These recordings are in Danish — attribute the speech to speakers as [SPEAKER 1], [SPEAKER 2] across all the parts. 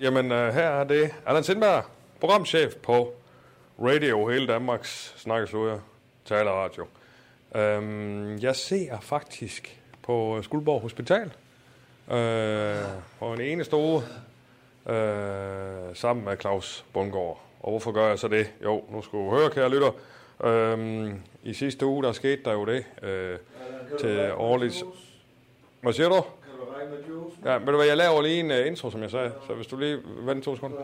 [SPEAKER 1] Jamen, øh, her er det Allan Sindberg, programchef på Radio Hele Danmarks Snakkes Ude Taleradio. Øhm, jeg ser faktisk på Skuldborg Hospital øh, på en ene stue øh, sammen med Claus Bundgaard. Og hvorfor gør jeg så det? Jo, nu skal du høre, kære lytter. Øhm, I sidste uge, der skete der jo det øh, til årligt... Hvad siger du? Ja, men du hvad, jeg laver lige en uh, intro, som jeg sagde, så hvis du lige venter to sekunder.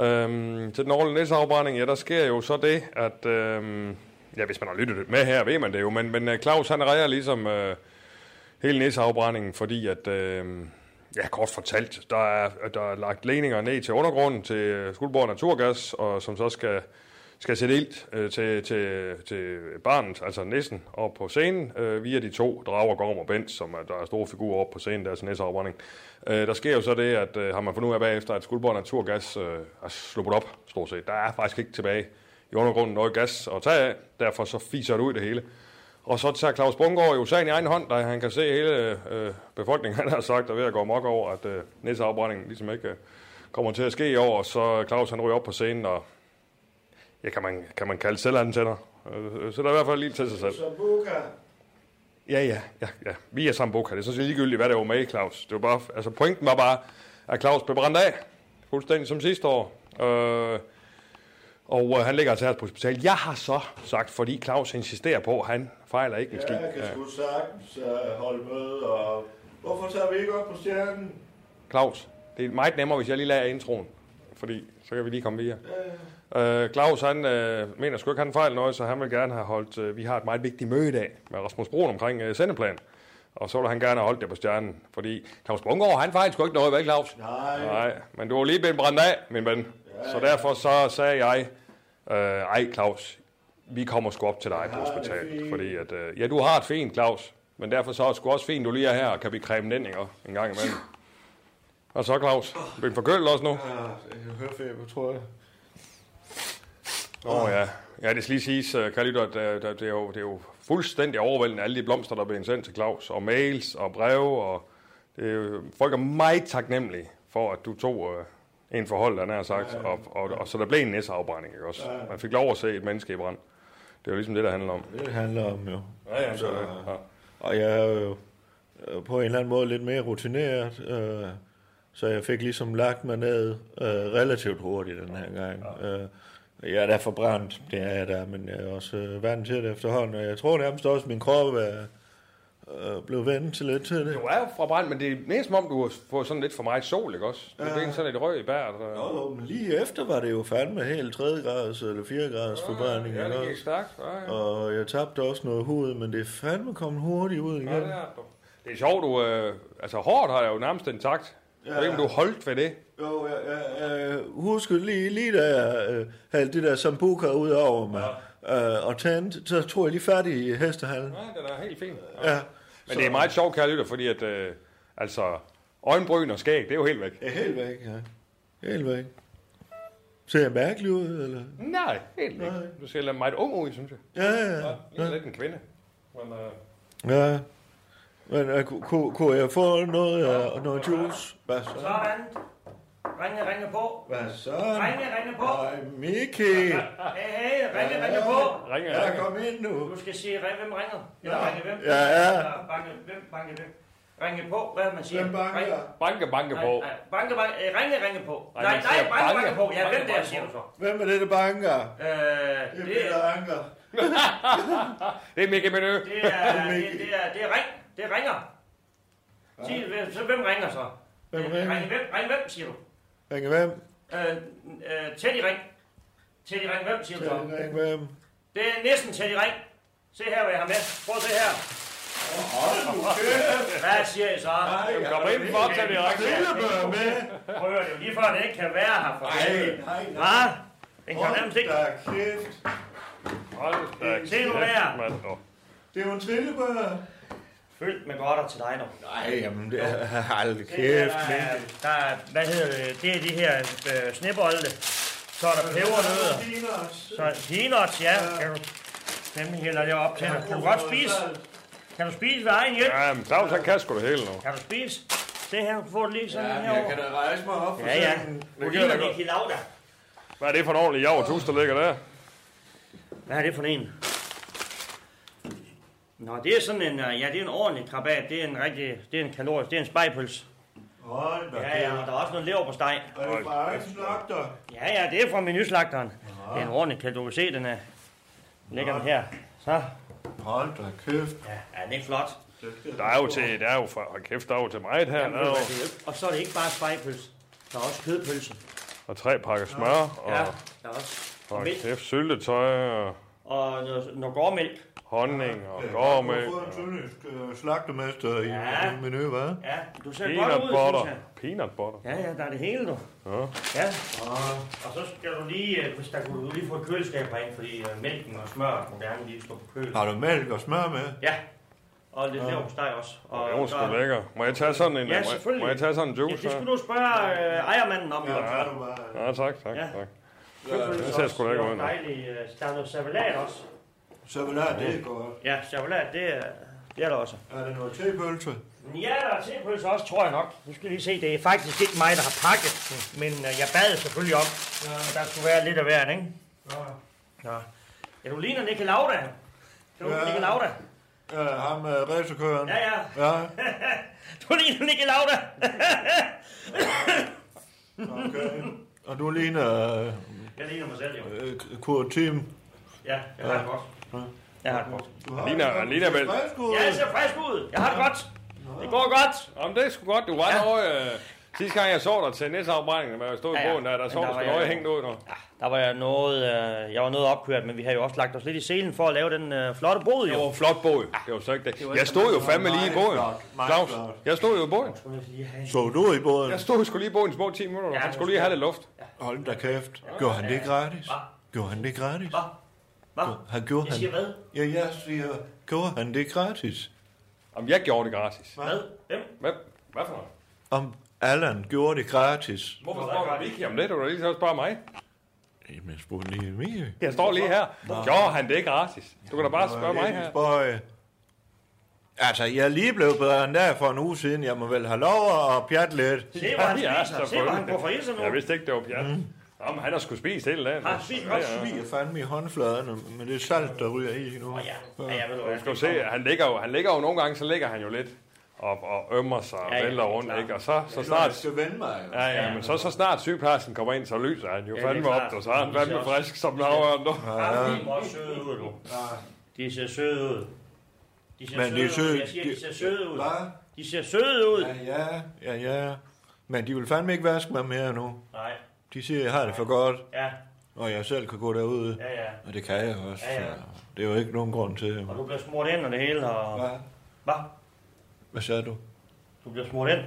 [SPEAKER 1] Øhm, til den årlige næseafbrænding, ja, der sker jo så det, at... Øhm, ja, hvis man har lyttet med her, ved man det jo, men, men øh, Claus, han rejer ligesom øh, hele næseafbrændingen, fordi at... Øh, ja, kort fortalt, der er, der er lagt ledninger ned til undergrunden, til øh, Skuldborg Naturgas, og som så skal skal sætte ild øh, til, til, til barnet, altså næsten, op på scenen, øh, via de to drager, Gorm og Bent, som er, der er store figurer op på scenen, deres næseafbrænding. Øh, der sker jo så det, at øh, har man fundet ud af bagefter, at Skuldborg Naturgas øh, er sluppet op, stort set. Der er faktisk ikke tilbage i undergrunden noget gas at tage af, derfor så fiser det ud det hele. Og så tager Claus Bungård jo sagen i egen hånd, da han kan se hele øh, befolkningen, han har sagt, der er ved at gå mok over, at øh, næseafbrændingen ligesom ikke øh, kommer til at ske i år, og så øh, Claus han ryger op på scenen og Ja, kan man, kan man kalde selvantænder. Øh, Så der er i hvert fald lige til sig selv.
[SPEAKER 2] Sambuca.
[SPEAKER 1] Ja, ja, ja, ja. Vi er sambuca. Det er sådan set ligegyldigt, hvad det var med i Claus. Det var bare, altså pointen var bare, at Claus blev brændt af. Fuldstændig som sidste år. Øh, og øh, han ligger altså her på hospitalet. Jeg har så sagt, fordi Claus insisterer på, at han fejler ikke en skid.
[SPEAKER 2] Ja, jeg kan
[SPEAKER 1] Ja.
[SPEAKER 2] sgu sagtens øh, holde møde, og hvorfor tager vi ikke op på stjernen?
[SPEAKER 1] Claus, det er meget nemmere, hvis jeg lige lader introen. Fordi så kan vi lige komme videre. Øh, Claus, han øh, mener sgu ikke, han fejl noget, så han vil gerne have holdt... Øh, vi har et meget vigtigt møde i dag med Rasmus Broen omkring øh, sendeplan. Og så vil han gerne have holdt det på stjernen. Fordi Claus Bungård, han fejl sgu ikke noget, vel Claus?
[SPEAKER 2] Nej.
[SPEAKER 1] Nej, men du var lige blevet brændt af, min ven. Ja, så derfor så sagde jeg, øh, ej Claus, vi kommer sgu op til dig på hospitalet. Fordi at, øh, ja, du har et fint, Claus. Men derfor så er det sgu også fint, du lige er her, og kan vi creme den ikke, en gang imellem. Og så, Claus, bliver den forkølet også nu?
[SPEAKER 2] Ah, Jeg hører feber, tror jeg.
[SPEAKER 1] Åh oh, ja. Ja, det skal lige siges, øh, kære lytter, at øh, der- det er, jo, det er jo fuldstændig overvældende, alle de blomster, der er blevet sendt til Claus, og mails og breve, og det er jo, folk er meget taknemmelige for, at du tog øh, en forhold, der nær sagt, og, og, og, så der blev en næseafbrænding, ikke også? Man fik lov at se et menneske i brand. Det er jo ligesom det, der handler om.
[SPEAKER 2] Det handler om jo.
[SPEAKER 1] Ja, ja,
[SPEAKER 2] så,
[SPEAKER 1] så, øh, ja.
[SPEAKER 2] Og jeg er jo øh, på en eller anden måde lidt mere rutineret, øh, så jeg fik ligesom lagt mig ned øh, relativt hurtigt den her gang. Øh, jeg er da forbrændt, det er jeg da, men jeg er også øh, vant til det efterhånden, og jeg tror nærmest også, at min krop er øh, blevet vendt til lidt til det.
[SPEAKER 1] Du er jo fra brand, men det er næsten som om, du har fået sådan lidt for meget sol, ikke også? Du er blevet sådan lidt rød i bæret. øh.
[SPEAKER 2] Nå, jo, men lige efter var det jo fandme helt 3. grads eller 4. grads forbrænding.
[SPEAKER 1] Ja,
[SPEAKER 2] eller
[SPEAKER 1] det gik
[SPEAKER 2] også.
[SPEAKER 1] stærkt. Ja, ja.
[SPEAKER 2] Og jeg tabte også noget hud, men det er fandme kommet hurtigt ud igen.
[SPEAKER 1] Ja, det er du. Det er sjovt, du... Øh, altså, hårdt har jeg jo nærmest intakt. Jeg ved ikke, om du holdt ved det.
[SPEAKER 2] Jo, jeg, jeg, jeg husker lige, lige da jeg øh, havde det der sambuca ud over mig øh, og tændte, så tog jeg lige fat i hestehallen.
[SPEAKER 1] Nej, den er helt fint.
[SPEAKER 2] Ja.
[SPEAKER 1] Men det er meget sjovt, kære lytter, fordi at... Øh, altså, øjenbryn og skæg, det er jo helt væk.
[SPEAKER 2] Ja, helt væk, ja. Helt væk. Ser jeg mærkelig ud, eller?
[SPEAKER 1] Nej, helt væk. Du ser lidt meget ung ud, synes jeg.
[SPEAKER 2] Ja, ja, ja.
[SPEAKER 1] Ja, lidt en kvinde. Men, øh,
[SPEAKER 2] ja. Men øh, ku- ku- kunne jeg få noget, øh, noget juice? Hvad så?
[SPEAKER 3] Sådan. Ringe, ringe på.
[SPEAKER 2] Hvad så?
[SPEAKER 3] Ringe, ringe på.
[SPEAKER 2] Hej, Miki!
[SPEAKER 3] Hey, hey, ringe, ringe på.
[SPEAKER 1] ringer
[SPEAKER 2] Ja,
[SPEAKER 1] jeg.
[SPEAKER 2] kom ind nu.
[SPEAKER 3] Du skal sige, ring- hvem ringer? Eller
[SPEAKER 2] Ja.
[SPEAKER 3] ringe hvem?
[SPEAKER 2] Ja, ja.
[SPEAKER 3] Eller Banke, hvem banke hvem? Ringe på, hvad er man siger?
[SPEAKER 2] Hvem banker?
[SPEAKER 3] Ringe-
[SPEAKER 1] Banke, banke
[SPEAKER 3] Nej,
[SPEAKER 1] på.
[SPEAKER 3] nej, Banke, banke, øh, ringe, ringe på.
[SPEAKER 1] Nej,
[SPEAKER 3] Nej, nej,
[SPEAKER 1] man siger
[SPEAKER 3] banke,
[SPEAKER 1] banke.
[SPEAKER 3] banke på. Ja,
[SPEAKER 1] Banke,
[SPEAKER 3] hvem der
[SPEAKER 1] banke
[SPEAKER 3] siger du så?
[SPEAKER 2] Hvem er det, der banker?
[SPEAKER 3] Øh,
[SPEAKER 2] Det er
[SPEAKER 3] det,
[SPEAKER 2] Peter Anker.
[SPEAKER 1] Det er Mikke Menø.
[SPEAKER 3] det er, det, det er, det er ring, det er ringer. Sig, hvem- så hvem ringer så?
[SPEAKER 2] Hvem
[SPEAKER 3] Øh,
[SPEAKER 2] ringer?
[SPEAKER 3] Ringe hvem, ringe hvem, siger du?
[SPEAKER 2] Ringe hvem?
[SPEAKER 3] Øh, øh, Teddy ring. Teddy ring, hvem siger du så?
[SPEAKER 2] Ringe hvem?
[SPEAKER 3] Det er næsten Teddy ring. Se her, hvad jeg har med. Prøv at se her. Hvad siger I så?
[SPEAKER 1] Kom ind, bare tag det rakt.
[SPEAKER 2] Stillebør med.
[SPEAKER 3] Prøv at høre, det er jo lige før, den ikke kan være her for helvede.
[SPEAKER 2] nej,
[SPEAKER 3] Hvad? Den kan nærmest ikke.
[SPEAKER 2] da kæft.
[SPEAKER 1] Hold da
[SPEAKER 3] Se nu der.
[SPEAKER 1] kæft, mand. Åh.
[SPEAKER 2] Det er jo en trillebør.
[SPEAKER 3] Fyldt med godter til dig nu.
[SPEAKER 2] Nej, jamen det er... Hold
[SPEAKER 3] Det er,
[SPEAKER 2] kæft.
[SPEAKER 3] der, er, der er, hvad hedder det, det er de her øh, snebolde. Så er der pebernødder. Så peanuts, ja. Kan du nemlig hælder det op til dig. Kan du godt spise? Kan du spise ved egen hjælp?
[SPEAKER 1] Ja, men Claus, han kan sgu det hele nu.
[SPEAKER 3] Kan du spise? Se her, du får det lige sådan
[SPEAKER 2] Ja,
[SPEAKER 3] ja,
[SPEAKER 2] men jeg
[SPEAKER 3] herovre.
[SPEAKER 2] kan da rejse mig op for
[SPEAKER 3] Ja, ja.
[SPEAKER 2] sengen.
[SPEAKER 3] Du
[SPEAKER 1] kan jeg da
[SPEAKER 3] ligner
[SPEAKER 1] godt.
[SPEAKER 3] Niki Lauda.
[SPEAKER 1] Hvad er det for en ordentlig javertus, der ligger der?
[SPEAKER 3] Hvad er det for en? Nå, det er sådan en, øh, ja, det er en ordentlig krabat. Det er en rigtig, det er en kalorisk, det er en spejpøls.
[SPEAKER 2] Hold da
[SPEAKER 3] Ja, ja,
[SPEAKER 2] kæft.
[SPEAKER 3] og der er også noget lever på steg.
[SPEAKER 2] Er det fra egen slagter?
[SPEAKER 3] Ja, ja, det er fra menuslagteren. Det er en ordentlig kan du kan se, den er. Lægger den her. Så.
[SPEAKER 2] Hold da kæft.
[SPEAKER 3] Ja, er den ikke flot?
[SPEAKER 1] Der er jo til, der er jo for, hold kæft, der er jo til meget her. Der
[SPEAKER 3] Jamen,
[SPEAKER 1] er
[SPEAKER 3] ved du
[SPEAKER 1] jo,
[SPEAKER 3] hvad, det er jo- Og så er det ikke bare spejpøls. Der er også kødpølse.
[SPEAKER 1] og tre pakker smør,
[SPEAKER 3] Ja,
[SPEAKER 1] og
[SPEAKER 3] der er også. Og,
[SPEAKER 1] hold
[SPEAKER 3] mælk,
[SPEAKER 1] kæft, syltetøj, og
[SPEAKER 3] og noget, noget gårdmælk.
[SPEAKER 1] honning, og
[SPEAKER 2] Du
[SPEAKER 1] gårdmælk,
[SPEAKER 2] har fået en
[SPEAKER 1] og
[SPEAKER 2] sønderjysk øh, slagtermester i
[SPEAKER 3] Ja.
[SPEAKER 2] ja. menu, hva'?
[SPEAKER 3] Ja, du ser godt
[SPEAKER 1] peanut
[SPEAKER 3] ud, synes
[SPEAKER 1] butter.
[SPEAKER 3] jeg.
[SPEAKER 1] Peanut butter.
[SPEAKER 3] Ja, ja, der er det hele, du.
[SPEAKER 1] Ja.
[SPEAKER 3] Ja. Og så skal du lige, øh, hvis der kunne du lige få et køleskab herind, fordi øh, mælken og smør må gerne lige stå på køl.
[SPEAKER 2] Har du mælk og smør med?
[SPEAKER 3] Ja, og lidt lever på steg også. Og
[SPEAKER 1] Det er jo sgu
[SPEAKER 3] der-
[SPEAKER 1] lækker. Må jeg tage sådan en,
[SPEAKER 3] Ja,
[SPEAKER 1] må, jeg-
[SPEAKER 3] selvfølgelig.
[SPEAKER 1] må jeg tage sådan en
[SPEAKER 3] Ja,
[SPEAKER 1] juice
[SPEAKER 3] det skulle
[SPEAKER 1] her?
[SPEAKER 3] du spørge øh, ejermanden om, jo.
[SPEAKER 2] tager du bare.
[SPEAKER 1] Ja, tak, tak,
[SPEAKER 3] Ja.
[SPEAKER 1] tak.
[SPEAKER 3] Kødpølse
[SPEAKER 1] det ser
[SPEAKER 3] også.
[SPEAKER 1] sgu lækker ud,
[SPEAKER 3] Det
[SPEAKER 1] nu.
[SPEAKER 3] er dejligt. øh, Der er noget servelat også.
[SPEAKER 2] Så vil jeg, det er godt.
[SPEAKER 3] Ja, servelat, det er, det er der også.
[SPEAKER 2] Er det noget tepølse?
[SPEAKER 3] Ja, der er tepølse også, tror jeg nok. Nu skal jeg lige se, det er faktisk ikke mig, der har pakket den, men øh, jeg bad selvfølgelig om, at der skulle være lidt af hvert, ikke? Nå. Ja, du ligner Nikke Lauda. Kan du
[SPEAKER 2] Ja.
[SPEAKER 3] ja. Nikke Lauda?
[SPEAKER 2] Ja, ham med racerkøren.
[SPEAKER 3] Ja, ja.
[SPEAKER 2] Ja,
[SPEAKER 3] Du ligner Nikke Lauda.
[SPEAKER 2] okay. Og du ligner
[SPEAKER 3] Jeg ligner mig selv, jo.
[SPEAKER 2] øh, Kurt Tim.
[SPEAKER 3] Ja, jeg har det godt. Jeg har det godt.
[SPEAKER 2] Du har
[SPEAKER 1] Ligner-
[SPEAKER 2] du
[SPEAKER 1] ligner
[SPEAKER 2] ser
[SPEAKER 1] vel-
[SPEAKER 2] frisk ud.
[SPEAKER 3] Jeg ser frisk ud. Jeg har det godt. Det går godt.
[SPEAKER 1] Jamen, det er sgu godt. Du var ja. derovre. Øh, sidste gang, jeg så dig til næsafbrændingen, hvor jeg stod i
[SPEAKER 3] Ja, ja.
[SPEAKER 1] båden der, der så
[SPEAKER 3] Men
[SPEAKER 1] du
[SPEAKER 3] der
[SPEAKER 1] sgu
[SPEAKER 3] var jeg
[SPEAKER 1] nøje
[SPEAKER 3] jo-
[SPEAKER 1] hængt ud nu.
[SPEAKER 3] Ja, der var jeg noget, øh, jeg var noget opkørt, men vi har jo også lagt os lidt i selen for at lave den øh, flotte bod,
[SPEAKER 1] Det var
[SPEAKER 3] jo.
[SPEAKER 1] en flot båd. Det var så ikke det.
[SPEAKER 3] var
[SPEAKER 1] Jeg
[SPEAKER 3] ikke-
[SPEAKER 1] stod jo fandme lige i
[SPEAKER 2] Meget
[SPEAKER 1] båden.
[SPEAKER 2] flot, meget
[SPEAKER 1] Claus,
[SPEAKER 2] flot.
[SPEAKER 1] jeg stod jo i båden.
[SPEAKER 2] Så du i båden?
[SPEAKER 1] Jeg stod sgu lige i båden i små 10 minutter.
[SPEAKER 3] Ja,
[SPEAKER 1] Han
[SPEAKER 3] det
[SPEAKER 1] skulle lige
[SPEAKER 3] var-
[SPEAKER 1] have lidt luft.
[SPEAKER 2] Hold da kæft. Gjorde han det gratis? Gjorde han det gratis?
[SPEAKER 3] Hvad? Hvad?
[SPEAKER 2] Han gjorde
[SPEAKER 3] Jeg siger
[SPEAKER 2] han...
[SPEAKER 3] hvad?
[SPEAKER 2] Ja, jeg siger, gjorde han det gratis?
[SPEAKER 1] Jamen, jeg gjorde det gratis.
[SPEAKER 3] Hvad? Hvem?
[SPEAKER 1] Hvad, hvad for noget?
[SPEAKER 2] Om Allan gjorde det gratis?
[SPEAKER 1] Hvorfor spørger du ikke om det? Du kan lige så spørge mig.
[SPEAKER 2] Jamen, jeg spurgte lige Emil.
[SPEAKER 1] Jeg står lige her. Gjorde han det gratis? Du kan da bare spørge mig her.
[SPEAKER 2] Boy. øh, Altså, jeg er lige blevet bedre end der for en uge siden. Jeg må vel have lov at pjatte lidt.
[SPEAKER 3] Se, hvor han
[SPEAKER 1] Ja,
[SPEAKER 3] spiser. Se, hvor han
[SPEAKER 1] selvfølgelig.
[SPEAKER 3] går fra ilse nu.
[SPEAKER 1] Jeg vidste ikke, det var pjat. Jamen, han har sgu spist hele dagen.
[SPEAKER 3] Mm. Han spiser godt
[SPEAKER 1] Ja, ja.
[SPEAKER 2] Jeg fandt mig i håndfladerne med det salt, der ryger i nu.
[SPEAKER 3] Ja, ja, jeg ved du
[SPEAKER 1] Du skal jo
[SPEAKER 3] hvad.
[SPEAKER 1] se, han ligger jo, han ligger jo nogle gange, så ligger han jo lidt og, og ømmer sig og
[SPEAKER 3] Ja, ja,
[SPEAKER 1] vælter
[SPEAKER 3] det er
[SPEAKER 1] rundt,
[SPEAKER 3] klart.
[SPEAKER 1] ikke? Og så, så
[SPEAKER 2] Jeg
[SPEAKER 1] snart...
[SPEAKER 2] skal vende mig.
[SPEAKER 1] Ja, ja, men så, så snart sygeplejersken kommer ind, så lyser han jo
[SPEAKER 3] Ja, det er
[SPEAKER 1] fandme
[SPEAKER 3] klart.
[SPEAKER 1] op, og så er han
[SPEAKER 3] Det er
[SPEAKER 1] fandme
[SPEAKER 3] også-
[SPEAKER 1] frisk som laveren nu.
[SPEAKER 3] Ja, de er også søde ud, du. De ser søde ud. De ser
[SPEAKER 2] Men de er
[SPEAKER 3] søde ud.
[SPEAKER 2] søde.
[SPEAKER 3] Jeg siger, de ser søde ud.
[SPEAKER 2] Hvad?
[SPEAKER 3] De ser søde ud.
[SPEAKER 2] Ja, ja, ja, ja. Men de vil fandme ikke vaske mig mere nu.
[SPEAKER 3] Nej,
[SPEAKER 2] De siger, jeg har det for godt,
[SPEAKER 3] ja,
[SPEAKER 2] og jeg selv kan gå derud.
[SPEAKER 3] ja, ja.
[SPEAKER 2] Og det kan jeg også.
[SPEAKER 3] Ja, ja.
[SPEAKER 2] så Det er jo ikke nogen grund til.
[SPEAKER 3] Og du bliver smurt ind og det hele, og...
[SPEAKER 2] Hvad?
[SPEAKER 3] Hvad?
[SPEAKER 2] Hvad sagde du?
[SPEAKER 3] Du bliver smurt ind?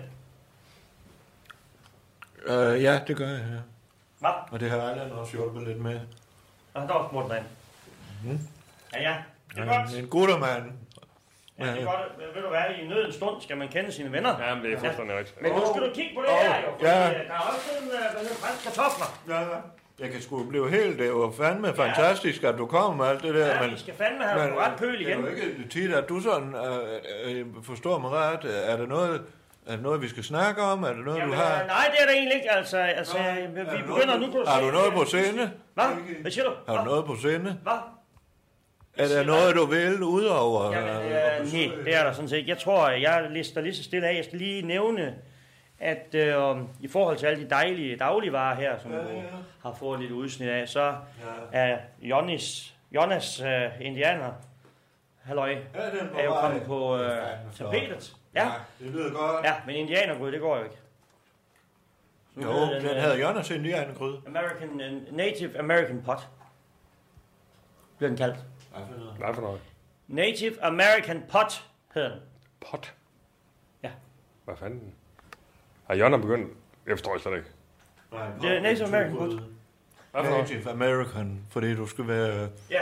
[SPEAKER 2] Øh, ja, det gør jeg, ja.
[SPEAKER 3] Hvad?
[SPEAKER 2] Og det har Allan også hjulpet lidt med.
[SPEAKER 3] Og han er også smurt ind.
[SPEAKER 2] Mhm.
[SPEAKER 3] Ja, ja. Det er godt.
[SPEAKER 2] Han er en guttermand.
[SPEAKER 3] Ja, det er godt. Ved du hvad, i nødens stund skal man kende sine venner.
[SPEAKER 1] Ja, men det er fuldstændig rigtigt.
[SPEAKER 3] Men nu skal du kigge på det
[SPEAKER 2] Åh,
[SPEAKER 3] her, jo. Fordi,
[SPEAKER 2] ja.
[SPEAKER 3] øh, der er også en, øh, hvad hedder franske kartofler.
[SPEAKER 2] Ja, jeg kan sgu blive helt, det var fandme fantastisk, at du kom med alt det der,
[SPEAKER 3] Ja,
[SPEAKER 2] men, øh,
[SPEAKER 3] vi skal fandme have på ret køl
[SPEAKER 2] det er
[SPEAKER 3] igen.
[SPEAKER 2] jo ikke tit, at du sådan, øh, øh, forstår mig ret, er det noget, er det noget, vi skal snakke om, er det noget,
[SPEAKER 3] Jamen,
[SPEAKER 2] du
[SPEAKER 3] øh,
[SPEAKER 2] har,
[SPEAKER 3] nej, det er det egentlig ikke. Altså, altså vi vi begynder nu på...
[SPEAKER 2] har du noget på scene?
[SPEAKER 3] Hvad? Hvad siger du?
[SPEAKER 2] Har du noget på scene?
[SPEAKER 3] Hvad?
[SPEAKER 2] Er der noget, du vil, udover?
[SPEAKER 3] Jamen,
[SPEAKER 2] øh,
[SPEAKER 3] øh, nej, det er der sådan set. Jeg tror, jeg lister lige så stille af. Jeg skal lige nævne, at øh, i forhold til alle de dejlige dagligvarer her, som ja, ja. du har fået lidt udsnit af, så er Jonas, Jonas øh, Indianer, halløj,
[SPEAKER 2] er den på
[SPEAKER 3] er jo
[SPEAKER 2] vej?
[SPEAKER 3] kommet på
[SPEAKER 2] Det
[SPEAKER 3] øh,
[SPEAKER 2] er fandme flot.
[SPEAKER 3] tapetet. Ja,
[SPEAKER 2] det lyder godt.
[SPEAKER 3] ja, men indianergrød, det går jo ikke. Så nu
[SPEAKER 2] Jo,
[SPEAKER 3] hedder
[SPEAKER 2] den
[SPEAKER 3] øh,
[SPEAKER 2] havde Jonas ind i en kryd.
[SPEAKER 3] American, øh, Native American Pot, bliver den kaldt.
[SPEAKER 1] Hvad for noget?
[SPEAKER 3] Native American Pot hedder den.
[SPEAKER 1] Pot.
[SPEAKER 3] Ja.
[SPEAKER 1] Hvad fanden? Har Jonna begyndt? Jeg forstår det slet ikke.
[SPEAKER 3] Det er Native American Pot.
[SPEAKER 1] Hvad
[SPEAKER 3] Øh,
[SPEAKER 1] for noget?
[SPEAKER 2] Native American, fordi du skal være...
[SPEAKER 3] Ja.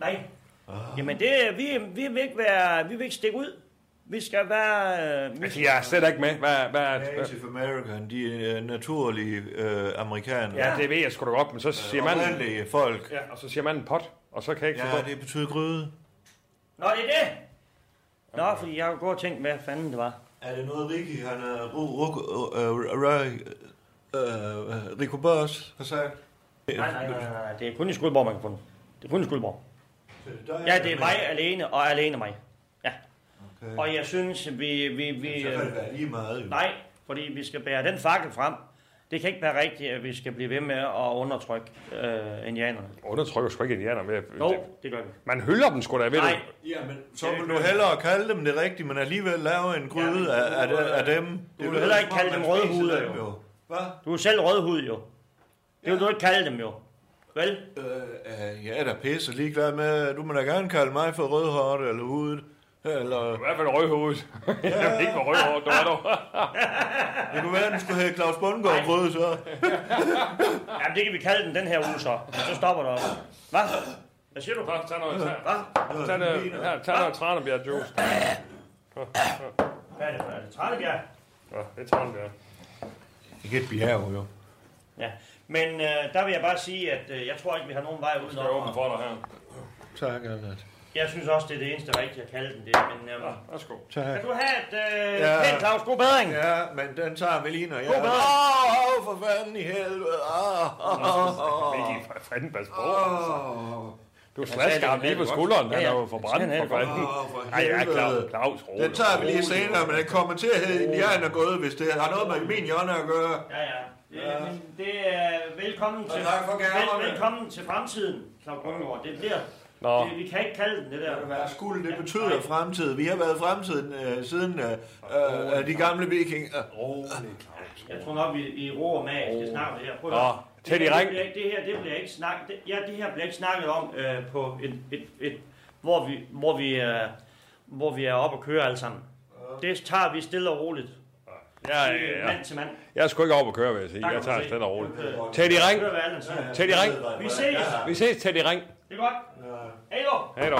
[SPEAKER 3] Nej. Jamen det, vi, vi vil ikke være, vi vil ikke stikke ud. Vi skal være... øh, Vi,
[SPEAKER 1] Altså, jeg er slet ikke med. Hvad, hvad, er- hvad?
[SPEAKER 2] Native American, de er øh, naturlige øh, amerikanere.
[SPEAKER 1] Ja, det ved jeg sgu da godt, men så siger man...
[SPEAKER 2] Oprindelige folk.
[SPEAKER 1] Ja, og så siger man pot, og så kan jeg ikke
[SPEAKER 2] Ja,
[SPEAKER 1] forstå.
[SPEAKER 2] det betyder gryde.
[SPEAKER 3] Nå, det er det! Nå, fordi jeg kunne gå og tænke, hvad fanden det var.
[SPEAKER 2] Er det noget, Ricky, han øh, er... øh, Rico Boss har sagt?
[SPEAKER 3] Nej, nej, nej, nej, nej. Det er kun i Skuldborg, man kan få den. Det er kun i Skuldborg. Ja, det er mig alene og alene mig. Ja.
[SPEAKER 2] Okay.
[SPEAKER 3] Og jeg synes, vi... vi, vi øh,
[SPEAKER 2] Så kan det være lige meget. jo.
[SPEAKER 3] nej, fordi vi skal bære den fakkel frem. Det kan ikke være rigtigt, at vi skal blive ved med at undertrykke øh, indianerne.
[SPEAKER 1] Undertrykker sgu ikke indianer med.
[SPEAKER 3] Jo, det gør vi.
[SPEAKER 1] Man hylder dem sgu da, ved
[SPEAKER 3] Nej,
[SPEAKER 1] du.
[SPEAKER 2] Ja, men så vil du hellere kalde dem det rigtige, men alligevel lave en
[SPEAKER 3] Ja, men
[SPEAKER 2] gryde
[SPEAKER 3] du,
[SPEAKER 2] af, af, de-
[SPEAKER 3] øh,
[SPEAKER 2] af dem.
[SPEAKER 3] du
[SPEAKER 2] Det
[SPEAKER 3] vil
[SPEAKER 2] er
[SPEAKER 3] heller ikke
[SPEAKER 2] som om,
[SPEAKER 3] kalde dem
[SPEAKER 2] man
[SPEAKER 3] røde
[SPEAKER 2] spiser
[SPEAKER 3] huder,
[SPEAKER 2] dem
[SPEAKER 3] jo.
[SPEAKER 2] Hvad?
[SPEAKER 3] du er selv rødhud jo. Det vil du ikke kalde dem jo. Vel?
[SPEAKER 2] Øh, øh, jeg er da pisse ligeglad med, du må da gerne kalde mig for rødhårdt eller hudet. Eller,
[SPEAKER 1] I hvert fald rødhovedet. Jeg ved ikke, hvor rødhovedet du er dog.
[SPEAKER 2] det kunne være, at den skulle hedde Claus Bundgaard Rød, så.
[SPEAKER 3] Jamen, det kan vi kalde den den her uge så. Men så stopper du op. Hvad? Hvad siger du?
[SPEAKER 1] Nå, Tag noget, tag,
[SPEAKER 3] Hvad?
[SPEAKER 1] tag, noget, her, tag noget tranebjerg juice.
[SPEAKER 3] Hvad er det? for- Er det Tranebjerg?
[SPEAKER 1] Ja, det er tranebjerg.
[SPEAKER 2] Ikke et bjerg, jo.
[SPEAKER 3] Ja. Men øh, der vil jeg bare sige, at øh, jeg tror ikke, vi har nogen vej
[SPEAKER 1] Jeg åbner
[SPEAKER 3] udenom.
[SPEAKER 1] for dig her.
[SPEAKER 2] Tak, Albert.
[SPEAKER 3] Jeg synes også, det er det eneste rigtige at kalde den det. Men øh,
[SPEAKER 1] Værsgo.
[SPEAKER 2] Tak.
[SPEAKER 3] kan du have et øh,
[SPEAKER 2] Ja.
[SPEAKER 3] ja. pænt, Claus? God bedring. Ja.
[SPEAKER 2] Ja, men den tager vi lige, når jeg...
[SPEAKER 3] God bedre.
[SPEAKER 2] Åh, oh, for fanden i helvede. Åh, åh, åh,
[SPEAKER 1] Viggy, for fanden, pas på.
[SPEAKER 2] åh.
[SPEAKER 1] Du
[SPEAKER 3] sagde
[SPEAKER 1] slasker
[SPEAKER 3] det,
[SPEAKER 1] ham lige
[SPEAKER 3] han
[SPEAKER 1] på
[SPEAKER 3] er godt.
[SPEAKER 1] skulderen. Han
[SPEAKER 3] Ja,
[SPEAKER 1] er
[SPEAKER 3] ja.
[SPEAKER 1] jo
[SPEAKER 3] Han
[SPEAKER 1] forbrændt
[SPEAKER 3] er
[SPEAKER 1] for
[SPEAKER 3] godt.
[SPEAKER 1] fanden.
[SPEAKER 2] Åh, for
[SPEAKER 1] Nej, jeg er Claus.
[SPEAKER 2] helvede.
[SPEAKER 1] Claus, rolig.
[SPEAKER 2] Den tager vi lige senere, men den kommer til at hedde Indianer Gode, hvis det har noget med min hjørne at gøre.
[SPEAKER 3] Ja, ja. Det, er- men det er velkommen til,
[SPEAKER 2] tak for gaverne.
[SPEAKER 3] vel, velkommen til fremtiden, Claus Grundgaard. Det bliver,
[SPEAKER 1] Nå.
[SPEAKER 3] det, vi kan ikke kalde den det der.
[SPEAKER 2] Hvad skuld, det betyder fremtid. Vi har været fremtiden øh, siden øh, øh, øh, de gamle vikinger.
[SPEAKER 1] Rolig, Claus.
[SPEAKER 3] Jeg tror nok, vi i ro og mag skal snakke om det her. Prøv at
[SPEAKER 1] Nå,
[SPEAKER 3] høre.
[SPEAKER 1] tæt i
[SPEAKER 3] det, her, det,
[SPEAKER 1] ring.
[SPEAKER 3] bliver, ikke- det her, det bliver ikke snak, det, ja, det her bliver ikke snakket om øh, på et, et, et, hvor vi, hvor vi, øh, hvor vi er oppe og køre alle sammen. Det tager vi stille og roligt.
[SPEAKER 1] Ja,
[SPEAKER 3] Øh,
[SPEAKER 1] ja, ja.
[SPEAKER 3] Mand til mand.
[SPEAKER 1] Jeg er sgu ikke oppe at køre, vil jeg
[SPEAKER 3] Der
[SPEAKER 1] sige.
[SPEAKER 3] kan
[SPEAKER 1] Jeg
[SPEAKER 3] du
[SPEAKER 1] tager
[SPEAKER 3] se.
[SPEAKER 1] det og roligt.
[SPEAKER 3] Øh,
[SPEAKER 1] Tæt i ring.
[SPEAKER 3] Hør, hvad Allan siger.
[SPEAKER 1] Tæt i ring.
[SPEAKER 3] Vi ses.
[SPEAKER 1] Vi ses tæt i ring.
[SPEAKER 3] Det er godt. Hej då.
[SPEAKER 1] Hej då.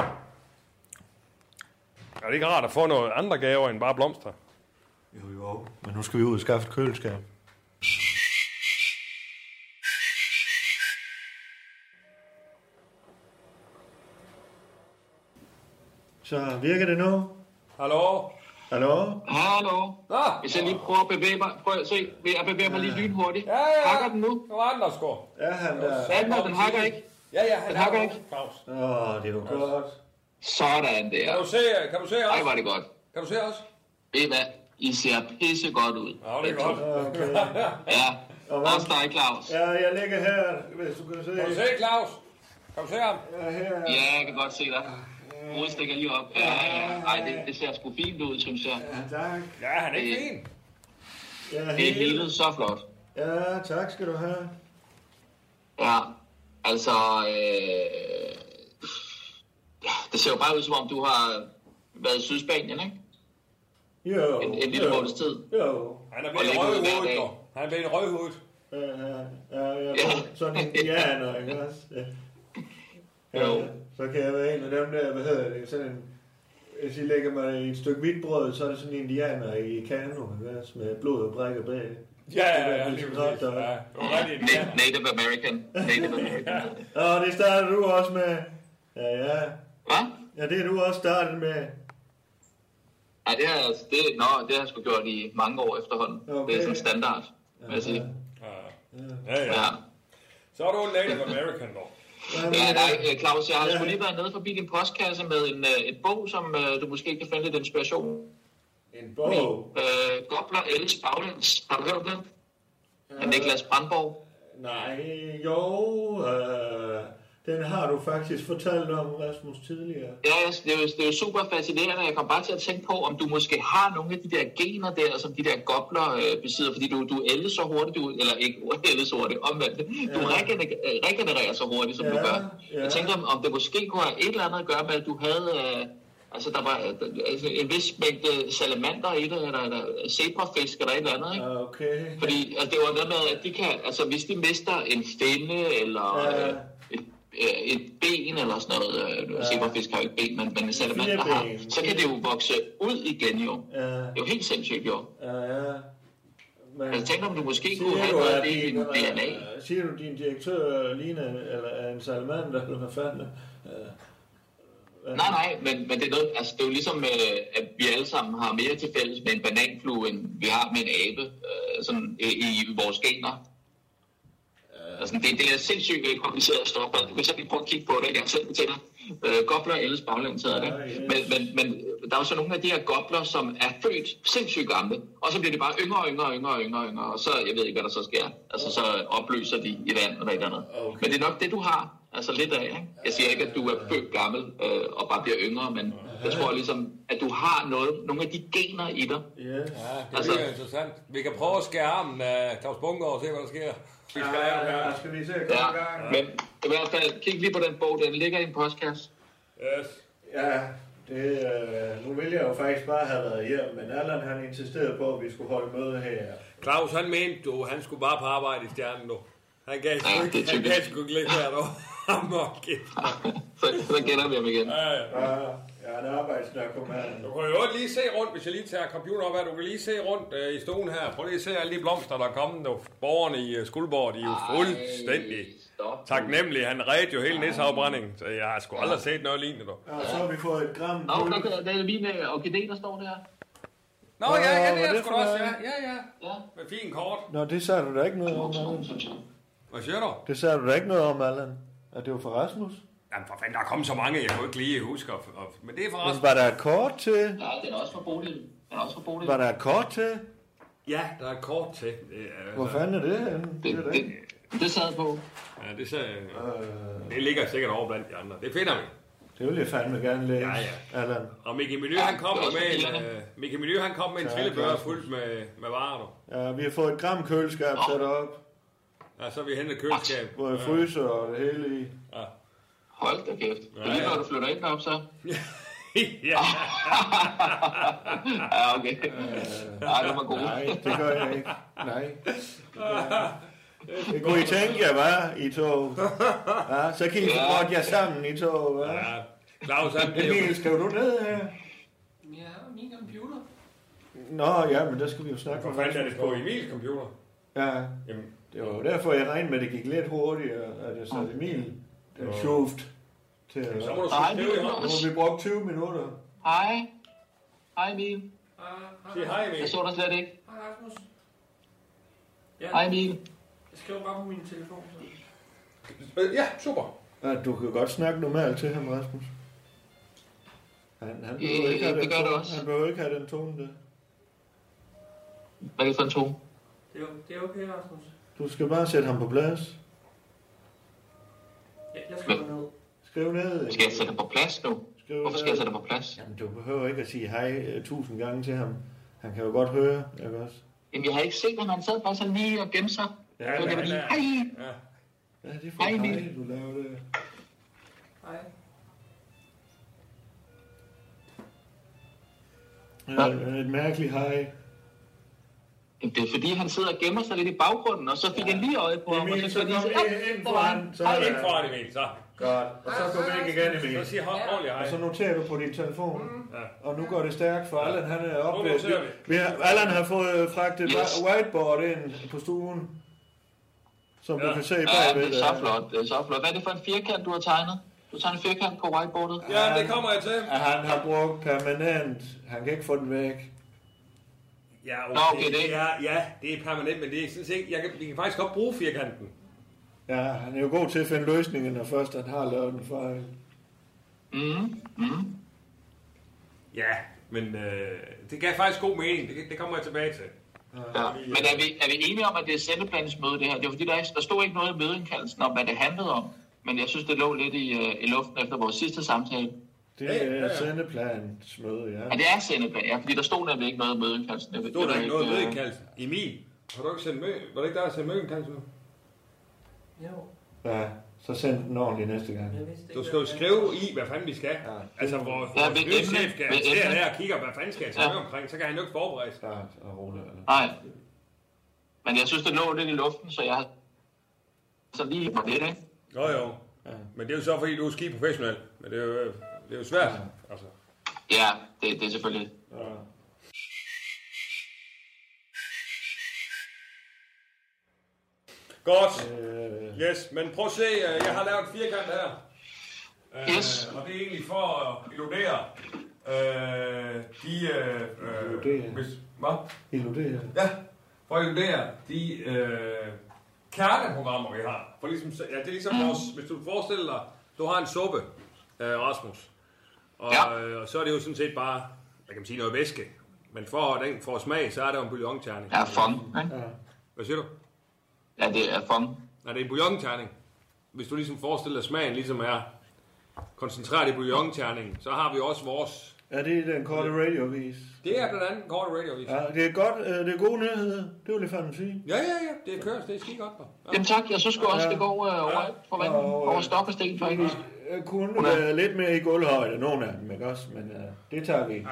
[SPEAKER 1] Er det ikke rart at få noget andre gaver end bare blomster?
[SPEAKER 2] Jo, jo. Men nu skal vi ud og skaffe et køleskab. Så virker det nu?
[SPEAKER 1] Hallo? Ah,
[SPEAKER 2] Hallo?
[SPEAKER 4] Hallo.
[SPEAKER 1] Nå,
[SPEAKER 4] Hvis jeg lige prøver at bevæge mig, prøv at se, jeg bevæger mig lige lynhurtigt.
[SPEAKER 1] Ja, ja.
[SPEAKER 4] Hakker den nu?
[SPEAKER 1] var den der sgu.
[SPEAKER 2] Er han der?
[SPEAKER 4] Ja, den hakker ikke.
[SPEAKER 1] Ja, ja, han
[SPEAKER 4] Den hakker ikke.
[SPEAKER 1] Claus.
[SPEAKER 2] Åh, oh, det er jo godt.
[SPEAKER 4] Sådan der.
[SPEAKER 1] se, øh, kan du se
[SPEAKER 4] Ej, var det godt.
[SPEAKER 1] Kan du se os?
[SPEAKER 4] Ved I hvad? I ser pisse godt ud.
[SPEAKER 1] Ja, det er godt.
[SPEAKER 2] Okay.
[SPEAKER 4] Ja,
[SPEAKER 2] Og hvad?
[SPEAKER 4] også dig, Claus.
[SPEAKER 2] Ja, jeg ligger her, hvis du kan se.
[SPEAKER 1] Kan du se Claus? Kan du se ham?
[SPEAKER 2] Jeg er her.
[SPEAKER 4] Ja, jeg kan godt se dig. Hovedet stikker lige op. Ja, ja. Ej, det, det ser sgu fint ud, synes jeg.
[SPEAKER 2] Ja, tak.
[SPEAKER 1] Ja, han er ikke fin.
[SPEAKER 2] Jeg er
[SPEAKER 4] Det er
[SPEAKER 2] her.
[SPEAKER 4] hele så flot.
[SPEAKER 2] Ja, tak skal du have.
[SPEAKER 4] Ja, altså... Øh... ja, Det ser jo bare ud, som om du har været i Sydspanien, ikke?
[SPEAKER 2] Jo.
[SPEAKER 4] En, en lille
[SPEAKER 2] jo,
[SPEAKER 4] måneds tid.
[SPEAKER 2] Jo.
[SPEAKER 1] Han er
[SPEAKER 4] Og
[SPEAKER 1] blevet en
[SPEAKER 4] ligger ude hver
[SPEAKER 1] rødhoved,
[SPEAKER 4] dag.
[SPEAKER 1] dog. Han er blevet en rødhoved.
[SPEAKER 2] Ja, ja, ja, jeg er sådan en indianer, ikke også? Ja.
[SPEAKER 4] Jo.
[SPEAKER 2] Ja, så kan jeg være en af dem der, hvad hedder det, sådan en, hvis I lægger mig i et stykke hvidbrød, så er det sådan en indianer i kano, ikke også? Med blod og brækker bag.
[SPEAKER 1] Ja, ja, ja, lige præcis. Ja, det var rigtig
[SPEAKER 4] Na-
[SPEAKER 1] indianer.
[SPEAKER 4] Native American. Native American.
[SPEAKER 2] Og det starter du også med. Ja, ja.
[SPEAKER 4] Hvad?
[SPEAKER 2] Ja, det er du også startet med.
[SPEAKER 4] Ja, det har, jeg- det, nå, det har jeg sgu gjort i mange år efterhånden.
[SPEAKER 2] Okay.
[SPEAKER 4] Det er sådan standard, vil jeg sige.
[SPEAKER 1] Ja, ja.
[SPEAKER 4] Ja.
[SPEAKER 1] Så er du en native american, dog.
[SPEAKER 4] Ja, nej, øh, Claus, jeg har sgu lige været nede forbi din postkasse med en, øh, et bog, som øh, du måske kan finde lidt inspiration.
[SPEAKER 2] En bog?
[SPEAKER 4] Øh, Gobler Ellis Baglæns. Har du hørt om den? Af Niklas Brandborg.
[SPEAKER 2] Nej, jo. Øh, Den har du faktisk fortalt om, Rasmus, tidligere.
[SPEAKER 4] Ja, altså, det er, jo, det er jo super fascinerende. Jeg kom bare til at tænke på, om du måske har nogle af de der gener der, som de der gobler øh, besidder, fordi du, du ældes så hurtigt, du, eller ikke ældes så hurtigt, omvendt. Du
[SPEAKER 2] Ja.
[SPEAKER 4] regener- øh, regenererer så hurtigt, som
[SPEAKER 2] Ja,
[SPEAKER 4] du gør.
[SPEAKER 2] ja.
[SPEAKER 4] Jeg tænker, om, om det måske kunne have et eller andet at gøre med, at du havde... Øh, altså, der var øh, altså, en vis mængde salamander i det, eller, eller zebrafisk, eller et eller andet, ikke?
[SPEAKER 2] Ah, Okay.
[SPEAKER 4] Fordi altså, det var noget med, at de kan, altså, hvis de mister en finde eller
[SPEAKER 2] Ja.
[SPEAKER 4] ja. øh, et, øh, et ben eller sådan noget, øh,
[SPEAKER 2] Ja.
[SPEAKER 4] ja. zebrafisk har jo ikke ben, men, men salamander
[SPEAKER 2] Fire
[SPEAKER 4] har,
[SPEAKER 2] ben.
[SPEAKER 4] så kan det jo vokse ud igen jo.
[SPEAKER 2] Ja,
[SPEAKER 4] Det er jo helt sindssygt jo.
[SPEAKER 2] ja, ja. Men,
[SPEAKER 4] Jeg tænker, om du måske
[SPEAKER 2] Siger
[SPEAKER 4] kunne have noget af
[SPEAKER 2] at
[SPEAKER 4] Altså, det i din
[SPEAKER 2] din, øh,
[SPEAKER 4] DNA.
[SPEAKER 2] Siger du, din direktør ligner en, eller er en salamander, eller hvad fanden? Øh,
[SPEAKER 4] Nej, nej, men, men det, er noget, altså, det er jo ligesom, øh, at vi alle sammen har mere til fælles med en bananflue, end vi har med en abe øh, sådan, øh, i vores gener. Altså, det, det er sindssygt øh, kompliceret stof. og Hvis jeg lige prøver at kigge på det, jeg selv til dig. Øh, gobler ældes baglæns hedder det.
[SPEAKER 2] Ja, ja.
[SPEAKER 4] Men, men, men øh, der er jo så nogle af de her gobler, som er født sindssygt gamle, og så bliver de bare yngre og yngre og yngre og yngre, og yngre, og så, jeg ved ikke, hvad der så sker. Altså, så opløser de i vand eller et eller andet.
[SPEAKER 2] Okay.
[SPEAKER 4] Men det er nok det, du har, altså lidt af, ikke? Jeg siger ikke, at du er født gammel øh, og bare bliver yngre, men jeg tror ligesom, at du har noget, nogle af de gener i dig.
[SPEAKER 2] yes.
[SPEAKER 1] Ja, det
[SPEAKER 4] Altså-
[SPEAKER 1] altså, bliver interessant. Vi kan prøve at skære armen af Claus Bunker og se, hvad der sker. Vi skal lære det
[SPEAKER 2] Ja,
[SPEAKER 1] her.
[SPEAKER 2] jeg skal lige se,
[SPEAKER 4] Ja,
[SPEAKER 2] kom i gang.
[SPEAKER 4] men i hvert fald, kig lige på den bog, den ligger i en postkasse.
[SPEAKER 1] Yes.
[SPEAKER 2] Ja, det, øh, nu ville jeg jo faktisk bare have været hjem, men Allan han insisterede på, at vi skulle holde møde her.
[SPEAKER 1] Claus, han mente du, han skulle bare på arbejde i stjernen nu. Han gav sgu
[SPEAKER 4] Ja, det
[SPEAKER 1] ikke,
[SPEAKER 4] er
[SPEAKER 1] han
[SPEAKER 4] typisk.
[SPEAKER 1] gav sgu ikke lidt hvert år. Han må kæft.
[SPEAKER 4] Så, så gætter vi ham igen.
[SPEAKER 1] Ja, ja.
[SPEAKER 2] Ja, jeg er en arbejdsnarkoman.
[SPEAKER 1] Du kan jo også lige se rundt, hvis jeg lige tager computer op her. Du kan lige se rundt øh, i stuen her. Prøv lige at se alle de blomster, der er kommet. Nu. Borgerne i øh, Skuldborg, de er jo fuldstændig
[SPEAKER 4] Ej, stop.
[SPEAKER 1] taknemmelige. Han redde jo hele nisseafbrændingen, så jeg har sgu aldrig set noget lignende. Du.
[SPEAKER 2] Ja, så har vi fået et gram
[SPEAKER 4] Nå,
[SPEAKER 2] guld.
[SPEAKER 4] der kan- der er mine orkidé, der står der.
[SPEAKER 1] Nå,
[SPEAKER 2] Åh,
[SPEAKER 1] ja, ja,
[SPEAKER 2] hvad
[SPEAKER 1] det
[SPEAKER 2] er
[SPEAKER 1] er
[SPEAKER 2] det
[SPEAKER 1] sgu da
[SPEAKER 2] for
[SPEAKER 1] også, ja.
[SPEAKER 2] noget?
[SPEAKER 1] Ja, ja.
[SPEAKER 4] Ja.
[SPEAKER 1] Med fin kort.
[SPEAKER 2] Nå, det sagde du da ikke noget om,
[SPEAKER 4] Voksen,
[SPEAKER 2] Allan.
[SPEAKER 4] synes jeg.
[SPEAKER 1] Hvad siger du?
[SPEAKER 2] Det sagde du da ikke noget om, Allan. At det var for Rasmus.
[SPEAKER 1] Jamen for fanden, der er kommet så mange, jeg kunne ikke lige huske. Og, og, men det er
[SPEAKER 2] Men
[SPEAKER 1] forresten...
[SPEAKER 2] var der et kort til?
[SPEAKER 4] Ja, den er også fra Bodil. Den er også fra Bodil.
[SPEAKER 2] Var der et kort til?
[SPEAKER 1] Ja, der er et kort til. Det er,
[SPEAKER 2] Hvor fanden er det henne? Det
[SPEAKER 4] Det,
[SPEAKER 2] er det.
[SPEAKER 4] det,
[SPEAKER 2] ikke.
[SPEAKER 4] det sad på.
[SPEAKER 1] Ja, det, sagde,
[SPEAKER 2] Øh,
[SPEAKER 1] det ligger sikkert over blandt de andre. Det finder vi.
[SPEAKER 2] det vil jeg fandme gerne læse,
[SPEAKER 1] Ja,
[SPEAKER 2] Allan.
[SPEAKER 1] Og Mickey Menu,
[SPEAKER 4] Ja,
[SPEAKER 1] han kom
[SPEAKER 4] det er
[SPEAKER 1] jo
[SPEAKER 4] også
[SPEAKER 1] med en,
[SPEAKER 4] papirerne.
[SPEAKER 1] øh, Mickey Menu, han kom med en
[SPEAKER 2] Tak,
[SPEAKER 1] trillebør
[SPEAKER 2] Rasmus.
[SPEAKER 1] fuldt med, med varer. du.
[SPEAKER 2] Ja, vi har fået et gram køleskab sat op,
[SPEAKER 1] Ja, så har vi hentet køleskab.
[SPEAKER 2] hvor jeg fryser og det hele i.
[SPEAKER 4] Hold da kæft. Det er
[SPEAKER 1] Ja,
[SPEAKER 4] lige
[SPEAKER 1] ja.
[SPEAKER 4] før, du flytter ind op, så.
[SPEAKER 1] ja,
[SPEAKER 4] Ja, okay. Ja, det var god.
[SPEAKER 2] Nej, det gør jeg ikke. Nej. Det gør jeg ikke. Det kunne I tænke jer, var I tog. Ja, så kan I få
[SPEAKER 4] Ja.
[SPEAKER 2] godt jer sammen i tog, hva?
[SPEAKER 1] ja. Claus, han blev...
[SPEAKER 2] Emil, skal du ned øh? her?
[SPEAKER 4] Ja, min computer.
[SPEAKER 2] Nå, ja, men der skal vi jo snakke
[SPEAKER 1] Hvor
[SPEAKER 2] om.
[SPEAKER 1] fanden er det på Emils computer?
[SPEAKER 2] Ja,
[SPEAKER 1] Jamen,
[SPEAKER 2] det var jo derfor, jeg regnede med, at det gik lidt hurtigere, at jeg satte Emil den sjuft til at...
[SPEAKER 1] så må du
[SPEAKER 2] Nu
[SPEAKER 1] sgu
[SPEAKER 4] Nej,
[SPEAKER 1] skrive i
[SPEAKER 4] det er
[SPEAKER 1] hånden.
[SPEAKER 2] har vi brugt 20 minutter.
[SPEAKER 4] Hej. Hej, Emil.
[SPEAKER 1] Sig hej, Emil.
[SPEAKER 4] Jeg så dig slet ikke.
[SPEAKER 5] Hej Rasmus.
[SPEAKER 4] Hej, Emil.
[SPEAKER 5] Jeg skriver bare på min telefon. Så.
[SPEAKER 1] Øh, Ja, super.
[SPEAKER 2] Ja, du kan godt snakke normalt til ham, Rasmus. Han, han behøver
[SPEAKER 4] Øh,
[SPEAKER 2] ikke have
[SPEAKER 4] det
[SPEAKER 2] den
[SPEAKER 4] gør du
[SPEAKER 2] tone,
[SPEAKER 4] også.
[SPEAKER 2] han behøver ikke have den tone der.
[SPEAKER 4] Hvad er det for en tone?
[SPEAKER 5] Det er, det er okay, Rasmus.
[SPEAKER 2] Du skal bare sætte ham på plads.
[SPEAKER 5] Jeg, jeg skriver ned.
[SPEAKER 2] Skriv ned.
[SPEAKER 4] Skal jeg sætte dig på plads nu?
[SPEAKER 2] Skriv
[SPEAKER 4] Hvorfor skal jeg sætte dig på plads?
[SPEAKER 2] Jamen, du behøver ikke at sige hej øh, tusind gange til ham. Han kan jo godt høre, ikke også?
[SPEAKER 4] Jamen, jeg har ikke set ham. Han sad bare sådan lige og gemte sig.
[SPEAKER 2] Ja,
[SPEAKER 4] Så kan man lige, hej.
[SPEAKER 2] Ja, det er for hej,
[SPEAKER 4] Hej, Emil.
[SPEAKER 2] du laver det.
[SPEAKER 5] Hej.
[SPEAKER 2] Ja, det er et mærkeligt hej.
[SPEAKER 4] Jamen, det er fordi, han sidder og gemmer sig lidt i baggrunden, og så fik jeg lige øje på ham, og
[SPEAKER 2] Emil, så
[SPEAKER 4] så skulle jeg lige
[SPEAKER 2] kom
[SPEAKER 4] sige,
[SPEAKER 2] lige ind
[SPEAKER 4] "Op, der var han.
[SPEAKER 2] foran. Så er
[SPEAKER 1] Ind
[SPEAKER 2] det
[SPEAKER 1] foran Emil, så.
[SPEAKER 2] godt. Og så gå væk igen,
[SPEAKER 1] Så
[SPEAKER 2] Emil.
[SPEAKER 1] sig hej, ordentligt hej.
[SPEAKER 2] Og så noterer du på din telefon.
[SPEAKER 1] Ja.
[SPEAKER 2] Og nu går det stærkt, for Allan han er oppe.
[SPEAKER 1] Nu noterer
[SPEAKER 2] Vi- Vi har, Allan har fået øh, fragtet
[SPEAKER 4] Yes.
[SPEAKER 2] yes. whiteboard ind på stuen. Som du
[SPEAKER 1] Ja.
[SPEAKER 2] kan se
[SPEAKER 4] Ja,
[SPEAKER 2] bagved.
[SPEAKER 4] det er så
[SPEAKER 2] der.
[SPEAKER 4] flot. Det er så flot. Hvad er det for en firkant, du har tegnet? Du tegner en firkant på whiteboardet.
[SPEAKER 1] Ja, det kommer jeg til.
[SPEAKER 2] At han har brugt permanent. Han kan ikke få den væk.
[SPEAKER 1] Ja, okay.
[SPEAKER 4] Nå, okay, det-
[SPEAKER 1] ja, ja, det er permanent, men det er sådan set, jeg kan, vi kan faktisk godt bruge firkanten.
[SPEAKER 2] Ja, han er jo god til at finde løsninger, når først han har lavet en fejl.
[SPEAKER 4] Mm. Mm.
[SPEAKER 1] Ja, men øh, det gav faktisk god mening, det, det kommer jeg tilbage til.
[SPEAKER 4] Ja. Men er vi, er vi enige om, at det er sendeplansmøde, det her? Det var fordi, der, ikke- der stod ikke noget i mødeindkaldelsen om, hvad det handlede om. men jeg synes, det lå lidt i, øh, i luften efter vores sidste samtale.
[SPEAKER 2] Det er sendeplansmøde, ja.
[SPEAKER 4] Ja, det er sendeplan, ja, fordi der stod nemlig ikke noget mødeindkaldelse. Det,
[SPEAKER 1] Stod
[SPEAKER 4] det
[SPEAKER 1] der
[SPEAKER 4] var
[SPEAKER 1] ikke noget
[SPEAKER 4] øh,
[SPEAKER 1] mødekaldelse? Emil, har du ikke sendt mø... Var det ikke der, der sendte mødekaldelse?
[SPEAKER 5] Jo,
[SPEAKER 2] Ja, så send den ordentligt næste gang.
[SPEAKER 5] jeg vidste ikke,
[SPEAKER 1] Du skal jo
[SPEAKER 5] hvad-
[SPEAKER 1] skrive i, hvad fanden vi skal.
[SPEAKER 2] Ja.
[SPEAKER 1] Altså, vores,
[SPEAKER 4] Ja,
[SPEAKER 1] vores
[SPEAKER 4] ved
[SPEAKER 1] nyhedschef
[SPEAKER 4] emne-
[SPEAKER 1] kan
[SPEAKER 4] ved
[SPEAKER 1] sidde
[SPEAKER 4] emne.
[SPEAKER 1] der og kigger, hvad fanden skal jeg tage
[SPEAKER 4] Ja.
[SPEAKER 1] med omkring, så kan han jo ikke forberede sig.
[SPEAKER 2] Klart og roligt. eller?
[SPEAKER 4] Nej. Men jeg synes, det lå lidt i luften, så jeg så lige mig lidt, ikke?
[SPEAKER 1] Jo, jo. Men det er jo så, fordi du er ski professionel. Men det er jo, øh, det er jo svært. Altså.
[SPEAKER 4] Ja, det, det er selvfølgelig.
[SPEAKER 1] Godt.
[SPEAKER 2] Øh,
[SPEAKER 1] Yes, men prøv at se, øh, jeg har lavet en firkant her. Øh,
[SPEAKER 4] Yes.
[SPEAKER 1] Og det er egentlig for at illudere øh, de... Øh, øh,
[SPEAKER 2] Illudere.
[SPEAKER 1] Hvis, hvad?
[SPEAKER 2] Illudere.
[SPEAKER 1] Ja, for at illudere de øh, kerneprogrammer, vi har. For ligesom, ja, det er ligesom
[SPEAKER 4] Mm.
[SPEAKER 1] vores, hvis du forestiller dig, du har en suppe, øh, Rasmus. Og,
[SPEAKER 4] Ja.
[SPEAKER 1] øh, og så er det jo sådan set bare, jeg kan man sige, noget væske. Men for at den får smag, så er det jo en bouillonterning.
[SPEAKER 4] Ja, fong, ikke?
[SPEAKER 1] Hvad siger du?
[SPEAKER 4] Ja, det er fong.
[SPEAKER 1] Nej, det er en bouillonterning. Hvis du ligesom forestiller dig, smagen ligesom er koncentreret i bouillonterningen, så har vi også vores...
[SPEAKER 2] Er det den korte radiovis?
[SPEAKER 1] Det er blandt andet en kort radiovis. Ja.
[SPEAKER 2] Ja, det er godt. Øh, det er gode nyheder. Det vil jeg fandme sige.
[SPEAKER 1] ja, ja, ja. Det køres. Det er skide godt. hva'? Ja.
[SPEAKER 4] Jamen tak, jeg synes sgu også, det går øh, over, for vandet,
[SPEAKER 2] Og, øh,
[SPEAKER 4] over stok og sten, faktisk.
[SPEAKER 2] Jeg Øh, kunne være lidt mere i gulvhøjde, nogle af dem, ikke også? Men øh, det tager vi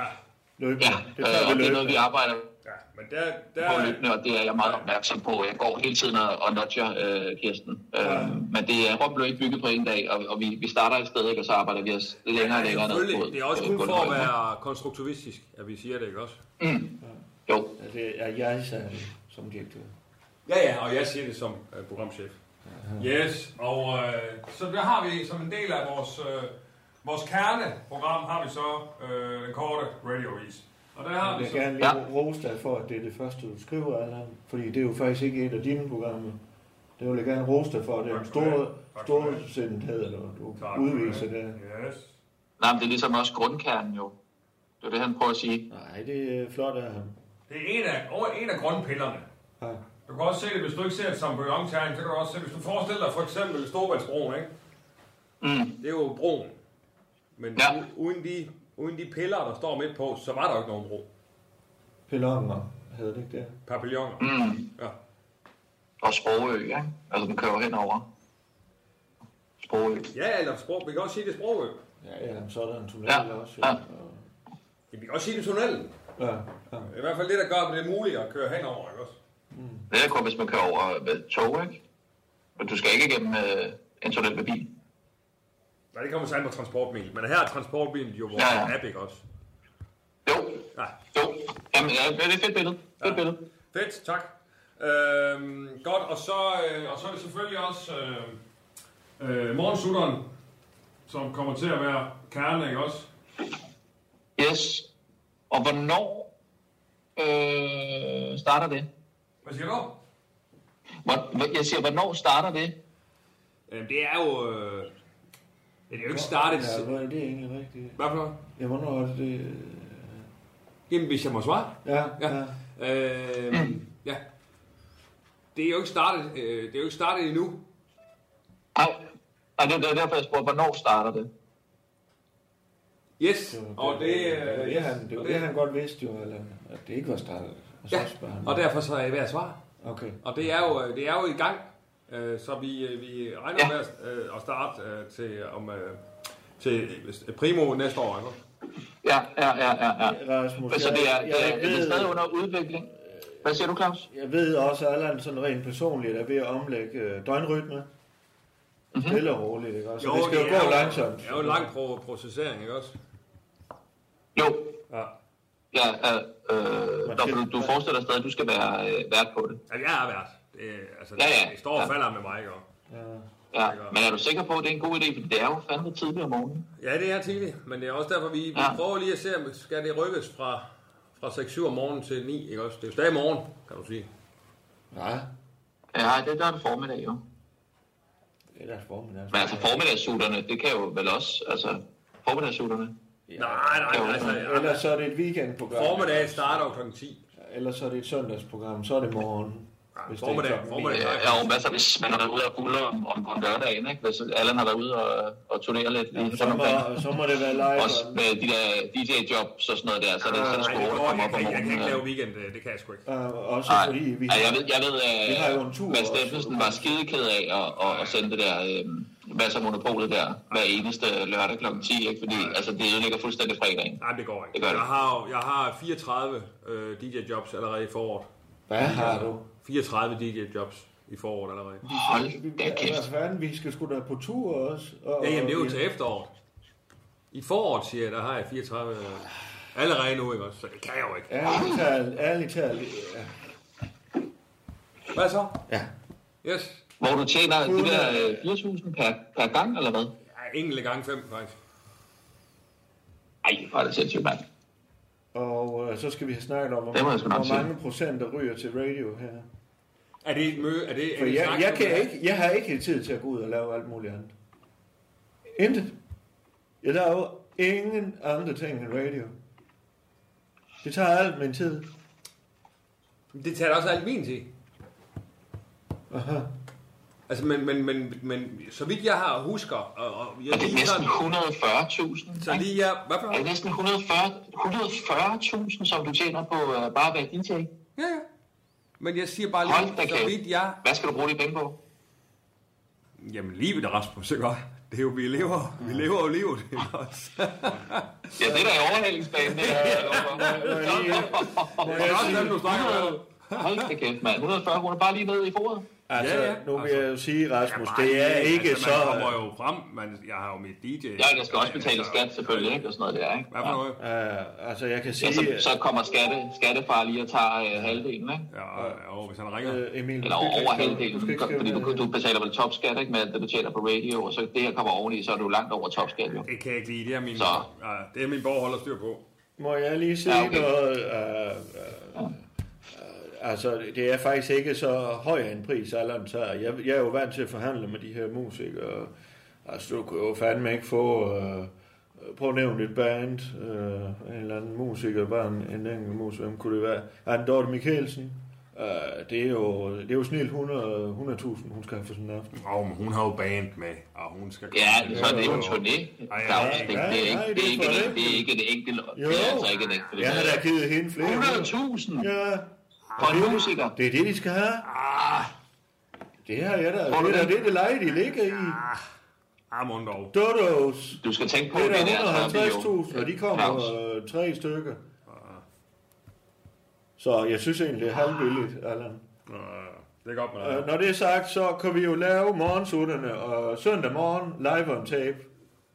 [SPEAKER 2] løbende.
[SPEAKER 1] mm-hmm.
[SPEAKER 4] Ja,
[SPEAKER 2] Det
[SPEAKER 4] øh,
[SPEAKER 2] tager
[SPEAKER 4] og
[SPEAKER 2] vi
[SPEAKER 4] det er noget, vi
[SPEAKER 2] løbende.
[SPEAKER 4] arbejder
[SPEAKER 1] ja. Men der,
[SPEAKER 4] på
[SPEAKER 1] der,
[SPEAKER 4] løbende, og det er jeg meget opmærksom på. Jeg går hele tiden og, og nudger øh, Kirsten. Øh, Men det er Rom blev ikke bygget på en dag, og, og vi, vi starter et sted, ikke, og så arbejder vi os længere og
[SPEAKER 1] Ja,
[SPEAKER 4] længere ned
[SPEAKER 1] selvfølgelig.
[SPEAKER 4] på
[SPEAKER 1] Det er også
[SPEAKER 4] på
[SPEAKER 1] kun for at
[SPEAKER 4] gulvet.
[SPEAKER 1] være konstruktivistisk, at vi siger det, ikke også?
[SPEAKER 4] Jo,
[SPEAKER 2] Ja, det er jeg særlig som direktør.
[SPEAKER 1] Ja, ja, og jeg siger det som øh, programchef. Yes, og øh, så der har vi som en del af vores, øh, vores kerneprogram, har vi så øh, den korte radiovis. Og der har
[SPEAKER 2] Jeg
[SPEAKER 1] vi
[SPEAKER 2] vil
[SPEAKER 1] så...
[SPEAKER 2] gerne lige
[SPEAKER 4] Ja.
[SPEAKER 2] rose dig for, at det er det første, du skriver, Allan. Fordi det er jo faktisk ikke et af dine programmer. Det vil jeg gerne rose dig for. Det er en
[SPEAKER 1] Tak skal du have.
[SPEAKER 2] stor,
[SPEAKER 1] Tak skal du
[SPEAKER 2] stor
[SPEAKER 1] have.
[SPEAKER 2] sindhed, eller du
[SPEAKER 1] Tak,
[SPEAKER 2] udviser
[SPEAKER 1] ja.
[SPEAKER 2] det.
[SPEAKER 1] Yes.
[SPEAKER 4] nej, men det er ligesom også grundkernen jo. Det er det, han prøver at sige.
[SPEAKER 2] Nej, det er flot af ham.
[SPEAKER 1] Det er en af, over en af grundpillerne.
[SPEAKER 2] Ja.
[SPEAKER 1] Du kan også se det, hvis du ikke ser det som bouillonterning, så kan du også se, hvis du forestiller dig for eksempel Storvaldsbroen, ikke?
[SPEAKER 4] Mm.
[SPEAKER 1] Det er jo broen. Men
[SPEAKER 4] Ja.
[SPEAKER 1] u- uden, de, uden de piller, der står midt på, så var der jo ikke nogen bro.
[SPEAKER 2] Pelonger hedder det ikke det?
[SPEAKER 1] Papilloner.
[SPEAKER 4] Mm.
[SPEAKER 1] Ja.
[SPEAKER 4] Og Sprogø, ikke? Altså, den kører henover. Sprogø.
[SPEAKER 1] Ja, eller sprog. Vi kan også sige det sprogø.
[SPEAKER 2] Ja, ja, så er der en tunnel
[SPEAKER 4] Ja.
[SPEAKER 2] også.
[SPEAKER 4] Ja.
[SPEAKER 2] Og-
[SPEAKER 1] Vi kan også sige det tunnelen.
[SPEAKER 2] Ja, ja.
[SPEAKER 1] Det er i hvert fald det, der gør, at det er muligt at køre henover, ikke også?
[SPEAKER 4] Det er kun, hvis man kører over med tog, ikke? Men du skal ikke igennem øh, en tunnel med bil.
[SPEAKER 1] Nej, det kommer sig an på transportbil. Men her er transportbilen jo vores
[SPEAKER 4] Ja, ja.
[SPEAKER 1] app, ikke også?
[SPEAKER 4] Jo,
[SPEAKER 1] Nej.
[SPEAKER 4] jo. Jamen, ja, det er et fedt billede. Fedt
[SPEAKER 1] Ja.
[SPEAKER 4] billede.
[SPEAKER 1] Fedt, tak. Øhm, godt, og så, øh, og så er det selvfølgelig også øh, øh, morgensutteren, som kommer til at være kernen, ikke også?
[SPEAKER 4] Yes. Og hvornår øh, starter det?
[SPEAKER 1] Hvad siger du?
[SPEAKER 4] Hvor, hvor- jeg siger, hvornår starter det?
[SPEAKER 1] Jamen, det er jo... Øh, det er jo ikke startet...
[SPEAKER 2] Ja, hvad er det egentlig rigtigt?
[SPEAKER 1] Hvad for noget?
[SPEAKER 2] Ja, hvornår er det det?
[SPEAKER 1] Jamen, hvis jeg må svare.
[SPEAKER 2] Ja, ja.
[SPEAKER 1] Ja. Øh, ja. Det er jo ikke startet, øh, det er jo ikke startet endnu.
[SPEAKER 4] Nej, Nej det, det er derfor, jeg spurgte, hvornår starter det?
[SPEAKER 1] Yes,
[SPEAKER 2] var-
[SPEAKER 1] og det...
[SPEAKER 2] var- det, var
[SPEAKER 1] Øh,
[SPEAKER 2] det, han, det,
[SPEAKER 1] og
[SPEAKER 2] var det, han godt vidste jo, eller, at det ikke var startet. Og så
[SPEAKER 1] Ja,
[SPEAKER 2] spørger han.
[SPEAKER 1] og derfor så er jeg ved at svare.
[SPEAKER 2] Okay.
[SPEAKER 1] Og det er jo, øh, det er jo i gang, øh, så vi, øh, vi regner
[SPEAKER 4] Ja.
[SPEAKER 1] med at, øh, at starte øh, til, om, øh, til primo næste år. Ikke?
[SPEAKER 4] Ja, ja, ja, ja. ja.
[SPEAKER 2] Øh, Rasmus,
[SPEAKER 4] Så det er,
[SPEAKER 2] jeg,
[SPEAKER 4] det er,
[SPEAKER 2] jeg,
[SPEAKER 4] det er
[SPEAKER 2] ved,
[SPEAKER 4] stadig under udvikling. Hvad siger du, Claus?
[SPEAKER 2] jeg ved også, at Allan sådan rent personligt er ved at omlægge øh, døgnrytme.
[SPEAKER 4] Mhm.
[SPEAKER 2] Stille og roligt, ikke også? Så det skal jo,
[SPEAKER 1] er
[SPEAKER 2] gå langsomt.
[SPEAKER 1] Det er jo en lang pro- processering, ikke også?
[SPEAKER 4] Jo,
[SPEAKER 1] Ja.
[SPEAKER 4] ja, øh,
[SPEAKER 2] Man
[SPEAKER 4] øh, nå,
[SPEAKER 2] skal-
[SPEAKER 4] men du, du forestiller dig stadig, at du skal være øh, vært på det.
[SPEAKER 1] Altså, jeg er vært. Det, altså,
[SPEAKER 4] Ja, ja.
[SPEAKER 1] det står og
[SPEAKER 4] Ja.
[SPEAKER 1] falder med mig, ikke? også?
[SPEAKER 2] Ja.
[SPEAKER 4] Ja. Men er du sikker på, at det er en god idé? Fordi det er jo fandme tidligt om morgenen.
[SPEAKER 1] Ja, det er tidligt, men det er også derfor, vi, vi
[SPEAKER 4] Ja.
[SPEAKER 1] prøver lige at se, om skal det rykkes fra, fra 6-7 om morgenen til 9, ikke også? Det er jo stadig morgen, kan du sige.
[SPEAKER 2] Nej,
[SPEAKER 4] Ja, det der er det formiddag jo.
[SPEAKER 2] det er deres formiddag.
[SPEAKER 4] Men altså formiddagssuterne, det kan jo vel også, altså formiddagssuterne.
[SPEAKER 1] Ja. Nej, nej, nej. Altså,
[SPEAKER 2] Ellers så er det et weekendprogram.
[SPEAKER 1] formiddag starter jo kl. 10.
[SPEAKER 2] Ellers så er det et søndagsprogram, så er det morgen.
[SPEAKER 1] Hvis formiddag, det er formiddag.
[SPEAKER 4] Ja, ja, og masser, hvis man har været ude og bulle om, om, om lørdagen, ikke? hvis Allan har været ude og, og turnere lidt. Ja,
[SPEAKER 2] så, må, så må det være live.
[SPEAKER 4] Også med de der DJ-jobs og sådan noget der, så er det, så er
[SPEAKER 1] Ah, Nej,
[SPEAKER 4] det
[SPEAKER 1] det
[SPEAKER 4] sgu
[SPEAKER 1] går
[SPEAKER 4] at komme
[SPEAKER 1] ikke.
[SPEAKER 4] op om
[SPEAKER 1] Jeg, jeg kan ikke lave
[SPEAKER 4] morgenen.
[SPEAKER 1] weekend, øh, det kan jeg sgu ikke.
[SPEAKER 2] Øh, også
[SPEAKER 4] Nej,
[SPEAKER 2] fordi vi
[SPEAKER 4] ja, jeg ved, jeg ved at
[SPEAKER 2] Vi har jo en tur
[SPEAKER 4] Mads
[SPEAKER 2] også.
[SPEAKER 4] Steffensen var skideked af at, at, at sende det der øh, masser af monopolet der hver eneste lørdag kl. 10, ikke? fordi altså, det ødelægger fuldstændig fredagen.
[SPEAKER 1] Nej, det går ikke.
[SPEAKER 4] Det gør det.
[SPEAKER 1] Jeg har, jo- jeg har 34 øh, DJ-jobs allerede i foråret.
[SPEAKER 2] Hvad har du?
[SPEAKER 1] 34 DJ-jobs i foråret allerede.
[SPEAKER 4] Hold da
[SPEAKER 2] Hvad
[SPEAKER 4] kæft.
[SPEAKER 2] fanden, vi skal sgu da på tur også. Og,
[SPEAKER 1] Ja, jamen, det er jo til efteråret. I foråret, siger jeg, der har jeg 34 øh, allerede nu, ikke også? Så det kan jeg jo ikke.
[SPEAKER 2] Ærligt talt, ærligt talt. ja.
[SPEAKER 1] Hvad så?
[SPEAKER 2] Ja.
[SPEAKER 1] Yes.
[SPEAKER 4] Hvor du tjener de der øh, 4.000 per, per gang, eller hvad?
[SPEAKER 1] Ja, enkelte gange fem, faktisk.
[SPEAKER 4] Ej, hvor er det sindssygt, mand.
[SPEAKER 2] Og øh, så skal vi have snakket om, hvor,
[SPEAKER 4] Det må jeg sgu nok
[SPEAKER 2] hvor
[SPEAKER 4] sige.
[SPEAKER 2] mange procent, der ryger til radio her.
[SPEAKER 1] Er det et møde? Er det, er
[SPEAKER 2] For
[SPEAKER 1] det
[SPEAKER 2] jeg,
[SPEAKER 1] snak,
[SPEAKER 2] jeg,
[SPEAKER 1] som
[SPEAKER 2] kan
[SPEAKER 1] er-
[SPEAKER 2] ikke, jeg har ikke tid til at gå ud og lave alt muligt andet. Intet. Jeg laver ingen andre ting end radio. Det tager alt min tid.
[SPEAKER 1] Det tager da også alt min tid.
[SPEAKER 2] Aha.
[SPEAKER 1] Altså, men, men, men, men så vidt jeg har husker, og, og jeg
[SPEAKER 4] Og det er
[SPEAKER 1] lige
[SPEAKER 4] næsten
[SPEAKER 1] sådan,
[SPEAKER 4] 140.000.
[SPEAKER 1] så
[SPEAKER 4] ikke?
[SPEAKER 1] lige jeg, hvad for
[SPEAKER 4] Er det
[SPEAKER 1] noget?
[SPEAKER 4] næsten 140 140.000, som du tjener på uh, bare at være DJ?
[SPEAKER 1] Ja, ja. Men jeg siger bare
[SPEAKER 4] Hold da
[SPEAKER 1] lige, så
[SPEAKER 4] kæft.
[SPEAKER 1] vidt jeg...
[SPEAKER 4] Hvad skal du bruge de penge på?
[SPEAKER 1] Jamen, livet, Rasmus, ikke også? Det er jo, vi lever, vi lever jo livet, ikke også?
[SPEAKER 4] Ja, det er da i overhalingsbanen, det er jeg lov for.
[SPEAKER 1] Det er også dem, du snakker med.
[SPEAKER 4] Hold da kæft, mand. 140 kroner bare lige ned i foråret.
[SPEAKER 2] Altså,
[SPEAKER 1] Ja, ja.
[SPEAKER 2] nu vil jeg jo sige, Rasmus,
[SPEAKER 1] Bare
[SPEAKER 2] det er
[SPEAKER 1] lige,
[SPEAKER 2] ikke
[SPEAKER 1] altså,
[SPEAKER 2] så...
[SPEAKER 1] Man kommer jo frem, man, jeg har jo mit DJ.
[SPEAKER 4] Ja, jeg skal også betale skat selvfølgelig, ikke? Og sådan noget der, ikke?
[SPEAKER 1] Hvad for noget?
[SPEAKER 2] Øh, altså, jeg kan
[SPEAKER 4] Ja, så,
[SPEAKER 2] sige,
[SPEAKER 4] så kommer skatte, skattefar lige og tager øh, halvdelen, ikke?
[SPEAKER 1] Ja, jo, hvis han ringer.
[SPEAKER 2] øh, Emil, du
[SPEAKER 4] Eller
[SPEAKER 2] skal ikke
[SPEAKER 4] over
[SPEAKER 2] skrive-
[SPEAKER 4] halvdelen,
[SPEAKER 2] du skal ikke
[SPEAKER 4] fordi
[SPEAKER 2] skrive
[SPEAKER 4] du,
[SPEAKER 2] ned.
[SPEAKER 4] du betaler vel topskat, ikke? Med alt det, du tjener på radio, og så det her kommer oveni, så er du langt over topskat, jo.
[SPEAKER 1] Det kan jeg ikke lide, det er min,
[SPEAKER 4] Så.
[SPEAKER 1] ja, det er min borgholder styr på.
[SPEAKER 2] Må jeg lige sige
[SPEAKER 4] Ja, okay.
[SPEAKER 2] noget? Øh, øh, øh, altså, det er faktisk ikke så høj en pris, Allan tager. Jeg, jeg er jo vant til at forhandle med de her musikere. Altså, du kan jo fandme ikke få... Øh, prøv at nævne et band, øh, en eller anden musiker, bare en, en enkelt musiker, hvem kunne det være? Han Dorte Mikkelsen. Øh, det er jo, det er jo snilt 100 100.000, hun skal have for sådan en aften.
[SPEAKER 1] Åh, men hun har jo band med, og hun skal
[SPEAKER 4] Ja, så er det jo en turné, Claus. Det, det, er ikke, det, er ikke, en- det er ikke en enkelt...
[SPEAKER 2] Jo.
[SPEAKER 4] Det er altså ikke en enkelt...
[SPEAKER 2] Jeg har da givet hende flere.
[SPEAKER 4] 100.000
[SPEAKER 2] Ja,
[SPEAKER 4] for en musiker.
[SPEAKER 2] det er det, de skal have.
[SPEAKER 1] Ah,
[SPEAKER 2] Det her, ja, der,
[SPEAKER 4] Tror du
[SPEAKER 2] det, der,
[SPEAKER 4] det?
[SPEAKER 2] det er det leje, de ligger i.
[SPEAKER 1] ah, mon dog.
[SPEAKER 2] Dodos.
[SPEAKER 4] Du skal tænke på,
[SPEAKER 2] Det
[SPEAKER 4] det er
[SPEAKER 2] er
[SPEAKER 4] altså
[SPEAKER 2] der
[SPEAKER 4] jo
[SPEAKER 2] 150.000, og de kommer øh, tre stykker. Så jeg synes egentlig, det er halvbilligt, Allan.
[SPEAKER 1] Nå, Det er godt, man
[SPEAKER 2] Øh,
[SPEAKER 1] er.
[SPEAKER 2] når det er sagt, så kan vi jo lave morgensutterne, og søndag morgen live on tape.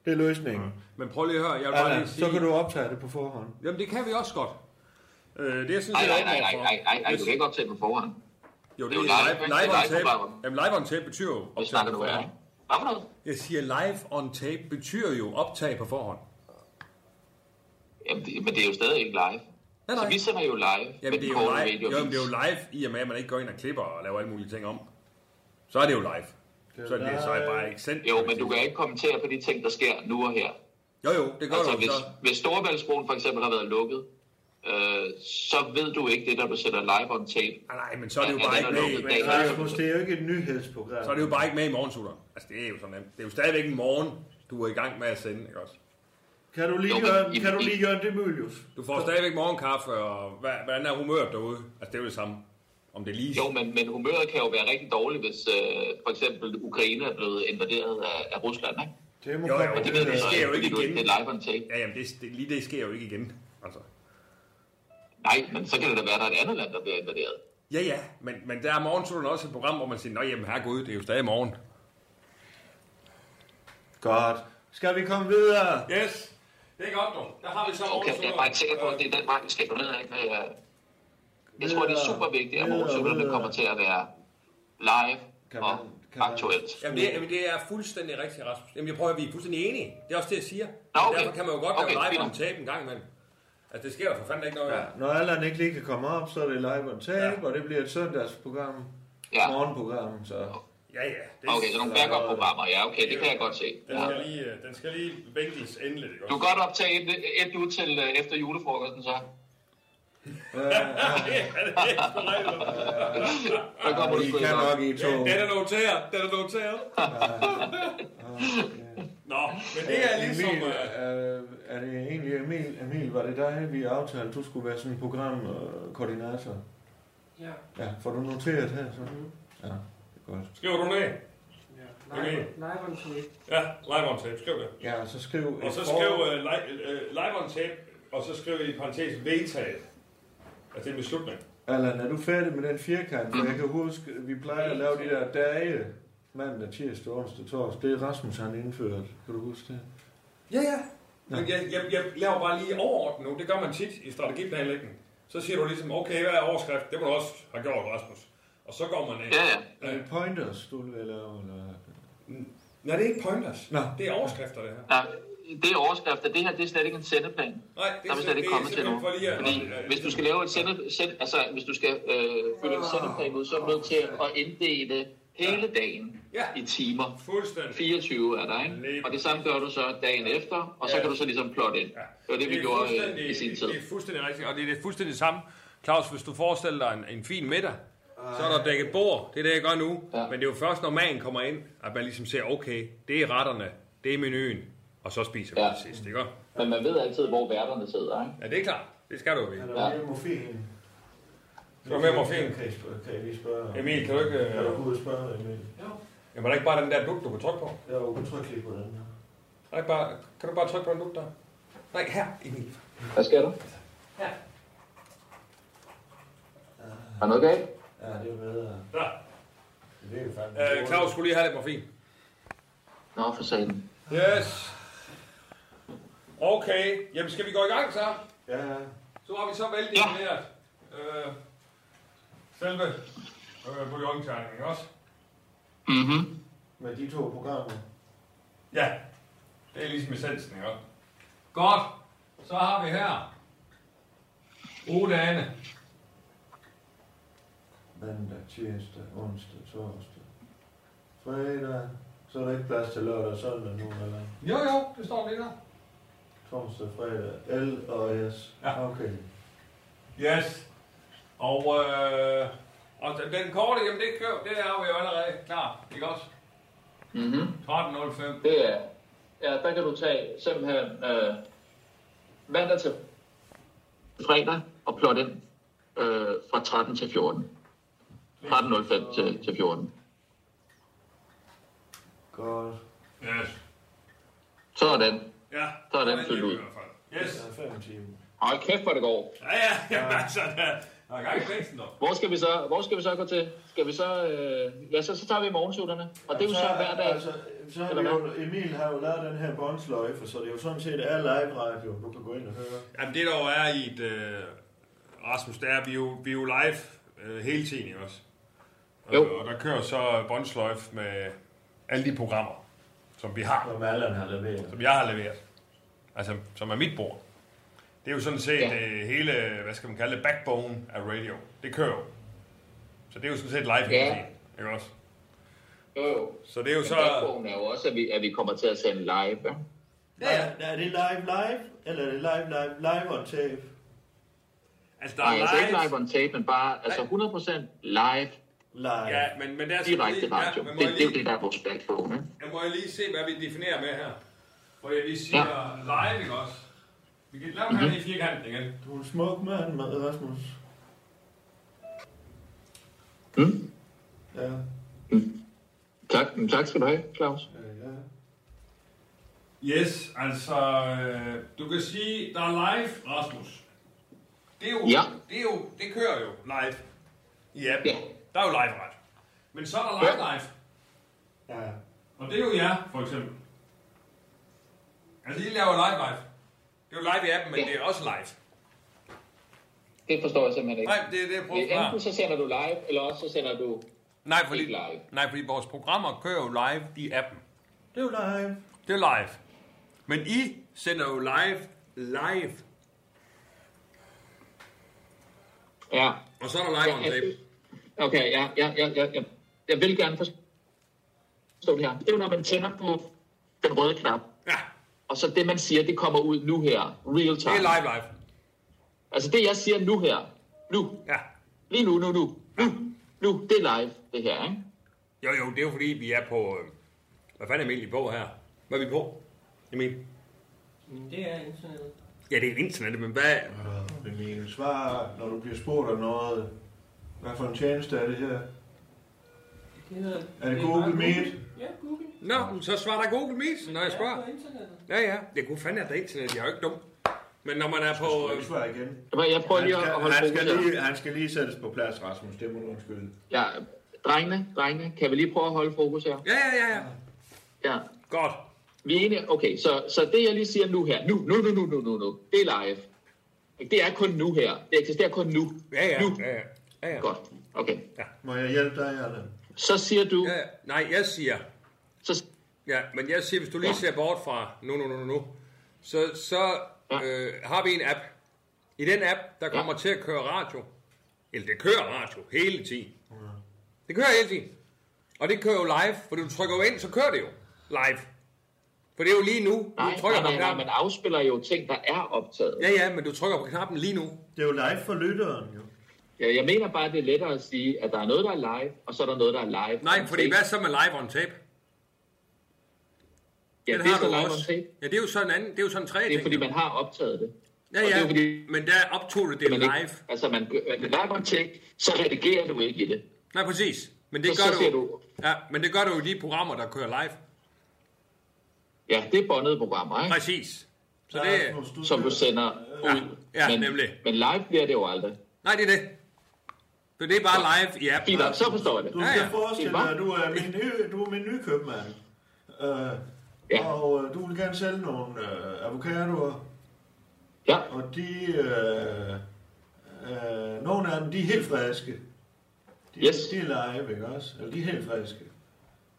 [SPEAKER 2] Det er løsningen.
[SPEAKER 1] Men prøv lige at høre, jeg vil bare
[SPEAKER 2] Allan,
[SPEAKER 1] lige sige...
[SPEAKER 2] så kan du optage det på forhånd.
[SPEAKER 1] Jamen, det kan vi også godt. Øh, det er jeg synes,
[SPEAKER 4] Nej,
[SPEAKER 1] jeg
[SPEAKER 4] nej,
[SPEAKER 1] er
[SPEAKER 4] nej, nej,
[SPEAKER 1] åben
[SPEAKER 4] nej, nej, nej,
[SPEAKER 1] Jeg
[SPEAKER 4] du kan
[SPEAKER 1] synes-
[SPEAKER 4] ikke optage på forhånd.
[SPEAKER 1] Jo, det
[SPEAKER 4] Det er
[SPEAKER 1] er
[SPEAKER 4] jo
[SPEAKER 1] live,
[SPEAKER 4] live, ikke?
[SPEAKER 1] live on
[SPEAKER 4] Det er live,
[SPEAKER 1] tape.
[SPEAKER 4] programmet.
[SPEAKER 1] Jamen, live on tape betyder jo
[SPEAKER 4] Hvad
[SPEAKER 1] optag
[SPEAKER 4] snakker
[SPEAKER 1] på
[SPEAKER 4] du af?
[SPEAKER 1] forhånd.
[SPEAKER 4] Hvad for noget?
[SPEAKER 1] Jeg siger live on tape betyder jo optag på forhånd.
[SPEAKER 4] Jamen, det, men det er jo stadig ikke live.
[SPEAKER 1] Nej,
[SPEAKER 4] Så
[SPEAKER 1] nej.
[SPEAKER 4] vi sender jo live.
[SPEAKER 1] Jamen,
[SPEAKER 4] med
[SPEAKER 1] det er
[SPEAKER 4] den korte
[SPEAKER 1] jo live, jo,
[SPEAKER 4] radioavis.
[SPEAKER 1] men det er jo live i og med, at man ikke går ind og klipper og laver alle mulige ting om. Så er det jo live. Så er det så er jeg bare ikke sendt.
[SPEAKER 4] Jo, men du kan ikke kommentere på de ting, der sker nu og her.
[SPEAKER 1] Jo, jo, det gør du
[SPEAKER 4] Altså,
[SPEAKER 1] jo
[SPEAKER 4] hvis,
[SPEAKER 1] så.
[SPEAKER 4] hvis Storebæltsbroen for eksempel har været lukket, øh, så ved du ikke det, der du sætter live on tape.
[SPEAKER 1] Ah, nej, men så er det jo
[SPEAKER 4] Ja,
[SPEAKER 1] bare
[SPEAKER 4] den er
[SPEAKER 1] ikke med,
[SPEAKER 4] lukket.
[SPEAKER 1] men
[SPEAKER 4] Den
[SPEAKER 1] så er det jo-
[SPEAKER 2] Rasmus, det er jo ikke et nyhedsprogram.
[SPEAKER 1] så er det jo bare ikke med i morgensutter. Altså, det er jo sådan nemt. Det er jo stadigvæk en morgen, du er i gang med at sende, ikke også?
[SPEAKER 2] Kan du lige
[SPEAKER 4] Jo, men
[SPEAKER 2] gøre,
[SPEAKER 4] i-
[SPEAKER 2] kan du
[SPEAKER 4] i-
[SPEAKER 2] lige gøre det, Mulius?
[SPEAKER 1] Du får stadigvæk morgenkaffe, og hvad, hvordan er humøret derude? Altså, det er jo det samme. Om det er lige...
[SPEAKER 4] Jo, men, men humøret kan jo være rigtig dårligt, hvis øh, for eksempel Ukraine er blevet invaderet af, af Rusland, ikke?
[SPEAKER 2] Det må
[SPEAKER 1] Jo, jo,
[SPEAKER 2] komme.
[SPEAKER 4] Og det ved du
[SPEAKER 1] Det
[SPEAKER 4] så
[SPEAKER 1] sker
[SPEAKER 4] ikke,
[SPEAKER 1] jo ikke
[SPEAKER 4] fordi du
[SPEAKER 1] igen.
[SPEAKER 4] ikke det er live on tape.
[SPEAKER 1] Ja, jamen, det, det, lige det sker jo ikke igen. Altså.
[SPEAKER 4] Nej, men så kan det da være, at der er et andet land, der bliver invaderet.
[SPEAKER 1] Ja, ja, men, men der er morgensutteren også et program, hvor man siger, Nå, jamen, herregud, det er jo stadig morgen.
[SPEAKER 2] Godt. Skal vi komme videre?
[SPEAKER 1] Yes, det er godt, dog. Der har vi så
[SPEAKER 4] Okay, jeg er bare ikke sikker på, at det er den vej, vi skal gå ned ad. Men, øh, jeg tror, det er super vigtigt, at morgensutterne kommer til at være live
[SPEAKER 2] Kan
[SPEAKER 4] og
[SPEAKER 2] man- kan man-
[SPEAKER 4] aktuelt.
[SPEAKER 1] Jamen det, er, jamen, det er fuldstændig rigtigt, Rasmus. Jamen, jeg prøver, at vi er fuldstændig enige. Det er også det, jeg siger.
[SPEAKER 4] Nå, okay.
[SPEAKER 1] Derfor kan man jo godt
[SPEAKER 4] Okay,
[SPEAKER 1] okay, lave live
[SPEAKER 4] fint.
[SPEAKER 1] om tape en gang imellem. Altså, det sker jo for fanden ikke noget. Ja.
[SPEAKER 2] Ja, når Allan ikke lige kan komme op, så er det live on tape, ja. og det bliver et søndagsprogram,
[SPEAKER 4] Ja.
[SPEAKER 2] ja. morgenprogram, så... øh,
[SPEAKER 1] ja, ja. Det er,
[SPEAKER 4] Okay, så nogle backup-programmer. Ja, okay, det kan jeg godt se.
[SPEAKER 1] Den
[SPEAKER 4] Ja.
[SPEAKER 1] skal lige, øh, den skal lige vinkles endeligt, ikke
[SPEAKER 4] Du
[SPEAKER 1] også?
[SPEAKER 4] kan godt optage et, et nu til øh, efter julefrokosten, så. Der kommer du
[SPEAKER 6] I
[SPEAKER 4] sgu
[SPEAKER 6] kan
[SPEAKER 4] ikke
[SPEAKER 6] nok i to.
[SPEAKER 1] Den er noteret, den er noteret. Nå, men det er ligesom...
[SPEAKER 2] Emil,
[SPEAKER 1] øh,
[SPEAKER 2] er, er det egentlig Emil? Emil, var det dig, vi aftalte, du skulle være sådan en programkoordinator?
[SPEAKER 5] Ja.
[SPEAKER 2] Ja, får du noteret her så? Ja, det er godt.
[SPEAKER 1] Skriver du ned?
[SPEAKER 5] ja.
[SPEAKER 1] Okay.
[SPEAKER 5] Live, live on tape.
[SPEAKER 1] Ja, live on tape, skriv det.
[SPEAKER 2] Ja, så skriv
[SPEAKER 1] Og
[SPEAKER 2] et
[SPEAKER 1] så
[SPEAKER 2] for-
[SPEAKER 1] skriv uh, live, uh, live on tape, og så skriv i parentes vedtaget. Altså det er en beslutning.
[SPEAKER 2] Allan, er du færdig med den firkant? For jeg kan huske, vi plejer at lave de der dage, mandag, tirsdag, onsdag, torsdag. Det er Rasmus, han indførte. Kan du huske det?
[SPEAKER 1] Ja, ja. Men jeg, jeg, jeg laver bare lige overordnet nu. Det gør man tit i strategiplanlægning. Så siger du ligesom, okay, hvad er overskrift? Det må du også have gjort, Rasmus. Og så går man ind.
[SPEAKER 4] Ja, ja.
[SPEAKER 2] Er det pointers, du vil lave? Eller?
[SPEAKER 1] Nej, det er ikke pointers.
[SPEAKER 2] Nå.
[SPEAKER 1] Det er overskrifter, det her.
[SPEAKER 4] Ja, det er overskrifter. Det her det er slet ikke en sendeplan.
[SPEAKER 1] Nej,
[SPEAKER 4] Der er vi slet ikke kommet til nu.
[SPEAKER 1] simpelthen for lige at-
[SPEAKER 4] Fordi hvis du skal lave et sende, send, altså, hvis du skal øh, fylde en sendeplan ud, så er du nødt til at inddele hele dagen
[SPEAKER 1] Ja.
[SPEAKER 4] i timer.
[SPEAKER 1] Fuldstændig.
[SPEAKER 4] 24 er der, ikke? Og det samme gør du så dagen efter, og så
[SPEAKER 1] Ja.
[SPEAKER 4] kan du så ligesom plotte ind. Det var det, vi
[SPEAKER 1] er
[SPEAKER 4] gjorde øh,
[SPEAKER 1] fuldstændig-
[SPEAKER 4] i sin tid.
[SPEAKER 1] Det er fuldstændig rigtigt, og det er det fuldstændig samme. Claus, hvis du forestiller dig en, en fin middag, så er der dækket bord, det er det, jeg gør nu. Ja.
[SPEAKER 4] Ja.
[SPEAKER 1] Men det er jo først, når magen kommer ind, at man ligesom ser, okay, det er retterne, det er menuen, og så spiser vi
[SPEAKER 4] Ja.
[SPEAKER 1] ja. til sidst, ikke?
[SPEAKER 4] Men man ved altid, hvor værterne sidder, ikke?
[SPEAKER 1] Ja, det er klart. Det skal du jo vide.
[SPEAKER 2] Er der mere morfin?
[SPEAKER 1] Du er med morfin.
[SPEAKER 2] Kan, I spørge, kan I lige spørge?
[SPEAKER 1] Emil, kan du ikke...
[SPEAKER 2] Kan du
[SPEAKER 1] Øh...
[SPEAKER 2] gå ud og spørge, Emil?
[SPEAKER 1] Jamen, er der ikke bare den der duk, du kan trykke på? Er
[SPEAKER 2] Jeg er udtrykkelig på den her.
[SPEAKER 1] der ikke bare... Kan du bare trykke på den duk der? Nej, her, Emil.
[SPEAKER 4] Hvad skal der?
[SPEAKER 5] Ja.
[SPEAKER 4] Er noget galt?
[SPEAKER 2] Ja, det er bedre.
[SPEAKER 1] Der.
[SPEAKER 2] Det er fandme
[SPEAKER 1] Øh, Claus skulle lige have lidt morfin.
[SPEAKER 4] Nå, for satan.
[SPEAKER 1] Yes. Okay, jamen skal vi gå i gang så?
[SPEAKER 2] Ja, ja.
[SPEAKER 1] Så har vi så veldefineret øh, selve øh, bouillonterningen også.
[SPEAKER 4] Mhm.
[SPEAKER 2] Med de to programmer.
[SPEAKER 1] Ja, det er ligesom essensen, ikke også? Godt, så har vi her Odane.
[SPEAKER 2] Mandag, tirsdag, onsdag, torsdag, fredag. Så er der ikke plads til lørdag og søndag nu, eller?
[SPEAKER 1] Jo, jo, det står lige der.
[SPEAKER 2] Torsdag, fredag, L og S.
[SPEAKER 1] Ja.
[SPEAKER 2] Okay.
[SPEAKER 1] Yes. Og, øh, og den- den korte, jamen det, køb, det har vi jo allerede klar, ikke også?
[SPEAKER 4] Mhm.
[SPEAKER 1] 13.05.
[SPEAKER 4] Det er... Ja, der kan du tage simpelthen øh, mandag til fredag og plotte ind øh, fra 13 til 14. 13.05 til, til 14.
[SPEAKER 2] Godt.
[SPEAKER 1] Yes.
[SPEAKER 4] Sådan.
[SPEAKER 1] Ja,
[SPEAKER 4] Så er den
[SPEAKER 1] lige
[SPEAKER 4] fyldt ud.
[SPEAKER 1] i hvert fald. Yes.
[SPEAKER 2] Der er fem timer.
[SPEAKER 4] Hold kæft, hvor det går.
[SPEAKER 1] Ja, ja, ja, altså, der der er gang i blæsen, dog.
[SPEAKER 4] Hvor skal vi så, hvor skal vi så gå til? Skal vi så... Øh, ja, så, så tager vi morgensutterne. Og det er jo så hver dag.
[SPEAKER 2] Altså, så har vi jo, Emil har jo lavet den her båndsløjfe, så det er jo sådan set er live radio, du kan gå ind og høre.
[SPEAKER 1] Jamen det der jo er i et, øh, Rasmus, det er, vi er jo, vi er jo live øh, hele tiden ikke også. Og,
[SPEAKER 4] Jo.
[SPEAKER 1] og der kører så Bondsløjf med alle de programmer, som vi har,
[SPEAKER 2] Som Allan har leveret.
[SPEAKER 1] som jeg har leveret. Altså, som er mit bord. Det er jo sådan set
[SPEAKER 4] Ja.
[SPEAKER 1] øh, hele, hvad skal man kalde det, backbone af radio. Det kører jo. Så det er jo sådan set live hele
[SPEAKER 4] Ja.
[SPEAKER 1] tiden, ikke også?
[SPEAKER 4] Jo, jo.
[SPEAKER 1] Så det er jo
[SPEAKER 4] Men
[SPEAKER 1] så...
[SPEAKER 4] backbone er jo også, at vi, at vi kommer til at sende live. Ja?
[SPEAKER 2] Ja. Er det live live, eller er det live live live on tape?
[SPEAKER 1] Altså, der er
[SPEAKER 4] Nej, altså ikke
[SPEAKER 1] live...
[SPEAKER 4] live on tape, men bare altså 100% live
[SPEAKER 2] Live.
[SPEAKER 1] Ja, men, men der er sådan
[SPEAKER 4] direkte
[SPEAKER 1] lige...
[SPEAKER 4] radio.
[SPEAKER 1] Ja, men må
[SPEAKER 4] det,
[SPEAKER 1] jeg
[SPEAKER 4] det er jo
[SPEAKER 1] lige-
[SPEAKER 4] det, der er vores backbone. ikke?
[SPEAKER 1] Jeg må lige se, hvad vi definerer med her. Hvor jeg lige siger ja. live, ikke også? Vi kan
[SPEAKER 4] Mhm.
[SPEAKER 1] lave den her i firkanten igen.
[SPEAKER 2] Du er en smuk mand, med Rasmus. Hmm?
[SPEAKER 4] Mm.
[SPEAKER 2] Ja,
[SPEAKER 4] Tak, men tak skal du have, Claus.
[SPEAKER 2] ja, Øh, ja.
[SPEAKER 1] Yes, altså, øh, du kan sige, der er live, Rasmus. Det er jo,
[SPEAKER 4] Ja.
[SPEAKER 1] det, er jo, det kører jo live i appen.
[SPEAKER 4] Ja.
[SPEAKER 1] Der er jo live ret. Men så er der live live,
[SPEAKER 2] ja.
[SPEAKER 1] og det er jo jer, for eksempel. Altså, I laver live live. Det er jo live i appen, men
[SPEAKER 4] Ja.
[SPEAKER 1] det er også live.
[SPEAKER 4] Det forstår jeg simpelthen ikke.
[SPEAKER 1] Nej, det er det, jeg prøver at forklare.
[SPEAKER 4] Enten så sender du live, eller også så sender du...
[SPEAKER 1] Nej, fordi,
[SPEAKER 4] Ikke live.
[SPEAKER 1] nej, fordi vores programmer kører jo live i appen.
[SPEAKER 2] Det er jo live.
[SPEAKER 1] Det er live. Men I sender jo live, live.
[SPEAKER 4] Ja.
[SPEAKER 1] Og så er der live on
[SPEAKER 4] Ja, jeg
[SPEAKER 1] tape.
[SPEAKER 4] synes- Okay, ja, ja, ja, ja, ja. Jeg vil gerne forstå det her. Det er jo, når man tænder på den røde knap,
[SPEAKER 1] Ja,
[SPEAKER 4] og så det, man siger, det kommer ud nu her, real
[SPEAKER 1] det er
[SPEAKER 4] time.
[SPEAKER 1] live live.
[SPEAKER 4] Altså det, jeg siger nu her, Nu.
[SPEAKER 1] Ja.
[SPEAKER 4] Lige nu, nu, nu. Nu. Nu. Det er live, det her, ikke?
[SPEAKER 1] Jo, jo, det er jo fordi, vi er på... Øh, hvad fanden er vi egentlig på her? Hvad er vi på? Emil?
[SPEAKER 5] Men det er internettet.
[SPEAKER 1] Ja, det er internettet, men hvad...
[SPEAKER 2] Emil, svar, når du bliver spurgt om noget. Hvad for en tjeneste er det her?
[SPEAKER 5] Det hedder...
[SPEAKER 2] Er det
[SPEAKER 5] bare
[SPEAKER 2] Google Meet?
[SPEAKER 5] Ja, Google.
[SPEAKER 1] Nå, så svarer der Google Meet, når jeg
[SPEAKER 5] Ja,
[SPEAKER 1] spørger.
[SPEAKER 5] på internettet.
[SPEAKER 1] Ja, ja. Det kunne fanden, at der er internet. Jeg er jo ikke dum. Men når man er på...
[SPEAKER 2] Du
[SPEAKER 1] Øh,
[SPEAKER 2] svarer igen.
[SPEAKER 4] Jeg- Jeg prøver
[SPEAKER 2] Han
[SPEAKER 4] lige at holde
[SPEAKER 2] skal, han, skal
[SPEAKER 4] fokus her.
[SPEAKER 2] lige, han skal lige sættes på plads, Rasmus. Det må du undskylde.
[SPEAKER 4] Ja, drengene, drengene, kan vi lige prøve at holde fokus her?
[SPEAKER 1] ja, ja, ja, ja.
[SPEAKER 4] Ja.
[SPEAKER 1] Godt.
[SPEAKER 4] Vi er enige, okay, så, så det jeg lige siger nu her, nu, nu, nu, nu, nu, nu, nu, det er live. Det er kun nu her. Det eksisterer kun nu.
[SPEAKER 1] Ja, ja,
[SPEAKER 4] Nu.
[SPEAKER 1] ja, ja. ja, ja.
[SPEAKER 4] Godt, okay.
[SPEAKER 2] Må jeg hjælpe dig, Allan?
[SPEAKER 4] Så siger du,
[SPEAKER 1] Ja, nej, jeg siger...
[SPEAKER 4] så,
[SPEAKER 1] Ja, men jeg siger, hvis du lige ser bort fra nu, nu, nu, nu, nu så, så
[SPEAKER 4] Ja.
[SPEAKER 1] øh, har vi en app. I den app, der kommer til at køre radio. Eller det kører radio hele tiden. Det kører hele tiden. Og det kører jo live, for du trykker jo ind, så kører det jo live. For det er jo lige nu,
[SPEAKER 4] nej,
[SPEAKER 1] du
[SPEAKER 4] nej,
[SPEAKER 1] trykker på
[SPEAKER 4] nej, nej, man
[SPEAKER 1] knappen.
[SPEAKER 4] afspiller jo ting, der er optaget.
[SPEAKER 1] Ja, ja, men du trykker på knappen lige nu.
[SPEAKER 2] Det er jo live for lytteren, jo.
[SPEAKER 4] Ja, jeg mener bare, det er lettere at sige, at der er noget, der er live, og så er der noget, der er live.
[SPEAKER 1] Nej,
[SPEAKER 4] on
[SPEAKER 1] fordi
[SPEAKER 4] tape.
[SPEAKER 1] hvad så med live on tape?
[SPEAKER 4] ja,
[SPEAKER 1] Den
[SPEAKER 4] det er
[SPEAKER 1] har
[SPEAKER 4] så
[SPEAKER 1] du
[SPEAKER 4] live on
[SPEAKER 1] også.
[SPEAKER 4] tape.
[SPEAKER 1] Ja, det er jo sådan en anden, det er jo sådan tre
[SPEAKER 4] Det er,
[SPEAKER 1] ting.
[SPEAKER 4] fordi
[SPEAKER 1] jo.
[SPEAKER 4] man har optaget det.
[SPEAKER 1] Ja,
[SPEAKER 4] og det er
[SPEAKER 1] ja,
[SPEAKER 4] jo fordi-
[SPEAKER 1] men der optog du det
[SPEAKER 4] Man
[SPEAKER 1] live.
[SPEAKER 4] Ikke, altså, man gør man live on tape, så redigerer du ikke i det.
[SPEAKER 1] Nej, præcis. Men det
[SPEAKER 4] Så-
[SPEAKER 1] gør
[SPEAKER 4] så
[SPEAKER 1] du,
[SPEAKER 4] ser du-
[SPEAKER 1] Ja, men det gør du jo i de programmer, der kører live.
[SPEAKER 4] Ja, det er båndede programmer, ikke?
[SPEAKER 1] Præcis. Så det,
[SPEAKER 2] Rasmus, du
[SPEAKER 4] som du
[SPEAKER 2] skal-
[SPEAKER 4] sender
[SPEAKER 1] Ja,
[SPEAKER 4] ud.
[SPEAKER 1] ja,
[SPEAKER 4] men,
[SPEAKER 1] nemlig.
[SPEAKER 4] Men live bliver det jo aldrig.
[SPEAKER 1] nej, det er det. Så det er bare live i appen.
[SPEAKER 4] Fint, nok, så forstår jeg det.
[SPEAKER 2] Du
[SPEAKER 1] Ja,
[SPEAKER 2] skal
[SPEAKER 1] ja.
[SPEAKER 2] forestille
[SPEAKER 4] Det er
[SPEAKER 2] dig, at du er menu, du er menukøbmand. Øh,
[SPEAKER 4] Ja.
[SPEAKER 2] Og øh, du vil gerne sælge nogle øh, avocadoer,
[SPEAKER 4] Ja,
[SPEAKER 2] og de, øh, øh, nogle af dem, de er helt friske. De,
[SPEAKER 4] Yes.
[SPEAKER 2] de er live, ikke også? Eller de er helt friske.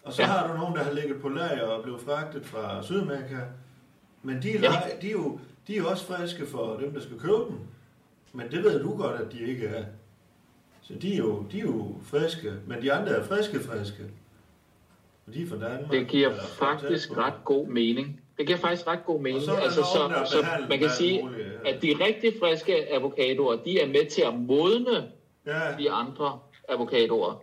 [SPEAKER 2] Og så ja.
[SPEAKER 4] Ja.
[SPEAKER 2] har du nogen, der har ligget på lager og blevet fragtet fra Sydamerika. Men de er,
[SPEAKER 4] Ja.
[SPEAKER 2] live, de, er jo, de er jo også friske for dem, der skal købe dem. Men det ved du godt, at de ikke er. Så de er jo, de er jo friske, men de andre er friske friske. Og de er fra Danmark.
[SPEAKER 4] det giver
[SPEAKER 2] eller fra
[SPEAKER 4] faktisk
[SPEAKER 2] Danmark.
[SPEAKER 4] ret god mening. Det giver faktisk ret god mening.
[SPEAKER 2] Og så er der
[SPEAKER 4] altså,
[SPEAKER 2] nogen, der
[SPEAKER 4] så,
[SPEAKER 2] er
[SPEAKER 4] så
[SPEAKER 2] behandlet
[SPEAKER 4] man
[SPEAKER 2] med
[SPEAKER 4] kan
[SPEAKER 2] alt
[SPEAKER 4] sige,
[SPEAKER 2] muligt, ja.
[SPEAKER 4] at de rigtig friske avocadoer, de er med til at modne
[SPEAKER 2] Ja,
[SPEAKER 4] de andre avocadoer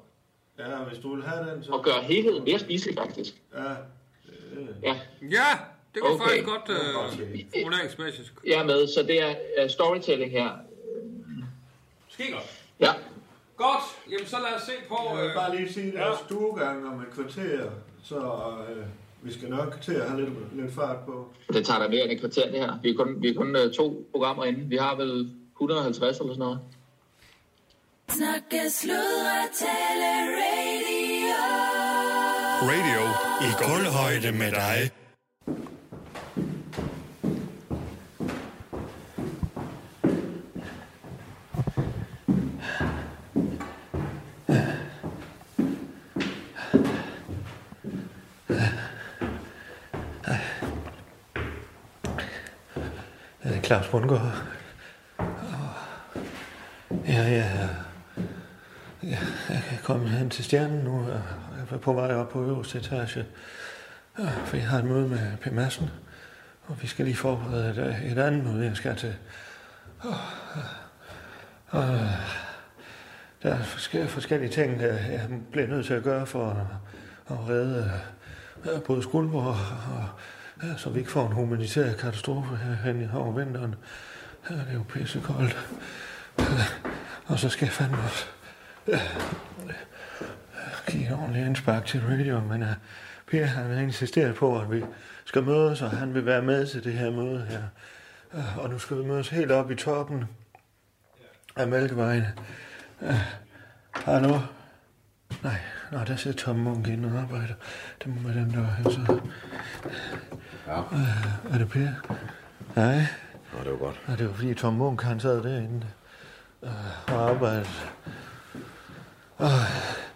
[SPEAKER 2] ja, hvis du vil have den, så...
[SPEAKER 4] og gøre helheden mere spiselig faktisk.
[SPEAKER 2] Ja, øh,
[SPEAKER 4] Ja,
[SPEAKER 1] Ja, det var
[SPEAKER 4] Okay.
[SPEAKER 1] faktisk godt
[SPEAKER 2] det er godt
[SPEAKER 1] øh,
[SPEAKER 2] set.
[SPEAKER 1] formuleringsmæssigt.
[SPEAKER 4] jeg er med, så det er øh, storytelling her.
[SPEAKER 1] Skidt godt.
[SPEAKER 4] Ja,
[SPEAKER 1] Godt, jamen så lad os se på...
[SPEAKER 2] Jeg vil
[SPEAKER 1] Øh,
[SPEAKER 2] bare lige sige, at der er
[SPEAKER 1] ja.
[SPEAKER 2] stuegang om et kvarter, så øh, vi skal nok til at have lidt, lidt fart på.
[SPEAKER 4] det tager da mere end et kvarter det her. Vi er kun, vi er kun øh, to programmer inde. Vi har vel 150 eller sådan noget.
[SPEAKER 6] Snakke, sludre, tale, radio.
[SPEAKER 7] Radio.
[SPEAKER 8] I kulhøjde med dig.
[SPEAKER 2] Øh, Claus Bundgaard. Ja, ja, ja. Jeg kan komme hen til stjernen nu. og Jeg er på vej op på øverste etage. Ja, For jeg har et møde med P. Madsen. Og vi skal lige forberede et, et andet møde, jeg skal til. Og, og, der er forskellige, forskellige ting, der jeg bliver nødt til at gøre for at, at redde øh, både Skuldborg, og, ja, så vi ikke får en humanitær katastrofe her hen over vinteren. Ja, det er jo pissekoldt. Ja, Og så skal jeg fandme også øh, give et ordentligt indspark til radio, men uh, Per han har insisteret på, at vi skal mødes, og han vil være med til det her møde her. Øh, Og nu skal vi mødes helt op i toppen af Mælkevejen. Øh, Hallo? Nej, nej, der sidder Tom Munk inde og arbejder. Det må være dem, der var her, så... Ja. Øh, er det Per? Nej.
[SPEAKER 9] Nå, det var godt.
[SPEAKER 2] Nej, det var fordi Tom Munk, han sad derinde øh, og arbejdede.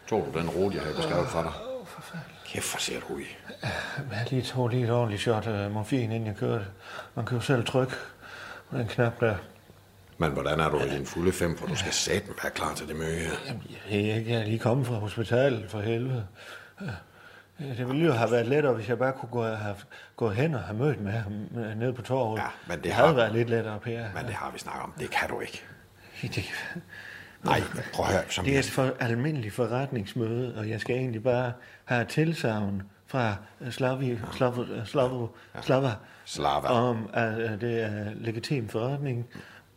[SPEAKER 9] Tog du den rute, jeg havde beskrevet for dig?
[SPEAKER 10] oh,
[SPEAKER 9] Åh, for fanden. Kæft, hvor ser du ud.
[SPEAKER 2] Men Jeg lige tog lige et ordentligt shot øh, morfin, inden jeg kørte. Man kan jo selv trykke på den knap der.
[SPEAKER 9] Men hvordan er du i din fulde fem, for du skal satan være klar til det møde her?
[SPEAKER 2] Jamen, jeg, jeg, jeg er lige kommet fra hospitalet, for helvede. Øh, Det ville jo have været lettere, hvis jeg bare kunne gå, have gået hen og have mødt med ham øh, nede på torvet.
[SPEAKER 9] Ja, men det
[SPEAKER 2] det
[SPEAKER 9] har-
[SPEAKER 2] havde været lidt lettere, Per.
[SPEAKER 9] Men det har vi snakket om. Det kan du ikke.
[SPEAKER 10] Det,
[SPEAKER 9] Nej, prøv at høre. Som
[SPEAKER 10] det er et for almindeligt forretningsmøde, og jeg skal egentlig bare have et tilsavn fra øh, Slavi, Slavo, Slavo, Slava,
[SPEAKER 9] Slava.
[SPEAKER 10] om, at øh, det er legitim forretning,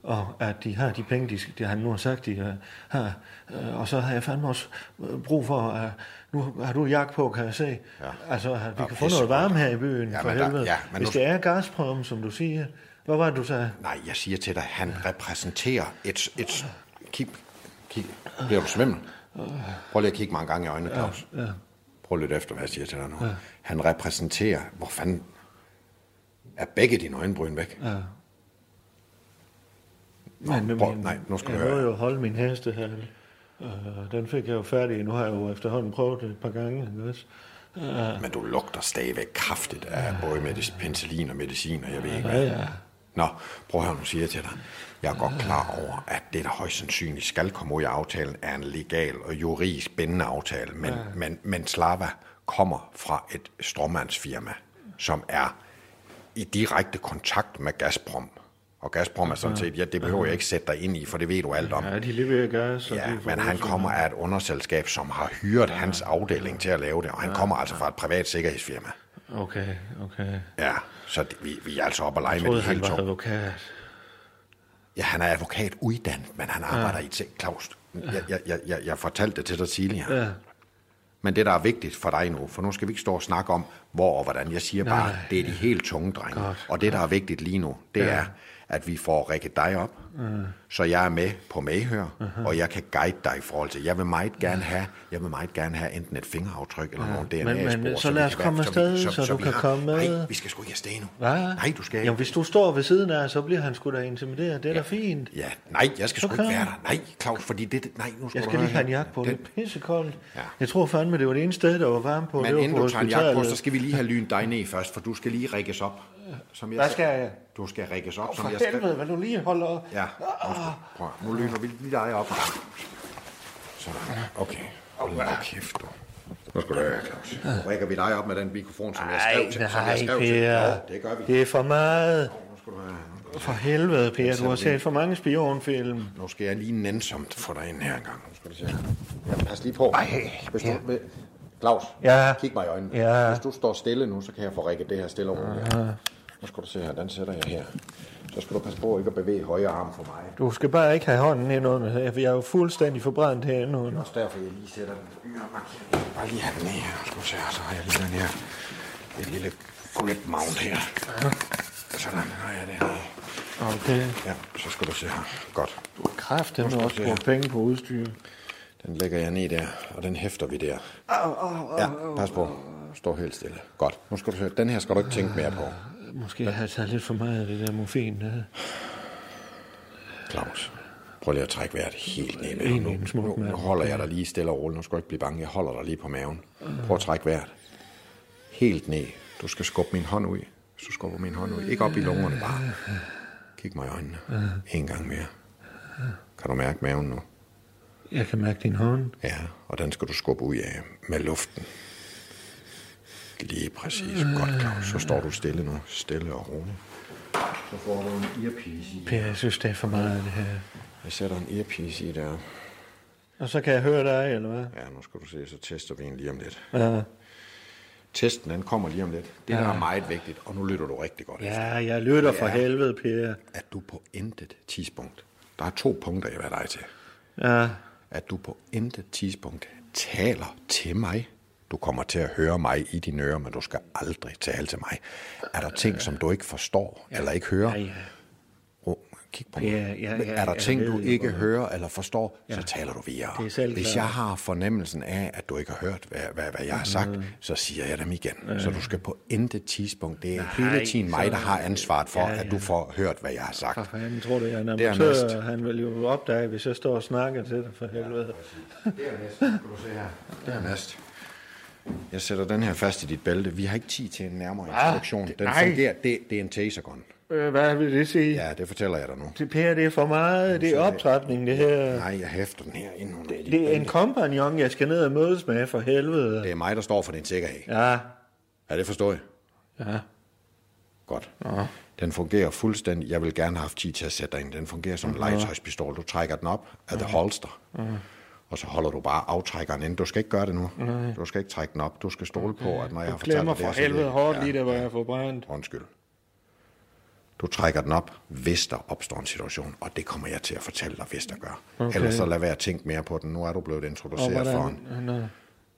[SPEAKER 10] og at de har de penge, de, de han nu har sagt, de øh, har. Øh, Og så har jeg fandme også øh, brug for, at nu har du jakke på, kan jeg se. Ja. Altså, at vi
[SPEAKER 9] Nå,
[SPEAKER 10] kan få noget
[SPEAKER 9] pissegodt.
[SPEAKER 10] varme her i byen,
[SPEAKER 9] Ja,
[SPEAKER 10] ja, for
[SPEAKER 9] men der-
[SPEAKER 10] helvede.
[SPEAKER 9] ja,
[SPEAKER 10] Ja,
[SPEAKER 9] men
[SPEAKER 10] Hvis
[SPEAKER 9] nu-
[SPEAKER 10] det er Gazprom, som du siger, hvad var det, du sagde?
[SPEAKER 9] Nej, jeg siger til dig, han repræsenterer et... et kig, kig. Bliver du svimmel? Prøv lige at kigge mange gange i øjnene, Claus.
[SPEAKER 10] Ja.
[SPEAKER 9] Prøv lidt efter, hvad jeg siger til dig nu. Han repræsenterer... Hvor fanden er begge dine øjenbryn væk?
[SPEAKER 10] Ja.
[SPEAKER 9] Nå, prøv, nej, nu skal du
[SPEAKER 10] jeg
[SPEAKER 9] høre.
[SPEAKER 10] Jeg jo holde min heste her. Øh, den fik jeg jo færdig. Nu har jeg jo efterhånden prøvet det et par gange. Ikke også? Øh,
[SPEAKER 9] Men du lugter stadigvæk kraftigt af både medis- penicillin og medicin, og jeg ved ikke
[SPEAKER 10] ja,
[SPEAKER 9] hvad.
[SPEAKER 10] ja.
[SPEAKER 9] Nå, prøv at høre, nu siger jeg til dig. Jeg er godt klar over, at det, der højst sandsynligt skal komme ud i aftalen, er en legal og juridisk bindende aftale. Men, ja. men, men Slava kommer fra et stråmandsfirma, som er i direkte kontakt med Gazprom. Og Gazprom er sådan set, ja, det behøver jeg ikke sætte dig ind i, for det ved du alt om.
[SPEAKER 10] ja, de leverer gas. og
[SPEAKER 9] Ja,
[SPEAKER 10] de får
[SPEAKER 9] men han
[SPEAKER 10] også-
[SPEAKER 9] kommer af et underselskab, som har hyret hans afdeling til at lave det, og han kommer altså fra et privat sikkerhedsfirma.
[SPEAKER 10] Okay, okay.
[SPEAKER 9] Ja, så det, vi, vi er altså oppe og lege
[SPEAKER 10] Jeg
[SPEAKER 9] med
[SPEAKER 10] troede,
[SPEAKER 9] det
[SPEAKER 10] han
[SPEAKER 9] hele
[SPEAKER 10] var
[SPEAKER 9] to.
[SPEAKER 10] advokat.
[SPEAKER 9] Ja, han er advokat uddannet, men han arbejder ja. i ting. Claus, jeg, jeg, jeg, jeg, jeg fortalte det til dig tidligere.
[SPEAKER 10] Ja.
[SPEAKER 9] Men det, der er vigtigt for dig nu, for nu skal vi ikke stå og snakke om, hvor og hvordan. Jeg siger bare,
[SPEAKER 10] Nej.
[SPEAKER 9] det er de helt tunge drenge.
[SPEAKER 10] Godt,
[SPEAKER 9] og det, der er vigtigt lige nu, det
[SPEAKER 10] Ja.
[SPEAKER 9] er, at vi får rækket dig op, så jeg er med på medhør, og jeg kan guide dig i forhold til. Jeg vil meget gerne have, jeg vil meget gerne have enten et fingeraftryk eller nogle
[SPEAKER 10] Men-
[SPEAKER 9] DNA-spor.
[SPEAKER 10] men så
[SPEAKER 9] vi
[SPEAKER 10] lad
[SPEAKER 9] kan
[SPEAKER 10] os
[SPEAKER 9] være-
[SPEAKER 10] komme
[SPEAKER 9] vi-
[SPEAKER 10] afsted, så du
[SPEAKER 9] vi
[SPEAKER 10] kan
[SPEAKER 9] har-
[SPEAKER 10] komme med.
[SPEAKER 9] Nej, vi skal sgu ikke afsted nu.
[SPEAKER 10] Hvad?
[SPEAKER 9] Nej, du skal ikke.
[SPEAKER 10] Jamen, hvis du står ved siden af, så bliver han sgu da intimideret. Det er ja. da fint.
[SPEAKER 9] Ja, nej, jeg skal
[SPEAKER 10] Så
[SPEAKER 9] sgu ikke
[SPEAKER 10] kom.
[SPEAKER 9] være der. Nej, Claus, fordi det... Nej, nu skal
[SPEAKER 10] Jeg
[SPEAKER 9] du
[SPEAKER 10] skal
[SPEAKER 9] høre
[SPEAKER 10] lige have en
[SPEAKER 9] her.
[SPEAKER 10] jakke på. Det
[SPEAKER 9] Den-
[SPEAKER 10] er pissekoldt.
[SPEAKER 9] Ja.
[SPEAKER 10] Ja. Jeg tror fandme, det var det ene sted, der var varme på. det
[SPEAKER 9] Men
[SPEAKER 10] var
[SPEAKER 9] inden
[SPEAKER 10] på
[SPEAKER 9] du tager en jakke på,
[SPEAKER 10] hospitalet.
[SPEAKER 9] så skal vi lige have lynet dig ned først, for du skal lige rækkes op. Som jeg
[SPEAKER 10] Hvad
[SPEAKER 9] sagde.
[SPEAKER 10] skal jeg?
[SPEAKER 9] Du skal rækkes op, som jeg
[SPEAKER 10] For
[SPEAKER 9] skal.
[SPEAKER 10] helvede, hvad du lige holder op.
[SPEAKER 9] Ja, undskyld. Prøv, at- nu lyner vi lige dig op. Sådan. Okay. Hold nu kæft, du. Nu skal du høre, Claus. Nu rækker vi dig op med den mikrofon, som jeg skrev til. som jeg
[SPEAKER 10] Nej,
[SPEAKER 9] skrev
[SPEAKER 10] nej,
[SPEAKER 9] til.
[SPEAKER 10] Per.
[SPEAKER 9] Jo, det gør vi.
[SPEAKER 10] Det er for meget.
[SPEAKER 9] Nu skal du høre. Nu skal du-
[SPEAKER 10] For helvede, Per. Du
[SPEAKER 9] sender
[SPEAKER 10] har
[SPEAKER 9] vi ind.
[SPEAKER 10] set for mange spionfilm.
[SPEAKER 9] Nu skal jeg lige nænsomt få dig ind her engang. Nu skal du se. Ja, pas lige på. Ej, Hvis du, ja. Claus,
[SPEAKER 10] Ja.
[SPEAKER 9] kig mig i øjnene.
[SPEAKER 10] Ja.
[SPEAKER 9] Hvis du står stille nu, så kan jeg få rækket det her stille og roligt. Ja. Nu skal du se her, den sætter jeg her. Så skal du passe på ikke at bevæge højre arm for mig.
[SPEAKER 10] Du skal bare ikke have hånden ind under her, for jeg er jo fuldstændig forbrændt her nu.
[SPEAKER 9] Det er også derfor, jeg lige sætter den yder markering. Bare lige have den ned her. Nu skal du se her, så har jeg lige den her. Et lille grip mount her. Sådan, har jeg det her.
[SPEAKER 10] Okay.
[SPEAKER 9] Ja, så skal du se her. Godt.
[SPEAKER 10] Du har kraft, den har også
[SPEAKER 9] se
[SPEAKER 10] brugt penge på udstyr.
[SPEAKER 9] Den lægger jeg ned der, og den hæfter vi der. Ja, pas på. Stå helt stille. Godt. Nu skal du se. Den her skal du ikke tænke mere på.
[SPEAKER 10] Måske har jeg taget lidt for meget af det der morfin. Der.
[SPEAKER 9] Claus, prøv lige at trække vejret helt ned. med.
[SPEAKER 10] Egentlig en smuk
[SPEAKER 9] Nu, nu
[SPEAKER 10] mand.
[SPEAKER 9] holder jeg dig lige stille og roligt. Nu skal du ikke blive bange. Jeg holder dig lige på maven. Prøv at trække vejret. Helt ned. Du skal skubbe min hånd ud. Hvis du skubber min hånd ud. Ikke op i lungerne bare. Kig mig i øjnene. En gang mere. Kan du mærke maven nu?
[SPEAKER 10] Jeg kan mærke din hånd.
[SPEAKER 9] Ja, og den skal du skubbe ud af med luften. Lige præcis.
[SPEAKER 10] Øh.
[SPEAKER 9] Godt, Claus. Så står du stille nu. Stille og roligt. Så får du en earpiece i.
[SPEAKER 10] Per, jeg synes, det er for meget af det her.
[SPEAKER 9] Jeg sætter en earpiece i der.
[SPEAKER 10] Og så kan jeg høre dig, eller hvad?
[SPEAKER 9] Ja, nu skal du se, så tester vi en lige om lidt.
[SPEAKER 10] Ja,
[SPEAKER 9] Testen, den kommer lige om lidt. Det, der er meget vigtigt, og nu lytter du rigtig godt efter,
[SPEAKER 10] ja jeg lytter for
[SPEAKER 9] Ja.
[SPEAKER 10] helvede, Per.
[SPEAKER 9] at du på intet tidspunkt, der er to punkter, jeg vil have dig til,
[SPEAKER 10] Ja,
[SPEAKER 9] at du på intet tidspunkt taler til mig. Du kommer til at høre mig i dine ører, men du skal aldrig tale til mig. Er der ting, som du ikke forstår eller ikke hører?
[SPEAKER 10] ja, ja.
[SPEAKER 9] Oh, kig på mig.
[SPEAKER 10] Ja, ja, ja,
[SPEAKER 9] er der
[SPEAKER 10] jeg
[SPEAKER 9] ting,
[SPEAKER 10] ved
[SPEAKER 9] du
[SPEAKER 10] jo,
[SPEAKER 9] ikke
[SPEAKER 10] hvor-
[SPEAKER 9] hører eller forstår, så taler du videre.
[SPEAKER 10] Det er selv
[SPEAKER 9] Hvis
[SPEAKER 10] klart.
[SPEAKER 9] jeg har fornemmelsen af, at du ikke har hørt, hvad, hvad, hvad jeg har sagt,
[SPEAKER 10] Mm.
[SPEAKER 9] så siger jeg dem igen. Så du skal på intet tidspunkt. Det er hele tiden mig, der har ansvaret for, at du får hørt, hvad jeg har sagt.
[SPEAKER 10] For fanden tror du, jeg er en
[SPEAKER 9] Dernæst.
[SPEAKER 10] amatør, og han vil jo opdage, hvis jeg står og snakker til dig, for helvede.
[SPEAKER 9] Dernæst, skal du se her. Dernæst. Jeg sætter den her fast i dit bælte. Vi har ikke tid til en nærmere introduktion. Den
[SPEAKER 10] Ah, nej.
[SPEAKER 9] fungerer. Det, det er en tasergun.
[SPEAKER 10] Øh, Hvad vil det sige?
[SPEAKER 9] Ja, det fortæller jeg dig nu.
[SPEAKER 10] Det, Per, det er for meget. Det er optrapning, det her.
[SPEAKER 9] Nej, jeg hæfter den her inden hun det,
[SPEAKER 10] Det er en kompagnon, jeg skal ned og mødes med, for helvede.
[SPEAKER 9] det er mig, der står for din sikkerhed.
[SPEAKER 10] Ja,
[SPEAKER 9] Er det forstået?
[SPEAKER 10] ja.
[SPEAKER 9] Godt. Ja. Den fungerer fuldstændig. Jeg vil gerne have haft tid til at sætte dig ind. Den fungerer som en
[SPEAKER 10] Ja.
[SPEAKER 9] legetøjspistol. Du trækker den op af the holster,
[SPEAKER 10] Ja.
[SPEAKER 9] og så holder du bare aftrækkeren ind. Du skal ikke gøre det nu.
[SPEAKER 10] Nej.
[SPEAKER 9] Du skal ikke trække den op. Du skal stole på, at når jeg
[SPEAKER 10] Du
[SPEAKER 9] har fortalt dig
[SPEAKER 10] klemmer
[SPEAKER 9] det,
[SPEAKER 10] for
[SPEAKER 9] så ved
[SPEAKER 10] helvede
[SPEAKER 9] jeg-
[SPEAKER 10] hårdt lige der, hvor jeg får brændt.
[SPEAKER 9] Undskyld. Du trækker den op, hvis der opstår en situation, og det kommer jeg til at fortælle dig, hvis der gør.
[SPEAKER 10] Okay.
[SPEAKER 9] Okay. Ellers så lad være at tænke mere på den. Nu er du blevet introduceret for en.
[SPEAKER 10] Nå.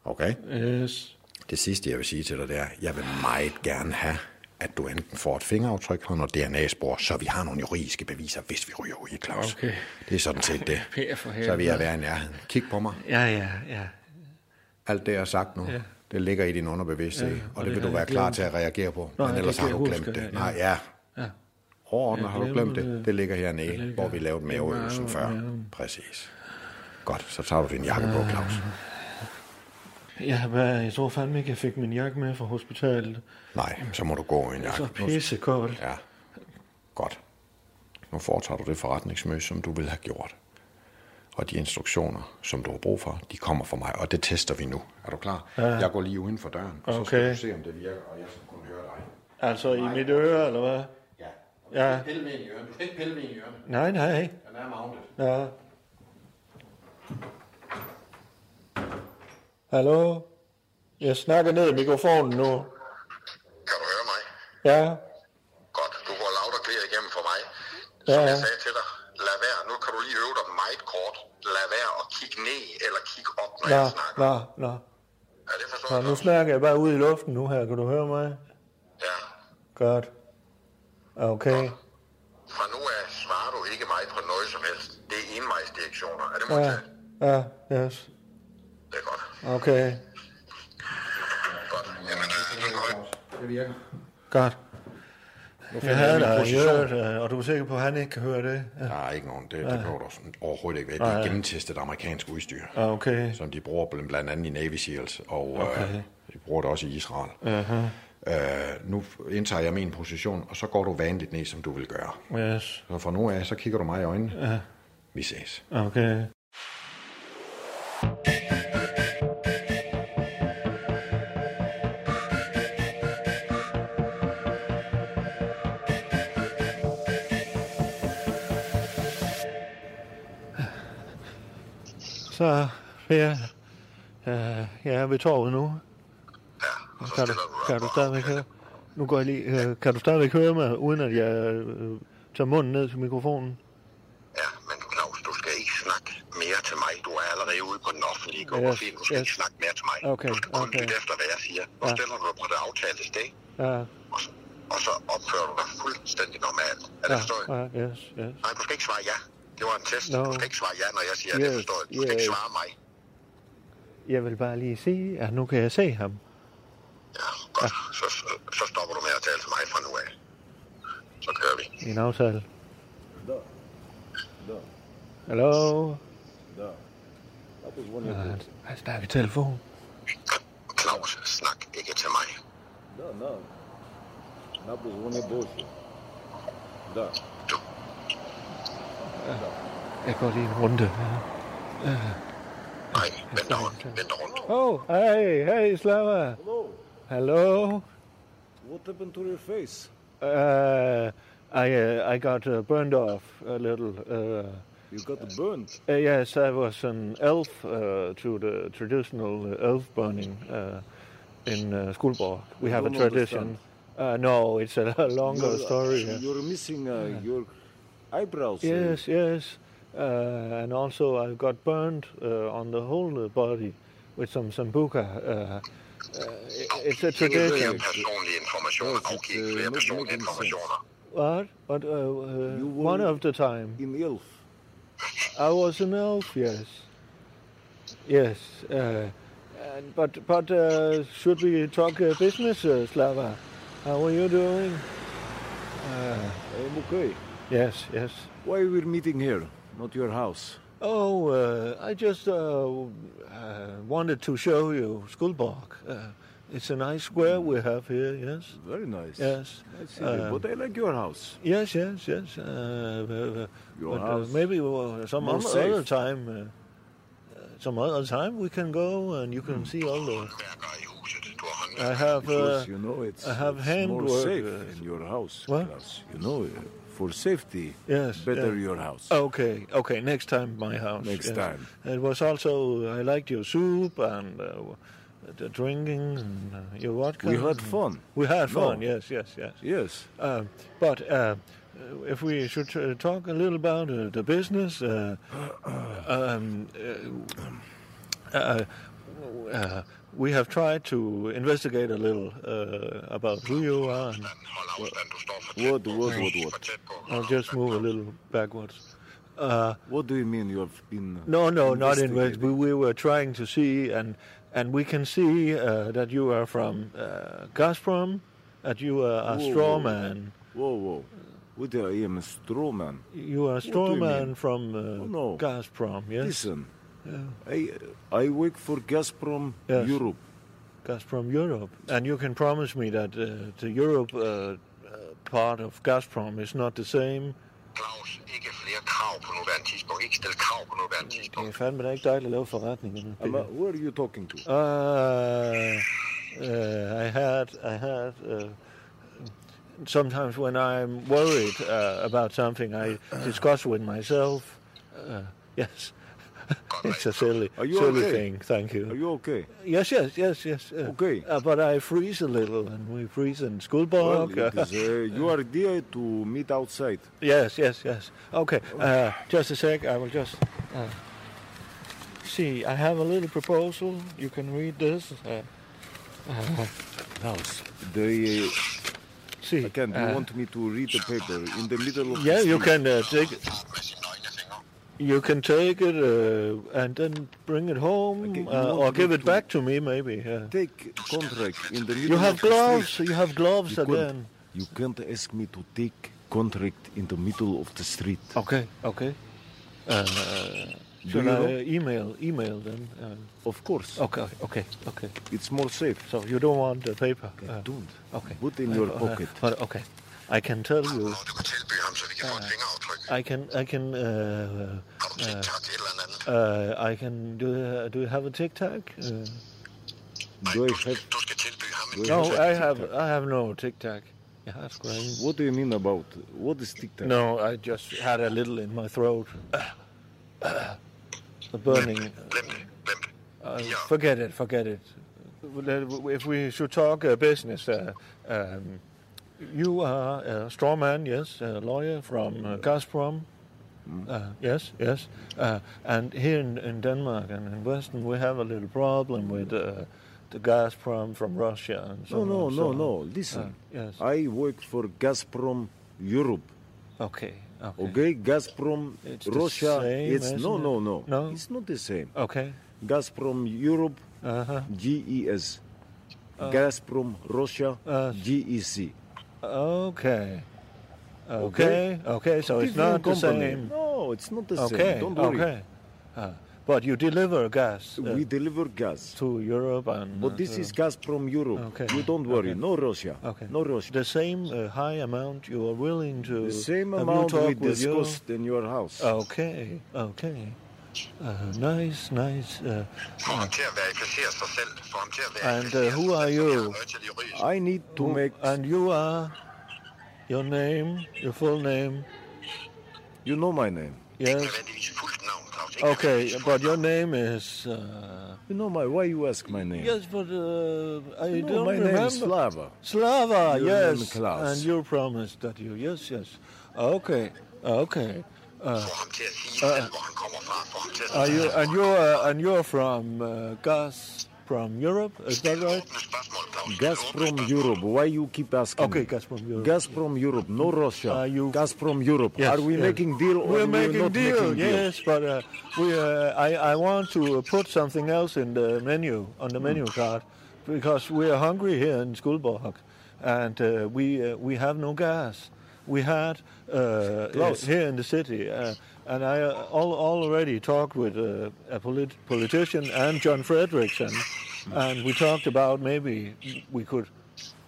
[SPEAKER 9] Okay?
[SPEAKER 10] Yes.
[SPEAKER 9] Det sidste, jeg vil sige til dig, det er, jeg vil meget gerne have, at du enten får et fingeraftryk eller noget DNA-spor, så vi har nogle juridiske beviser, hvis vi ryger ud i Claus.
[SPEAKER 10] Okay.
[SPEAKER 9] Det er sådan set det.
[SPEAKER 10] Per for helvede.
[SPEAKER 9] så vil jeg være i nærheden. Kig på mig.
[SPEAKER 10] Ja, ja, ja.
[SPEAKER 9] Alt det, jeg har sagt nu,
[SPEAKER 10] Ja.
[SPEAKER 9] det ligger i din underbevidsthed,
[SPEAKER 10] Ja,
[SPEAKER 9] og,
[SPEAKER 10] og
[SPEAKER 9] og
[SPEAKER 10] det
[SPEAKER 9] det, vil
[SPEAKER 10] har
[SPEAKER 9] du
[SPEAKER 10] jeg
[SPEAKER 9] være klar
[SPEAKER 10] glemt.
[SPEAKER 9] til at reagere på,
[SPEAKER 10] Nå,
[SPEAKER 9] men
[SPEAKER 10] jeg
[SPEAKER 9] ellers
[SPEAKER 10] kan
[SPEAKER 9] har du
[SPEAKER 10] ikke
[SPEAKER 9] glemt
[SPEAKER 10] huske,
[SPEAKER 9] det.
[SPEAKER 10] ja.
[SPEAKER 9] Nej, ja.
[SPEAKER 10] Ja.
[SPEAKER 9] Overordnet har du
[SPEAKER 10] glemmer
[SPEAKER 9] glemt det.
[SPEAKER 10] det.
[SPEAKER 9] Det ligger hernede,
[SPEAKER 10] Det ligger-
[SPEAKER 9] hvor vi lavede maveøvelsen før. Præcis. Godt, så tager du din jakke
[SPEAKER 10] Ah.
[SPEAKER 9] på, Claus.
[SPEAKER 10] Ja, hvad, jeg tror fandme ikke, jeg fik min jakke med fra hospitalet.
[SPEAKER 9] Nej, så må du gå i en jakke.
[SPEAKER 10] Så
[SPEAKER 9] Nu-
[SPEAKER 10] pissekoldt.
[SPEAKER 9] Ja, godt. Nu foretager du det forretningsmøde, som du ville have gjort. Og de instruktioner, som du har brug for, de kommer fra mig, og det tester vi nu. Er du klar?
[SPEAKER 10] Ja.
[SPEAKER 9] Jeg går lige uden for døren, og så
[SPEAKER 10] Okay.
[SPEAKER 9] skal du se, om det virker, og jeg skal kunne høre dig.
[SPEAKER 10] Altså i mit øre, eller hvad?
[SPEAKER 9] Ja.
[SPEAKER 10] Ja.
[SPEAKER 9] Pille med en i ørerne. Du skal ikke pille med en i ørerne.
[SPEAKER 10] Nej, nej.
[SPEAKER 9] Den er magnet.
[SPEAKER 10] Ja. Hallo? Jeg snakker ned i mikrofonen nu.
[SPEAKER 11] Kan du høre mig?
[SPEAKER 10] Ja,
[SPEAKER 11] Godt. Du går lavt og clear igennem for mig.
[SPEAKER 10] Ja,
[SPEAKER 11] Som
[SPEAKER 10] ja.
[SPEAKER 11] jeg sagde til dig, lad være. Nu kan du lige øve dig meget kort. Lad være at kigge ned eller kigge op, når
[SPEAKER 10] nå,
[SPEAKER 11] jeg snakker.
[SPEAKER 10] nå, nå. Nå, nu snakker jeg bare ud i luften nu her. Kan du høre mig?
[SPEAKER 11] Ja.
[SPEAKER 10] Godt. Okay.
[SPEAKER 11] Fra nu af svarer du ikke mig på noget som helst. Det er envejsdirektioner. Er det
[SPEAKER 10] Ja,
[SPEAKER 11] modtaget?
[SPEAKER 10] ja, yes.
[SPEAKER 11] Det er godt.
[SPEAKER 10] Okay,
[SPEAKER 11] Godt. Jamen, øh, du kan holde.
[SPEAKER 9] Det virker.
[SPEAKER 10] godt.
[SPEAKER 9] Nu finder
[SPEAKER 10] Jeg havde
[SPEAKER 9] min
[SPEAKER 10] dig i
[SPEAKER 9] position.
[SPEAKER 10] øret, øh, og du er sikker på, at han ikke kan høre det? Ja.
[SPEAKER 9] Der er ikke nogen. Det,
[SPEAKER 10] Nej.
[SPEAKER 9] det behøver du sådan overhovedet ikke ved.
[SPEAKER 10] Nej,
[SPEAKER 9] Det er
[SPEAKER 10] nej.
[SPEAKER 9] gennemtestet amerikansk udstyr.
[SPEAKER 10] Ah, okay.
[SPEAKER 9] Som de bruger bl- blandt andet i Navy Seals, og
[SPEAKER 10] Okay.
[SPEAKER 9] okay. øh, de bruger det også i Israel.
[SPEAKER 10] Aha.
[SPEAKER 9] Øh, nu indtager jeg min position, og så går du vanligt ned, som du vil gøre.
[SPEAKER 10] Yes,
[SPEAKER 9] Så fra nu af, så kigger du mig i øjnene.
[SPEAKER 10] Ja.
[SPEAKER 9] Vi ses.
[SPEAKER 10] okay. Så, Per, øh, jeg er ved torvet nu. Kan du, kan du stadigvæk høre? Nu går jeg lige. Øh, kan du stadigvæk høre mig, uden at jeg øh, tager munden ned til mikrofonen?
[SPEAKER 11] Du skal ikke snakke mere til mig. Du er allerede ude på den offentlige geografi. Du skal
[SPEAKER 10] yes.
[SPEAKER 11] ikke snakke mere til mig.
[SPEAKER 10] Okay,
[SPEAKER 11] Du skal kun
[SPEAKER 10] okay.
[SPEAKER 11] lytte efter, hvad jeg siger. Nu
[SPEAKER 10] Ja.
[SPEAKER 11] stiller du dig på det aftalte sted,
[SPEAKER 10] Ja,
[SPEAKER 11] og så opfører du dig fuldstændig normalt. Er det
[SPEAKER 10] ja,
[SPEAKER 11] forstået?
[SPEAKER 10] ja, yes, yes.
[SPEAKER 11] Nej, du skal ikke svare ja. Det var en test.
[SPEAKER 10] Nå.
[SPEAKER 11] Du skal ikke svare ja, når jeg siger, at
[SPEAKER 10] Yes,
[SPEAKER 11] det forstår jeg. Du skal ikke
[SPEAKER 10] yes.
[SPEAKER 11] svare mig.
[SPEAKER 10] Jeg vil bare lige sige, at nu kan jeg se ham.
[SPEAKER 11] Godt. Så, så stopper du med at tale til mig fra nu af. Så kører vi.
[SPEAKER 10] i en aftale. Hallo? Ja, han- han snakker i telefon.
[SPEAKER 11] Claus, snak ikke til mig.
[SPEAKER 2] Да, да. That was one of bullshit. Да.
[SPEAKER 10] Jeg går lige en runde.
[SPEAKER 11] Nej, vent dog. Vent dog.
[SPEAKER 10] Oh, hey, hey, Slava.
[SPEAKER 2] Hello.
[SPEAKER 10] Hello.
[SPEAKER 2] What happened to your face?
[SPEAKER 10] Uh, I uh, I got uh, burned off a little. Uh,
[SPEAKER 2] You got burned.
[SPEAKER 10] uh, yes, I was an elf uh, to the traditional uh, elf burning uh, in uh, Skuldborg. We
[SPEAKER 2] I
[SPEAKER 10] have a
[SPEAKER 2] don't
[SPEAKER 10] tradition. Uh, no, it's a, longer
[SPEAKER 2] You're- uh,
[SPEAKER 10] story. yeah.
[SPEAKER 2] You're missing uh, your eyebrows. uh,
[SPEAKER 10] Yes, yes. Uh, and also, I got burned uh, on the whole uh, body with some sambuca. Uh, uh, i- it's a tradition.
[SPEAKER 11] personlige informationer. Afgiv flere personlige
[SPEAKER 10] altså.
[SPEAKER 11] informationer.
[SPEAKER 10] What? What? Uh, uh, one of the time.
[SPEAKER 2] In elf.
[SPEAKER 10] I was an elf. Yes. Yes. Uh, and, but but uh, should we talk uh, business, uh, Slava? How are you doing? Uh,
[SPEAKER 2] I'm okay.
[SPEAKER 10] yes. Yes.
[SPEAKER 2] Why we're meeting here, not your house?
[SPEAKER 10] Oh, uh, I just uh, uh, wanted to show you Skuldborg. Uh, it's a nice square we have here, yes?
[SPEAKER 2] Very nice.
[SPEAKER 10] Yes. Uh,
[SPEAKER 2] I see. but I like your house.
[SPEAKER 10] Yes, yes, yes. Uh, uh,
[SPEAKER 2] Your
[SPEAKER 10] but, uh,
[SPEAKER 2] house
[SPEAKER 10] maybe uh, some
[SPEAKER 2] more
[SPEAKER 10] other,
[SPEAKER 2] safe.
[SPEAKER 10] other time,
[SPEAKER 2] Hmm.
[SPEAKER 10] uh, uh, some other time we can go and you can see all the.
[SPEAKER 11] Du har
[SPEAKER 10] I have, uh,
[SPEAKER 11] Because, you know, it's,
[SPEAKER 10] I have
[SPEAKER 11] it's
[SPEAKER 10] handwork.
[SPEAKER 11] more safe
[SPEAKER 10] uh,
[SPEAKER 11] in your house,
[SPEAKER 10] What?
[SPEAKER 11] Klaus. You know, uh, for safety,
[SPEAKER 10] Yes.
[SPEAKER 11] better
[SPEAKER 10] yeah. Uh.
[SPEAKER 11] your house.
[SPEAKER 10] Okay, okay. Next time, my house.
[SPEAKER 11] Next
[SPEAKER 10] yes.
[SPEAKER 11] time.
[SPEAKER 10] It was also, I liked your soup and uh, the drinking and uh, your vodka.
[SPEAKER 11] We had
[SPEAKER 10] and-
[SPEAKER 11] fun.
[SPEAKER 10] We had
[SPEAKER 11] No.
[SPEAKER 10] fun, yes, yes, yes.
[SPEAKER 11] Yes.
[SPEAKER 10] Uh, but uh, if we should uh, talk a little about uh, the business, uh, um, uh, uh, uh, we have tried to investigate a little uh, about who you are. And
[SPEAKER 11] What, what, what, what?
[SPEAKER 10] I'll just move a little backwards. Uh,
[SPEAKER 11] What do you mean you have been? uh,
[SPEAKER 10] no, no, not in Wales.
[SPEAKER 11] investigating?
[SPEAKER 10] We, we were trying to see, and and we can see uh, that you are from uh, Gazprom, that you are a
[SPEAKER 11] Whoa,
[SPEAKER 10] straw
[SPEAKER 11] whoa.
[SPEAKER 10] man.
[SPEAKER 11] Whoa, whoa. What I am a straw man.
[SPEAKER 10] You are a
[SPEAKER 11] What do
[SPEAKER 10] straw
[SPEAKER 11] you
[SPEAKER 10] man
[SPEAKER 11] mean? Oh,
[SPEAKER 10] from uh,
[SPEAKER 11] no.
[SPEAKER 10] Gazprom, yes?
[SPEAKER 11] Listen,
[SPEAKER 10] Yeah.
[SPEAKER 11] I uh, I work for Gazprom
[SPEAKER 10] Yes.
[SPEAKER 11] Europe.
[SPEAKER 10] Gazprom Europe. And you can promise me that uh, the Europe uh, uh, part of Gazprom is not the same. Det er fandme da ikke dig, der laver forretningerne.
[SPEAKER 11] Am I- who are you talking to?
[SPEAKER 10] Uh, uh, I had, I had. Uh, sometimes when I'm worried uh, about something, I discuss with myself. Uh, yes, it's a silly,
[SPEAKER 11] Are you
[SPEAKER 10] silly
[SPEAKER 11] okay?
[SPEAKER 10] thing. Thank you.
[SPEAKER 11] Are you okay?
[SPEAKER 10] Yes, yes, yes, yes. Uh,
[SPEAKER 11] Okay.
[SPEAKER 10] Uh, but I freeze a little, and we freeze in
[SPEAKER 11] Well,
[SPEAKER 10] Skuldborg.
[SPEAKER 11] it is, uh, you are there to meet outside.
[SPEAKER 10] yes, yes, yes. Okay, uh, just a sec. I will just uh, see. I have a little proposal. You can read this. Uh, uh,
[SPEAKER 11] Klaus, the.
[SPEAKER 10] See,
[SPEAKER 11] I can't.
[SPEAKER 10] uh,
[SPEAKER 11] you want me to read the paper in the middle of?
[SPEAKER 10] yeah,
[SPEAKER 11] the
[SPEAKER 10] you
[SPEAKER 11] street?
[SPEAKER 10] can uh, take it. You can take it uh, and then bring it home,
[SPEAKER 11] Okay, you
[SPEAKER 10] uh,
[SPEAKER 11] want
[SPEAKER 10] or
[SPEAKER 11] me
[SPEAKER 10] give it
[SPEAKER 11] to-
[SPEAKER 10] back to me, maybe. yeah.
[SPEAKER 11] Take contract in the middle.
[SPEAKER 10] You have
[SPEAKER 11] of the
[SPEAKER 10] gloves.
[SPEAKER 11] street.
[SPEAKER 10] You have gloves
[SPEAKER 11] You can't-
[SPEAKER 10] again.
[SPEAKER 11] You can't ask me to take contract in the middle of the street.
[SPEAKER 10] Okay. Okay. Uh,
[SPEAKER 11] Do you
[SPEAKER 10] should I
[SPEAKER 11] know?
[SPEAKER 10] uh, email email them? Uh,
[SPEAKER 11] Of course.
[SPEAKER 10] Okay, okay, okay.
[SPEAKER 11] It's more safe.
[SPEAKER 10] So you don't want the paper? Uh,
[SPEAKER 11] don't.
[SPEAKER 10] Okay.
[SPEAKER 11] Put in your
[SPEAKER 10] Uh, uh,
[SPEAKER 11] pocket.
[SPEAKER 10] but okay, I can tell you. Uh, I can. I can. Uh, uh, uh, I can. Do, uh, do you have a tic tac? Uh,
[SPEAKER 11] Do I have? do I
[SPEAKER 10] no,
[SPEAKER 11] have
[SPEAKER 10] I have.
[SPEAKER 11] a tic-tac?
[SPEAKER 10] I have no tic tac. Yeah, that's great.
[SPEAKER 11] What do you mean about what is tic tac?
[SPEAKER 10] No, I just had a little in my throat. the burning. Uh, forget it. Forget it. Let- If we should talk uh, business, uh, um, you are a straw man, yes, a lawyer from uh, Gazprom.
[SPEAKER 11] Mm.
[SPEAKER 10] Uh, yes, yes. Uh, and here in, in Denmark and in Western, we have a little problem with uh, the Gazprom from Russia and so on.
[SPEAKER 11] No, no,
[SPEAKER 10] and so
[SPEAKER 11] no,
[SPEAKER 10] on. Uh,
[SPEAKER 11] no. Listen,
[SPEAKER 10] yes.
[SPEAKER 11] I work for Gazprom Europe.
[SPEAKER 10] Okay. Okay.
[SPEAKER 11] Okay, Gazprom
[SPEAKER 10] It's the
[SPEAKER 11] Russia.
[SPEAKER 10] same,
[SPEAKER 11] it's no,
[SPEAKER 10] isn't
[SPEAKER 11] no,
[SPEAKER 10] it?
[SPEAKER 11] no,
[SPEAKER 10] No?
[SPEAKER 11] It's not the same.
[SPEAKER 10] Okay.
[SPEAKER 11] Gazprom Europe,
[SPEAKER 10] Uh-huh.
[SPEAKER 11] GES. E Gazprom Russia, E
[SPEAKER 10] Uh.
[SPEAKER 11] GEC.
[SPEAKER 10] Okay. Okay. Okay. So it's not
[SPEAKER 11] Different
[SPEAKER 10] the
[SPEAKER 11] company.
[SPEAKER 10] same.
[SPEAKER 11] No, it's not the
[SPEAKER 10] Okay.
[SPEAKER 11] same. Don't worry.
[SPEAKER 10] Okay. Uh, but you deliver gas uh,
[SPEAKER 11] We deliver gas.
[SPEAKER 10] to Europe and.
[SPEAKER 11] But this
[SPEAKER 10] uh,
[SPEAKER 11] is gas from Europe.
[SPEAKER 10] Okay.
[SPEAKER 11] You don't worry.
[SPEAKER 10] Okay.
[SPEAKER 11] No Russia.
[SPEAKER 10] Okay.
[SPEAKER 11] No Russia.
[SPEAKER 10] The same uh, high amount you are willing to.
[SPEAKER 11] The same
[SPEAKER 10] have you Uh,
[SPEAKER 11] amount we
[SPEAKER 10] talked with your-
[SPEAKER 11] discussed in your house.
[SPEAKER 10] Okay. Okay. Uh, nice, nice. Uh,
[SPEAKER 12] Få ham til at verificere sig selv. Få ham til at verificere
[SPEAKER 10] and uh, who are you?
[SPEAKER 12] noget til juridisk.
[SPEAKER 11] I need to
[SPEAKER 10] Who-
[SPEAKER 11] make.
[SPEAKER 10] And you are. Your name, your full name.
[SPEAKER 11] you know my name.
[SPEAKER 10] Yes.
[SPEAKER 12] Nødvendigvis fuldt navn, Claus. Ikke
[SPEAKER 10] Okay,
[SPEAKER 12] nødvendigvis
[SPEAKER 10] but
[SPEAKER 12] fuldt
[SPEAKER 10] your name is. Uh,
[SPEAKER 11] You know my. Why you ask my name?
[SPEAKER 10] yes, but uh, I
[SPEAKER 11] You know,
[SPEAKER 10] don't
[SPEAKER 11] my
[SPEAKER 10] remember.
[SPEAKER 11] name is Slava.
[SPEAKER 10] Slava,
[SPEAKER 11] Your name,
[SPEAKER 10] yes.
[SPEAKER 11] Klaus.
[SPEAKER 10] And you promised that you, yes, yes. Okay, okay.
[SPEAKER 12] navn. Få ham til at sige selv, hvor han kommer fra. Få ham til at
[SPEAKER 10] Uh, Are
[SPEAKER 12] sige
[SPEAKER 10] you and you're uh, and you're from uh, Gas from Europe? Is that right?
[SPEAKER 12] åbne spørgsmål, Claus.
[SPEAKER 11] Gas from Europe. Why you keep asking?
[SPEAKER 10] Okay,
[SPEAKER 11] me?
[SPEAKER 10] gas from Europe.
[SPEAKER 11] Gas from Europe. No Russia.
[SPEAKER 10] Are you-
[SPEAKER 11] Gas from Europe.
[SPEAKER 10] Yes,
[SPEAKER 11] Are we
[SPEAKER 10] yes.
[SPEAKER 11] making deal or
[SPEAKER 10] We're
[SPEAKER 11] we
[SPEAKER 10] making
[SPEAKER 11] not
[SPEAKER 10] deal,
[SPEAKER 11] making deal?
[SPEAKER 10] yes, but uh, we uh, I I want to uh, put something else in the menu on the menu
[SPEAKER 11] Mm.
[SPEAKER 10] card because we are hungry here in Skuldborg, and uh, we uh, we have no gas. We had uh,
[SPEAKER 11] Klaus.
[SPEAKER 10] here in the city, uh, and I uh, al already talked with uh, a polit- politician and John Frederickson, and we talked about maybe we could.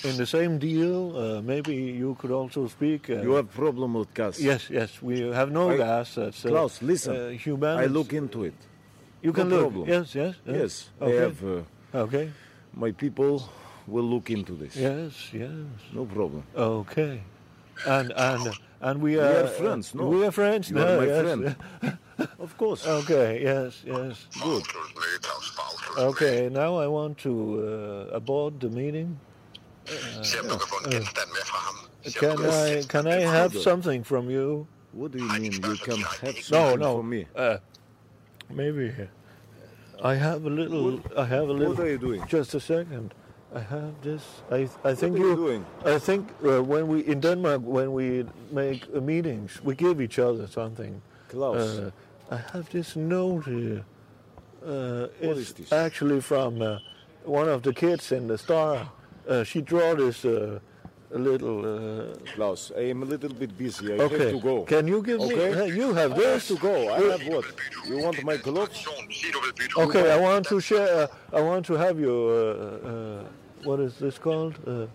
[SPEAKER 10] In the same deal, uh, maybe you could also speak. Uh,
[SPEAKER 11] You have problem with gas.
[SPEAKER 10] Yes, yes, we have no
[SPEAKER 11] I-
[SPEAKER 10] gas. That's, uh,
[SPEAKER 11] Klaus, listen.
[SPEAKER 10] Uh, humanity.
[SPEAKER 11] I look into it.
[SPEAKER 10] You
[SPEAKER 11] no
[SPEAKER 10] can look.
[SPEAKER 11] problem.
[SPEAKER 10] Yes, yes,
[SPEAKER 11] Yes. I
[SPEAKER 10] Okay.
[SPEAKER 11] have uh,
[SPEAKER 10] okay.
[SPEAKER 11] my people We'll look into this.
[SPEAKER 10] Yes, yes.
[SPEAKER 11] No problem.
[SPEAKER 10] Okay. And and and we
[SPEAKER 11] We
[SPEAKER 10] are,
[SPEAKER 11] are friends, no?
[SPEAKER 10] We are friends,
[SPEAKER 11] You
[SPEAKER 10] no?
[SPEAKER 11] are my
[SPEAKER 10] yes.
[SPEAKER 11] friend.
[SPEAKER 10] of course. Okay, yes, yes. Good. Okay, now I want to uh, abort the meeting.
[SPEAKER 13] Se om du kan få en genstand med fra ham. Se om
[SPEAKER 10] Can
[SPEAKER 13] du kan få en
[SPEAKER 10] I
[SPEAKER 13] genstand
[SPEAKER 10] can I
[SPEAKER 13] med fra
[SPEAKER 10] have
[SPEAKER 13] ham.
[SPEAKER 10] something from you?
[SPEAKER 11] What do you mean you can have
[SPEAKER 10] No,
[SPEAKER 11] something
[SPEAKER 10] no.
[SPEAKER 11] for me?
[SPEAKER 10] Uh, maybe I have a little. I have a little.
[SPEAKER 11] what are you doing?
[SPEAKER 10] Just a second. I have this. I I think
[SPEAKER 11] are you doing?
[SPEAKER 10] I think uh, when we in Denmark when we make uh, meetings we give each other something.
[SPEAKER 11] Klaus.
[SPEAKER 10] Uh, I have this note here. Uh,
[SPEAKER 11] What
[SPEAKER 10] it's
[SPEAKER 11] is this?
[SPEAKER 10] actually from uh, one of the kids in the star. Uh, she draw this uh, a little. Uh,
[SPEAKER 11] Klaus, I am a little bit busy. I
[SPEAKER 10] Okay.
[SPEAKER 11] have to go.
[SPEAKER 10] Can you give me-
[SPEAKER 11] okay?
[SPEAKER 10] uh, you have
[SPEAKER 11] I
[SPEAKER 10] this.
[SPEAKER 11] have to go. I
[SPEAKER 10] You-
[SPEAKER 11] have what? You want my gloves?
[SPEAKER 10] Okay, I want to share. Uh, I want to have your. Uh, uh, what is this called? Uh, hvad,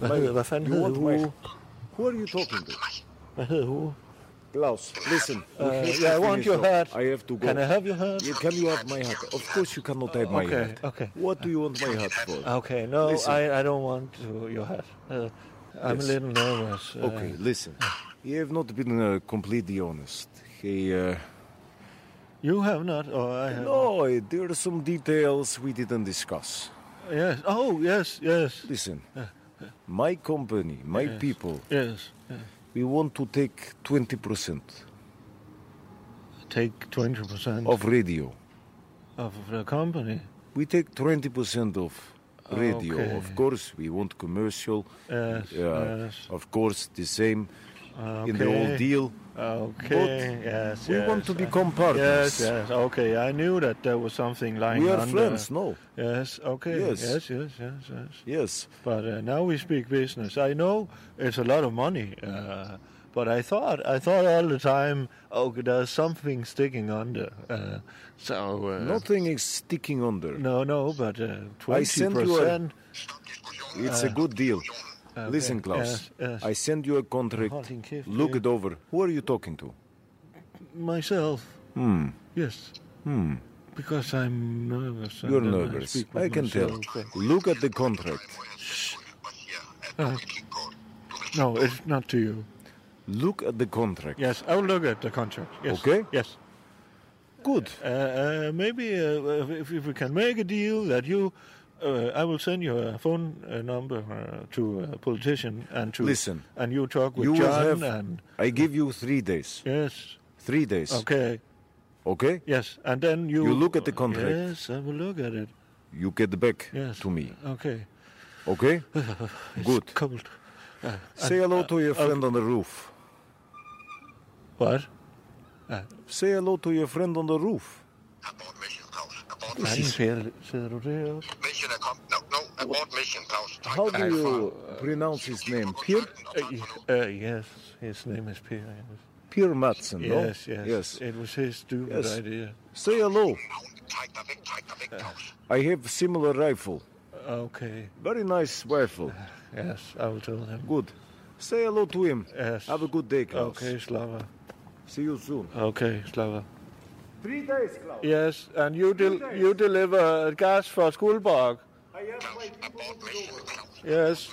[SPEAKER 11] My-
[SPEAKER 10] hedder, hvad fanden
[SPEAKER 11] you
[SPEAKER 10] hedder
[SPEAKER 11] want
[SPEAKER 10] Hugo?
[SPEAKER 11] my- Who are you talking to?
[SPEAKER 10] Hvad hedder Hugo?
[SPEAKER 11] Klaus, listen. we
[SPEAKER 10] Uh,
[SPEAKER 11] have to
[SPEAKER 10] yeah, I want
[SPEAKER 11] finish
[SPEAKER 10] your
[SPEAKER 11] now.
[SPEAKER 10] hat.
[SPEAKER 11] I have to go.
[SPEAKER 10] Can I have your hat?
[SPEAKER 11] Yeah, can you have my hat? Of course you cannot have my
[SPEAKER 10] Okay,
[SPEAKER 11] hat.
[SPEAKER 10] okay.
[SPEAKER 11] What do you want my hat for?
[SPEAKER 10] Okay, no,
[SPEAKER 11] Listen.
[SPEAKER 10] I, I don't want to, your hat. Uh, I'm a
[SPEAKER 11] Yes.
[SPEAKER 10] little nervous. Uh,
[SPEAKER 11] Okay, listen. You have not been uh, completely honest. He, uh,
[SPEAKER 10] You have not, or I have.
[SPEAKER 11] no, eh, there are some details we didn't discuss.
[SPEAKER 10] Yes. Oh, yes, yes.
[SPEAKER 11] Listen, my company, my
[SPEAKER 10] Yes.
[SPEAKER 11] people,
[SPEAKER 10] Yes. yes.
[SPEAKER 11] we want to take 20%
[SPEAKER 10] Take twenty percent
[SPEAKER 11] of radio.
[SPEAKER 10] of the company.
[SPEAKER 11] We take 20% of radio.
[SPEAKER 10] Okay.
[SPEAKER 11] Of course, we want commercial.
[SPEAKER 10] Yes,
[SPEAKER 11] Yeah,
[SPEAKER 10] yes.
[SPEAKER 11] Of course, the same in the
[SPEAKER 10] Okay.
[SPEAKER 11] whole deal.
[SPEAKER 10] Okay.
[SPEAKER 11] But
[SPEAKER 10] yes.
[SPEAKER 11] we
[SPEAKER 10] yes.
[SPEAKER 11] want to
[SPEAKER 10] uh,
[SPEAKER 11] become partners.
[SPEAKER 10] Yes. Yes. Okay. I knew that there was something lying.
[SPEAKER 11] We are
[SPEAKER 10] under.
[SPEAKER 11] friends, no?
[SPEAKER 10] Yes. Okay.
[SPEAKER 11] Yes.
[SPEAKER 10] Yes. Yes. Yes. Yes.
[SPEAKER 11] Yes.
[SPEAKER 10] But uh, now we speak business. I know it's a lot of money, uh, but I thought I thought all the time, oh, there's something sticking under. Uh, so uh,
[SPEAKER 11] Nothing is sticking under.
[SPEAKER 10] No. No. But uh,
[SPEAKER 11] I
[SPEAKER 10] twenty
[SPEAKER 11] sent you a,
[SPEAKER 10] percent.
[SPEAKER 11] It's a good deal. Listen, Klaus.
[SPEAKER 10] yes, yes.
[SPEAKER 11] I send you a contract.
[SPEAKER 10] Holding gift,
[SPEAKER 11] Look
[SPEAKER 10] uh, yeah.
[SPEAKER 11] it over. Who are you talking to?
[SPEAKER 10] Myself.
[SPEAKER 11] Hmm.
[SPEAKER 10] Yes.
[SPEAKER 11] Hmm.
[SPEAKER 10] Because I'm nervous. and
[SPEAKER 11] You're
[SPEAKER 10] then I
[SPEAKER 11] nervous.
[SPEAKER 10] speak with
[SPEAKER 11] I can tell.
[SPEAKER 10] myself, uh,
[SPEAKER 11] Look at the contract.
[SPEAKER 10] Uh, no, it's not to you.
[SPEAKER 11] Look at the contract.
[SPEAKER 10] Yes, I will look at the contract. Yes.
[SPEAKER 11] Okay.
[SPEAKER 10] Yes.
[SPEAKER 11] Good.
[SPEAKER 10] Uh, uh, maybe uh, if, if we can make a deal that you, uh, I will send you a phone uh, number uh, to a politician and to
[SPEAKER 11] Listen.
[SPEAKER 10] and you talk with
[SPEAKER 11] You will
[SPEAKER 10] John
[SPEAKER 11] have.
[SPEAKER 10] and
[SPEAKER 11] I give you three days.
[SPEAKER 10] yes,
[SPEAKER 11] Three days.
[SPEAKER 10] okay,
[SPEAKER 11] Okay.
[SPEAKER 10] yes, and then you
[SPEAKER 11] You look at the contract.
[SPEAKER 10] Yes, I will look at it.
[SPEAKER 11] You get back
[SPEAKER 10] Yes.
[SPEAKER 11] to me.
[SPEAKER 10] Okay.
[SPEAKER 11] Okay. Good.
[SPEAKER 10] Cold. Uh,
[SPEAKER 11] Say
[SPEAKER 10] and-
[SPEAKER 11] hello to your
[SPEAKER 10] uh,
[SPEAKER 11] friend on the roof.
[SPEAKER 10] What?
[SPEAKER 11] Say hello to your friend on the roof.
[SPEAKER 10] Manden sidder, sidder du deroppe?
[SPEAKER 13] Abort mission, Klaus. Tak.
[SPEAKER 11] How do you pronounce his name? Pierre?
[SPEAKER 10] Uh, yes, his name is Pierre. yes.
[SPEAKER 11] Pierre Madsen, no?
[SPEAKER 10] Yes, yes, It was his stupid
[SPEAKER 11] Yes.
[SPEAKER 10] idea.
[SPEAKER 11] Say hello. I have similar rifle.
[SPEAKER 10] Okay.
[SPEAKER 11] Very nice rifle.
[SPEAKER 10] Yes, I will tell him.
[SPEAKER 11] Good. Say hello to him.
[SPEAKER 10] Yes.
[SPEAKER 11] Have a good day, Klaus.
[SPEAKER 10] Okay, Slava.
[SPEAKER 11] See you soon.
[SPEAKER 10] Okay, Slava.
[SPEAKER 11] Three days, Klaus.
[SPEAKER 10] Yes, and you del- you deliver gas for Skuldborg.
[SPEAKER 11] I have my people
[SPEAKER 10] Yes.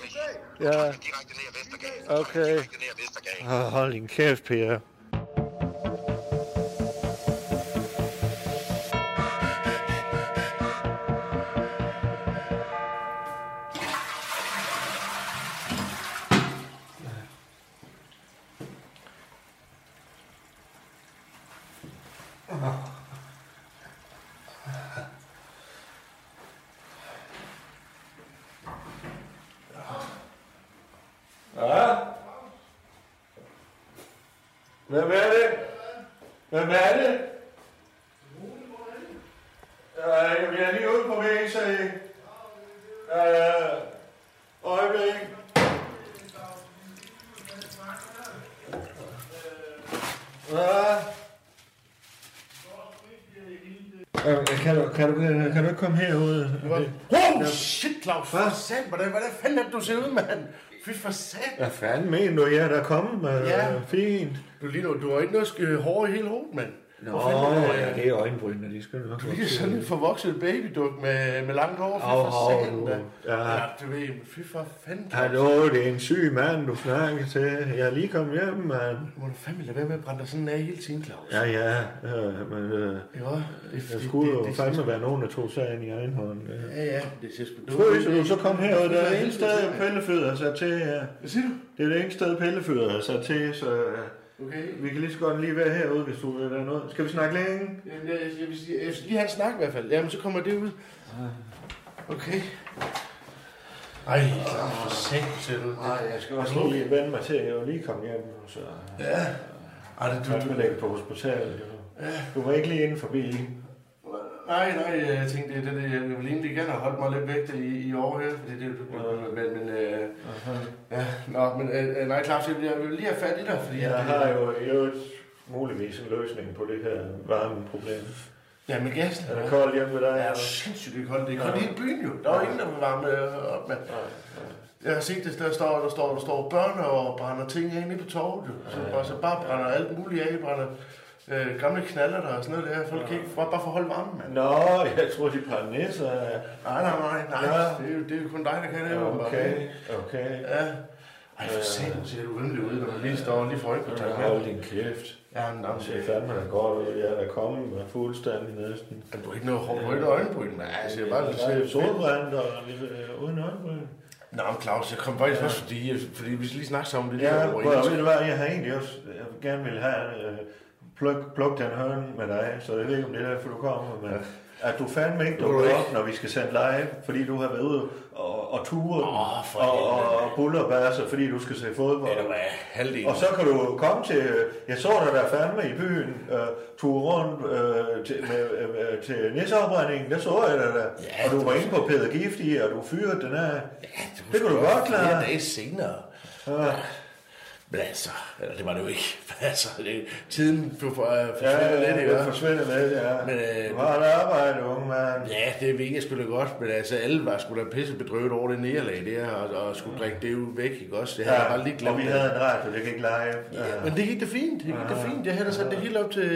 [SPEAKER 10] Yeah. Uh, Okay. Oh, hold din kæft, Pierre.
[SPEAKER 2] Ja? Hvem er det? Hvem er det? Øh, jeg er lige ude på væg, så I... Øh, øjeblik. Ja. Øh, Kan du, kan, du, kan du ikke komme herud?
[SPEAKER 14] Wow, shit, Claus. For satan, hvordan, hvordan fanden er det, du ser ud, mand? Fy for satan.
[SPEAKER 10] Hvad fanden mener du, jeg er der kommet med?
[SPEAKER 14] Ja.
[SPEAKER 10] Fint.
[SPEAKER 14] Du, Lino, du har ikke noget sk- hår i hele hovedet, mand.
[SPEAKER 2] Nå,
[SPEAKER 15] Hvor fanden er det? ja, det er øjenbrynene, de skal nok
[SPEAKER 2] Du ligner sådan en forvokset babyduk med, med langt hår. Fy
[SPEAKER 10] Au,
[SPEAKER 2] for
[SPEAKER 10] au,
[SPEAKER 2] satan da.
[SPEAKER 10] ja.
[SPEAKER 2] ja. du ved, fy for fanden.
[SPEAKER 10] Hallo, det er en syg mand, du snakker til. Jeg er lige kommet hjem, mand.
[SPEAKER 2] Må du fandme lade være med at brænde dig sådan af hele tiden, Claus.
[SPEAKER 10] Ja, ja, øh, men øh,
[SPEAKER 2] Jo, det,
[SPEAKER 10] der skulle jo
[SPEAKER 2] det-
[SPEAKER 10] fandme være nogen, der tog sagen i egen hånd. Ja.
[SPEAKER 2] Ja, ja, det ser sgu
[SPEAKER 10] Frøs, du så kom her, og der er det eneste sted, pillefødder er sat til her.
[SPEAKER 2] Hvad siger du?
[SPEAKER 10] Det er det eneste sted, pillefødder er sat til, så øh,
[SPEAKER 2] Okay.
[SPEAKER 10] vi kan lige så godt lige være herude, hvis du vil være noget. Skal vi snakke længe?
[SPEAKER 2] Jamen, jeg, jeg, vil sige, jeg skal lige have en snak i hvert fald. Jamen, så kommer det ud. Okay. Ej, Claus, for satan.
[SPEAKER 10] Nej, jeg skal også lige vende mig til, at jeg jo lige kom hjem, så...
[SPEAKER 2] Ja.
[SPEAKER 10] Ej, det du... Jeg ikke på hospitalet, jo. Du var ikke lige inde forbi.
[SPEAKER 2] Nej, nej, jeg tænkte, det, er det, jeg ville egentlig gerne have holdt mig lidt væk i, i år her, fordi det er men, men, øh, ja, nå, men øh, øh, nej, Claus, jeg vil, jeg vil lige have fat i dig, fordi...
[SPEAKER 10] Jeg har jo i øvrigt muligvis en løsning på det her varmeproblem.
[SPEAKER 2] Ja, med gassen.
[SPEAKER 10] Er det koldt hjemme ved dig?
[SPEAKER 2] Ja,
[SPEAKER 10] eller?
[SPEAKER 2] sindssygt det er koldt. Det er koldt i hele byen jo. Der er jo ingen, der vil varme øh, op, mand. Jeg har set det, der står, der står, der står børn og brænder ting af inde på torvet. Jo. Så bare, så bare brænder alt muligt af, brænder øh, gamle knaller der og sådan noget der. Folk kan ikke bare, bare forholde varmen, mand.
[SPEAKER 10] Nå, jeg tror, de brænder nisser.
[SPEAKER 2] Nej, nej, nej, nej.
[SPEAKER 10] Ja.
[SPEAKER 2] Det, er jo, det er jo kun dig, der kan det. jo, bare.
[SPEAKER 10] Okay, okay.
[SPEAKER 2] Ja. Ej, for satan, ser du rimelig ud, når du lige står lige for øjekontakt. med.
[SPEAKER 10] Hold din kæft.
[SPEAKER 2] Ja, men
[SPEAKER 10] Det er fandme da godt ud. Jeg er da kommet med fuldstændig næsten.
[SPEAKER 2] Men du har ikke noget hår, du har ikke noget øjenbryn, mand. Altså, jeg bare
[SPEAKER 10] lidt... Jeg er solbrændt og lidt, øh, uden øjenbryn.
[SPEAKER 2] Nå, men Claus, jeg kom faktisk også, fordi, øh, fordi vi skal lige snakke sammen om det.
[SPEAKER 10] Ja,
[SPEAKER 2] der over
[SPEAKER 10] prøv at
[SPEAKER 2] engelsk.
[SPEAKER 10] ved du hvad, jeg har egentlig også, jeg vil gerne vil have, øh, pluk, pluk den høn med dig, så jeg ved ikke, om det er derfor, du kommer, men at du fandme ikke
[SPEAKER 2] Det må du
[SPEAKER 10] dukker
[SPEAKER 2] ikke.
[SPEAKER 10] op, når vi skal sende live, fordi du har været ude og, og ture
[SPEAKER 2] Åh, for
[SPEAKER 10] og,
[SPEAKER 2] helvede,
[SPEAKER 10] og, og bullerbasse, fordi du skal se fodbold.
[SPEAKER 2] Ved du hvad, halvdelen.
[SPEAKER 10] Og så kan du komme til, øh, jeg så dig der fandme i byen, øh, ture rundt øh, til, med, øh, øh, til næseopbrændingen, der så jeg dig der,
[SPEAKER 2] Ja,
[SPEAKER 10] og du
[SPEAKER 2] det
[SPEAKER 10] var
[SPEAKER 2] var-
[SPEAKER 10] inde på Peder Giftig, og du fyrede den af. det, kunne du
[SPEAKER 2] Bare
[SPEAKER 10] godt klare.
[SPEAKER 2] Flere dage senere.
[SPEAKER 10] Ja.
[SPEAKER 2] Men altså, eller det var det jo ikke. Men altså, det, tiden for, for, øh,
[SPEAKER 10] Ja,
[SPEAKER 2] forsvinder
[SPEAKER 10] ja,
[SPEAKER 2] lidt,
[SPEAKER 10] ja,
[SPEAKER 2] ikke?
[SPEAKER 10] det forsvinder lidt, ja.
[SPEAKER 2] Men, øh,
[SPEAKER 10] du har et arbejde, unge mand.
[SPEAKER 2] Ja, det ved jeg sgu da godt, men altså, alle var sgu da pisse bedrøvet over det nederlag der, og, og skulle drikke det ud væk, ikke også? Det havde jeg bare lige glemt.
[SPEAKER 10] og vi havde en radio, det gik live. Ja. Ah.
[SPEAKER 2] Men det gik det fint, det gik det fint. Jeg havde da sat det hele op til,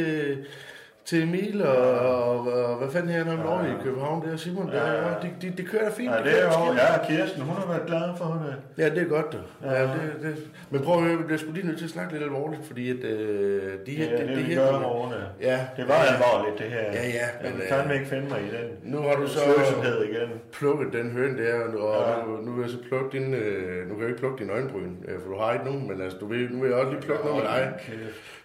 [SPEAKER 2] til Emil og,
[SPEAKER 10] Ah.
[SPEAKER 2] og, og hvad fanden her, når han over i København, der og Simon, der,
[SPEAKER 10] Ah, Ja.
[SPEAKER 2] ja, det, det, det kører da fint.
[SPEAKER 10] Ja, det
[SPEAKER 2] kører
[SPEAKER 10] er jo,
[SPEAKER 2] skidt.
[SPEAKER 10] ja, Ah. Kirsten, hun har været glad for det.
[SPEAKER 2] Ja, det er godt, du. Ja,
[SPEAKER 10] Ja.
[SPEAKER 2] det, det. Men prøv at høre, vi bliver sgu lige nødt til at snakke lidt alvorligt, fordi at, øh, de her...
[SPEAKER 10] Ja, det, det, vi
[SPEAKER 2] her-
[SPEAKER 10] gør i morgen. ja.
[SPEAKER 2] Ja.
[SPEAKER 10] Det var alvorligt, det her.
[SPEAKER 2] Ja, ja,
[SPEAKER 10] Jeg
[SPEAKER 2] men,
[SPEAKER 10] vil
[SPEAKER 2] øh,
[SPEAKER 10] fandme ikke finde mig i den.
[SPEAKER 2] Nu har du så
[SPEAKER 10] Sløsomhed igen.
[SPEAKER 2] plukket den høn der, og nu,
[SPEAKER 10] Ja.
[SPEAKER 2] og nu, nu vil jeg så plukke din... Øh, nu kan jeg ikke plukke din øjenbryn, øh, for du har ikke nogen, men altså, du vil, nu vil jeg også lige plukke noget med dig.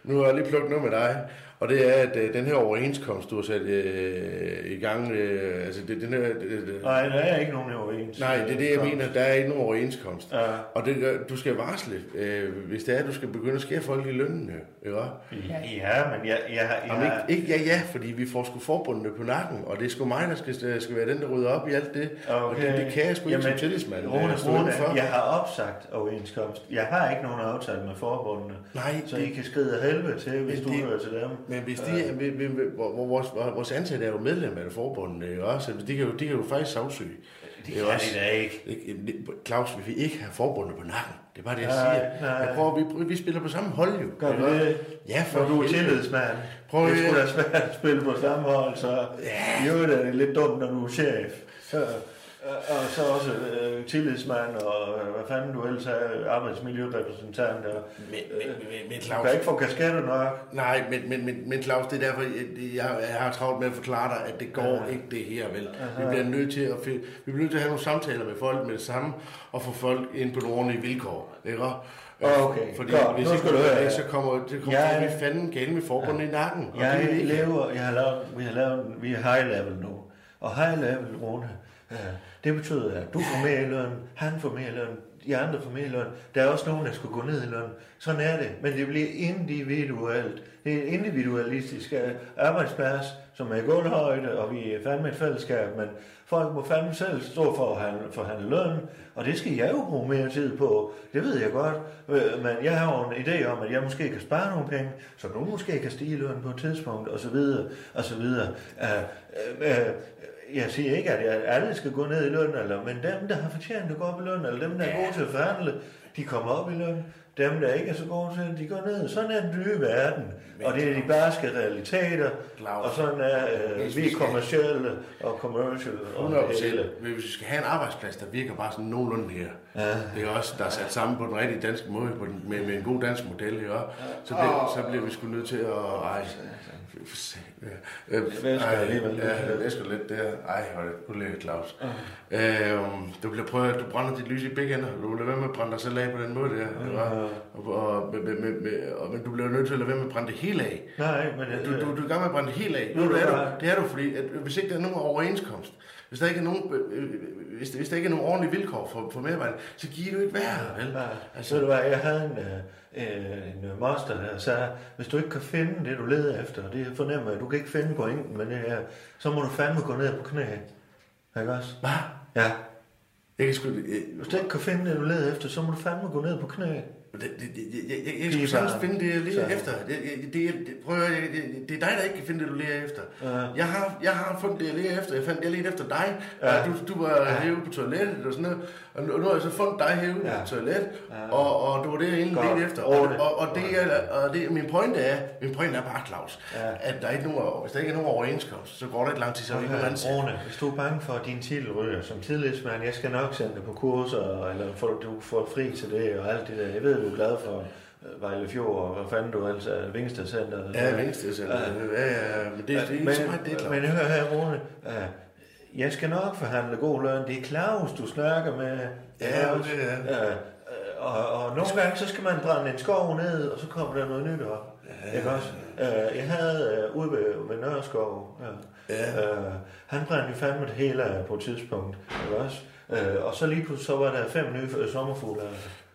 [SPEAKER 2] Nu har jeg lige plukket noget med dig, og det er, at øh, den her overenskomst, du har sat øh, i gang... Øh, altså, det, den her... Det, det,
[SPEAKER 10] Nej, der er ikke nogen overens.
[SPEAKER 2] Nej, det er det, jeg mener. Der er ikke nogen overenskomst.
[SPEAKER 10] Ja.
[SPEAKER 2] Og det, gør- du skal varsle, øh, hvis det er, at du skal begynde at skære folk i lønnen. jo, Ikke?
[SPEAKER 10] Ja, ja, men jeg, jeg,
[SPEAKER 2] Jamen,
[SPEAKER 10] jeg,
[SPEAKER 2] ikke, ikke ja, ja, fordi vi får sgu forbundene på nakken, og det er sgu mig, der skal, skal være den, der rydder op i alt det. Og det, det kan jeg sgu ikke som tillidsmand.
[SPEAKER 10] Ah, Rune,
[SPEAKER 2] øh, stå
[SPEAKER 10] Rune,
[SPEAKER 2] udenfor.
[SPEAKER 10] jeg har opsagt overenskomst. Jeg har ikke nogen aftale med forbundene.
[SPEAKER 2] Nej,
[SPEAKER 10] så
[SPEAKER 2] det-
[SPEAKER 10] I kan skride af helvede til, hvis
[SPEAKER 2] Men
[SPEAKER 10] du
[SPEAKER 2] det-
[SPEAKER 10] hører til dem. Øh.
[SPEAKER 2] Men hvis de, ja. vi, vi, vi, hvor- hvor- vores, hvor- vores ansatte er jo medlem af det forbund, ikke også? Så de kan jo, de kan jo faktisk sagsøge.
[SPEAKER 10] Det kan de da ikke.
[SPEAKER 2] Claus, vi vil ikke have forbundet på nakken. Det er bare det, jeg
[SPEAKER 10] Nej,
[SPEAKER 2] siger.
[SPEAKER 10] nej.
[SPEAKER 2] Jeg prøver, vi, vi spiller på samme hold jo.
[SPEAKER 10] Gør vi
[SPEAKER 2] Ikke
[SPEAKER 10] det?
[SPEAKER 2] også? Ja, for
[SPEAKER 10] Når du er
[SPEAKER 2] helvede.
[SPEAKER 10] tillidsmand.
[SPEAKER 2] Prøv
[SPEAKER 10] det
[SPEAKER 2] at-
[SPEAKER 10] skulle da svært at spille på samme hold, så ja. jo, det er lidt dumt, når du er chef. Øh, Og så også øh, tillidsmand, og øh, hvad fanden du ellers er, arbejdsmiljørepræsentant. Og,
[SPEAKER 2] Men, men, men, men
[SPEAKER 10] du
[SPEAKER 2] Claus,
[SPEAKER 10] kan ikke få kasketter nok.
[SPEAKER 2] Nej, men, men, men, men Claus, det er derfor, jeg, jeg, jeg har travlt med at forklare dig, at det går ja. ikke det her, vel? Vi bliver nødt til at, fi- vi bliver nødt til at have nogle samtaler med folk med det samme, og få folk ind på nogle ordentlige vilkår, ikke?
[SPEAKER 10] Okay,
[SPEAKER 2] Fordi
[SPEAKER 10] godt.
[SPEAKER 2] hvis
[SPEAKER 10] Nu
[SPEAKER 2] ikke
[SPEAKER 10] skal
[SPEAKER 2] du
[SPEAKER 10] du
[SPEAKER 2] gør
[SPEAKER 10] høre
[SPEAKER 2] det,
[SPEAKER 10] her.
[SPEAKER 2] så kommer, det kommer
[SPEAKER 10] Ja,
[SPEAKER 2] ja,
[SPEAKER 10] ja.
[SPEAKER 2] vi fanden galt med forbundet i nakken. og det
[SPEAKER 10] Jeg
[SPEAKER 2] vil vi ikke.
[SPEAKER 10] lever, jeg har lavet, vi har lavet, vi er high level nu. Og high level, Rune, øh, det betyder, at du får mere i løn, han får mere i løn, de andre får mere i løn. Der er også nogen, der skulle gå ned i løn. Sådan er det, men det bliver individuelt. Det er en individualistisk øh, arbejdsplads, som er gulvhøjde, og vi er fandme et fællesskab, men folk må fandme selv stå for at handle, for at handle løn, og det skal jeg jo bruge mere tid på. Det ved jeg godt, øh, men jeg har jo en idé om, at jeg måske kan spare nogle penge, så du måske kan stige i løn på et tidspunkt, og så videre, og så videre. Øh, øh, øh, jeg siger ikke, at jeg- alle skal gå ned i løn, eller, men dem, der har fortjent at gå op i løn, eller dem, der er gode til at forhandle, de kommer op i løn. Dem, der ikke er så gode til det, de går ned. Sådan er den nye verden. Og det er de barske realiteter, og sådan er øh, vi kommercielle og commercial og det
[SPEAKER 1] 100%.
[SPEAKER 10] hele.
[SPEAKER 1] Men hvis vi skal have en arbejdsplads, der virker bare sådan nogenlunde her. Ja. Det er også, der er sat sammen på den rigtige danske måde, på den, med, med en god dansk model, ikke? også? Så, det, så bliver vi sgu nødt til at... Ej, for satan. Ja. Øh,
[SPEAKER 10] Væsker
[SPEAKER 1] ej,
[SPEAKER 10] alligevel lidt.
[SPEAKER 1] Ja, jeg væsker lidt der. Ej, hvor er det ulækkert, Claus. Øhm, du bliver prøvet, du brænder dit lys i begge ender. Du bliver ved med at brænde dig selv af på den måde der. ikke også? Og, og, med, med, med, med, og, men du bliver nødt til at lade være med at brænde det hele af.
[SPEAKER 10] Nej, men...
[SPEAKER 1] Du, du, du er i gang med at brænde det helt af.
[SPEAKER 10] Nu er
[SPEAKER 1] Nu, det,
[SPEAKER 10] det
[SPEAKER 1] er
[SPEAKER 10] bare-
[SPEAKER 1] du, det er du, fordi at, hvis ikke der er nogen overenskomst, hvis der ikke er nogen, øh, øh, hvis, der- hvis der ikke er nogen ordentlige vilkår for, for medarbejderne, så giver du ikke værd, vel?
[SPEAKER 10] Altså, ved du hvad, jeg havde en, øh, øh, en øh, master, der sagde, hvis du ikke kan finde det, du leder efter, og det jeg fornemmer, at du kan ikke finde pointen med det her, så må du fandme gå ned på knæ. Ikke også? Hvad? Ja.
[SPEAKER 1] Jeg kan sgu...
[SPEAKER 10] Hvis du ikke kan finde det, du leder efter, så må du fandme gå ned på knæ. Det,
[SPEAKER 1] det, det, det, Jeg, jeg skulle sagtens finde det, jeg leder efter. Det, det, det, det, prøv at høre, det, det, det er dig, der ikke kan finde det, du leder efter.
[SPEAKER 10] Ja.
[SPEAKER 1] Jeg, har, jeg har fundet det, jeg leder efter. Jeg fandt det, jeg ledte efter dig.
[SPEAKER 10] Ja.
[SPEAKER 1] Ja. Du, du var ja. herude på toilettet og sådan noget. Og nu, nu har jeg så fundet dig herude
[SPEAKER 10] Ja.
[SPEAKER 1] ja. på toilettet.
[SPEAKER 10] Ja.
[SPEAKER 1] Ja. Og, og du var det, jeg egentlig
[SPEAKER 10] Godt.
[SPEAKER 1] ledte efter. Og,
[SPEAKER 10] Ordentligt.
[SPEAKER 1] og, og, det, jeg, og det, min pointe er, min pointe er bare, Claus,
[SPEAKER 10] Ja.
[SPEAKER 1] ja. at der er ikke nogen, hvis der ikke er nogen overenskomst, så går der ikke lang tid, så er vi ikke nogen ansat.
[SPEAKER 10] Rune, hvis du er bange for, at din titel ryger som tillidsmand, jeg skal nok sende dig på kurser, eller får, du får fri til det og alt det der. Jeg ved, du er glad for øh, Vejle Fjord, og hvad fanden du ellers er, Vingsted Center. og
[SPEAKER 1] Ja,
[SPEAKER 10] sådan.
[SPEAKER 1] Vingsted Center. Ja, ja, men det- det er ikke så meget det, Claus.
[SPEAKER 10] Men hør her, Rune, øh, jeg skal nok forhandle god løn. Det er Claus, du snakker med.
[SPEAKER 1] Ja,
[SPEAKER 10] Claus.
[SPEAKER 1] det er.
[SPEAKER 10] Øh, øh, og, og nogle gange, så skal man brænde en skov ned, og så kommer der noget nyt op. Ja. Ikke også? Øh, jeg havde øh, ude ved, ved Nørreskov, ja. Ja. Øh, han brændte jo fandme det hele af på et tidspunkt, ikke også? Øh, og så lige pludselig, så var der fem nye øh, sommerfugle.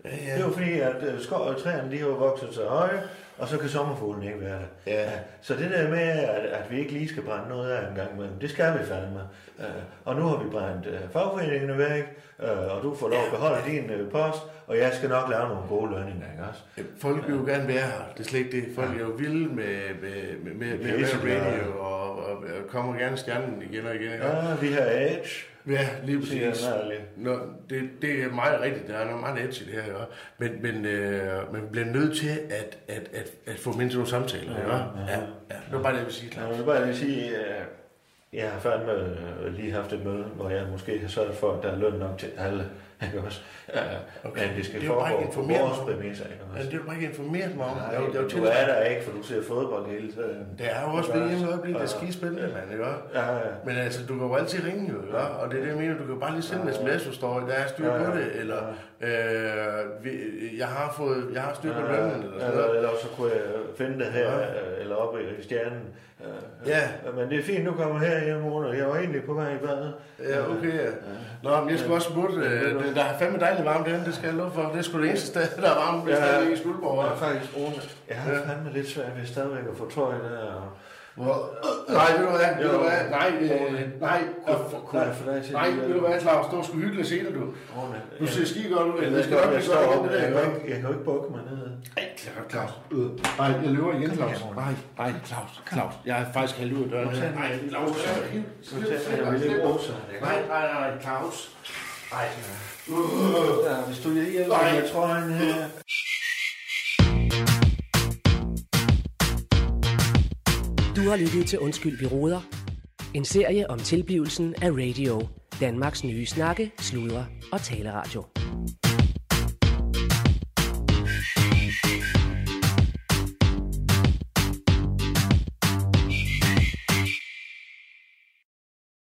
[SPEAKER 10] Ja, ja. Det var fordi, at øh, skov og træerne, de har jo vokset så høje, og så kan sommerfuglen ikke være der.
[SPEAKER 1] Ja.
[SPEAKER 10] Så det der med, at, at vi ikke lige skal brænde noget af en gang imellem, det skal vi fandme. Øh, og nu har vi brændt øh, fagforeningerne væk, øh, og du får lov at beholde din øh, post, og jeg skal nok lave nogle gode lønninger, ikke også?
[SPEAKER 1] Folk vil jo gerne være her. Det er slet ikke det. Folk er jo vilde med, med,
[SPEAKER 2] øh,
[SPEAKER 1] med, med, med,
[SPEAKER 10] Pisse,
[SPEAKER 1] med
[SPEAKER 10] ja.
[SPEAKER 1] radio og, og, og kommer gerne stjernen igen og igen. ikke?
[SPEAKER 10] Ja, vi har edge.
[SPEAKER 1] Ja, lige
[SPEAKER 10] Siger
[SPEAKER 1] præcis.
[SPEAKER 10] jeg meget.
[SPEAKER 1] Nå, det, det er meget rigtigt. Der er noget meget edge i det her. Ikke? Men, men øh, man bliver nødt til at, at, at, at få mindst nogle samtaler. Ikke? Ja, ja. Det var bare det, jeg ville sige,
[SPEAKER 10] Jeg
[SPEAKER 1] Claus.
[SPEAKER 10] vil bare lige sige, øh, jeg har fandme øh, lige haft et møde, hvor jeg måske har sørget for, at der er løn nok til alle, ikke også? Øh,
[SPEAKER 1] Okay.
[SPEAKER 10] Men det skal
[SPEAKER 1] Det er jo bare
[SPEAKER 10] foregå
[SPEAKER 1] ikke
[SPEAKER 10] på
[SPEAKER 1] informeret
[SPEAKER 10] vores
[SPEAKER 1] om.
[SPEAKER 10] præmisser, ikke
[SPEAKER 1] Ja,
[SPEAKER 10] også?
[SPEAKER 1] det er du bare ikke informeret mig om.
[SPEAKER 10] Nej,
[SPEAKER 1] Der er jo- der er jo
[SPEAKER 10] du er
[SPEAKER 1] tilsyn.
[SPEAKER 10] der ikke, for du ser fodbold hele tiden.
[SPEAKER 1] Det er jo også
[SPEAKER 10] Ikke
[SPEAKER 1] ved hjemme i øjeblikket, det er
[SPEAKER 10] Ja.
[SPEAKER 1] skidespændende, mand, ikke også?
[SPEAKER 10] Ja, ja.
[SPEAKER 1] Men altså, du kan jo altid ringe, jo, ikke også? Og det er det, jeg mener, du kan bare lige sende en sms, hvis du står, der er styr
[SPEAKER 10] Ja, ja.
[SPEAKER 1] på det, eller øh, vi- jeg har fået, jeg har styr på lønnen, eller sådan
[SPEAKER 10] eller,
[SPEAKER 1] noget.
[SPEAKER 10] eller så kunne jeg finde det her, ja. eller oppe i stjernen. Øh,
[SPEAKER 1] Ja.
[SPEAKER 10] Men det er fint, du kommer her hjem, og jeg var egentlig på vej i badet.
[SPEAKER 1] Ja, okay. ja. Nå, men jeg skulle også smutte. Øh, det- Der er fandme dejligt varmt derinde, det skal jeg love for. Det er sgu det eneste sted, der er varmt, det er stadigvæk i Skuldborg.
[SPEAKER 10] Jeg er
[SPEAKER 1] hva'?
[SPEAKER 10] faktisk Rune. Jeg har ja. fandme lidt svært ved stadigvæk at få tøj der. Og...
[SPEAKER 1] Nej, ved du hvad, ved du
[SPEAKER 10] Jo.
[SPEAKER 1] hvad, nej,
[SPEAKER 10] Rune.
[SPEAKER 1] øh, nej, kunne- kunne-
[SPEAKER 10] Nej, for dig til
[SPEAKER 1] nej,
[SPEAKER 10] det,
[SPEAKER 1] ved du hvad, Claus, det var sgu hyggeligt at se dig, du.
[SPEAKER 10] Rune,
[SPEAKER 1] Du ser skide godt ud,
[SPEAKER 10] Jeg
[SPEAKER 1] det
[SPEAKER 10] ved
[SPEAKER 1] skal
[SPEAKER 10] godt,
[SPEAKER 1] nok
[SPEAKER 10] jeg
[SPEAKER 1] blive
[SPEAKER 10] står
[SPEAKER 1] godt,
[SPEAKER 10] op,
[SPEAKER 1] det
[SPEAKER 10] men
[SPEAKER 1] der,
[SPEAKER 10] jeg
[SPEAKER 1] ikke?
[SPEAKER 10] kan ikke, jeg kan jo ikke bukke mig ned.
[SPEAKER 1] Claus, Claus. Øh. Nej, jeg løber igen, Claus. Nej, nej, Claus. Claus, jeg er faktisk halvt ud af døren. her. Nej, Claus.
[SPEAKER 10] Så tager jeg med lidt roser.
[SPEAKER 1] Nej, nej, nej, Claus. Nej.
[SPEAKER 10] Ja, hvis du lige hjælper
[SPEAKER 1] Nej.
[SPEAKER 10] mig med trøjen her.
[SPEAKER 16] Du har lyttet til Undskyld, vi råder. En serie om tilblivelsen af radio. Danmarks nye snakke, sludre og taleradio.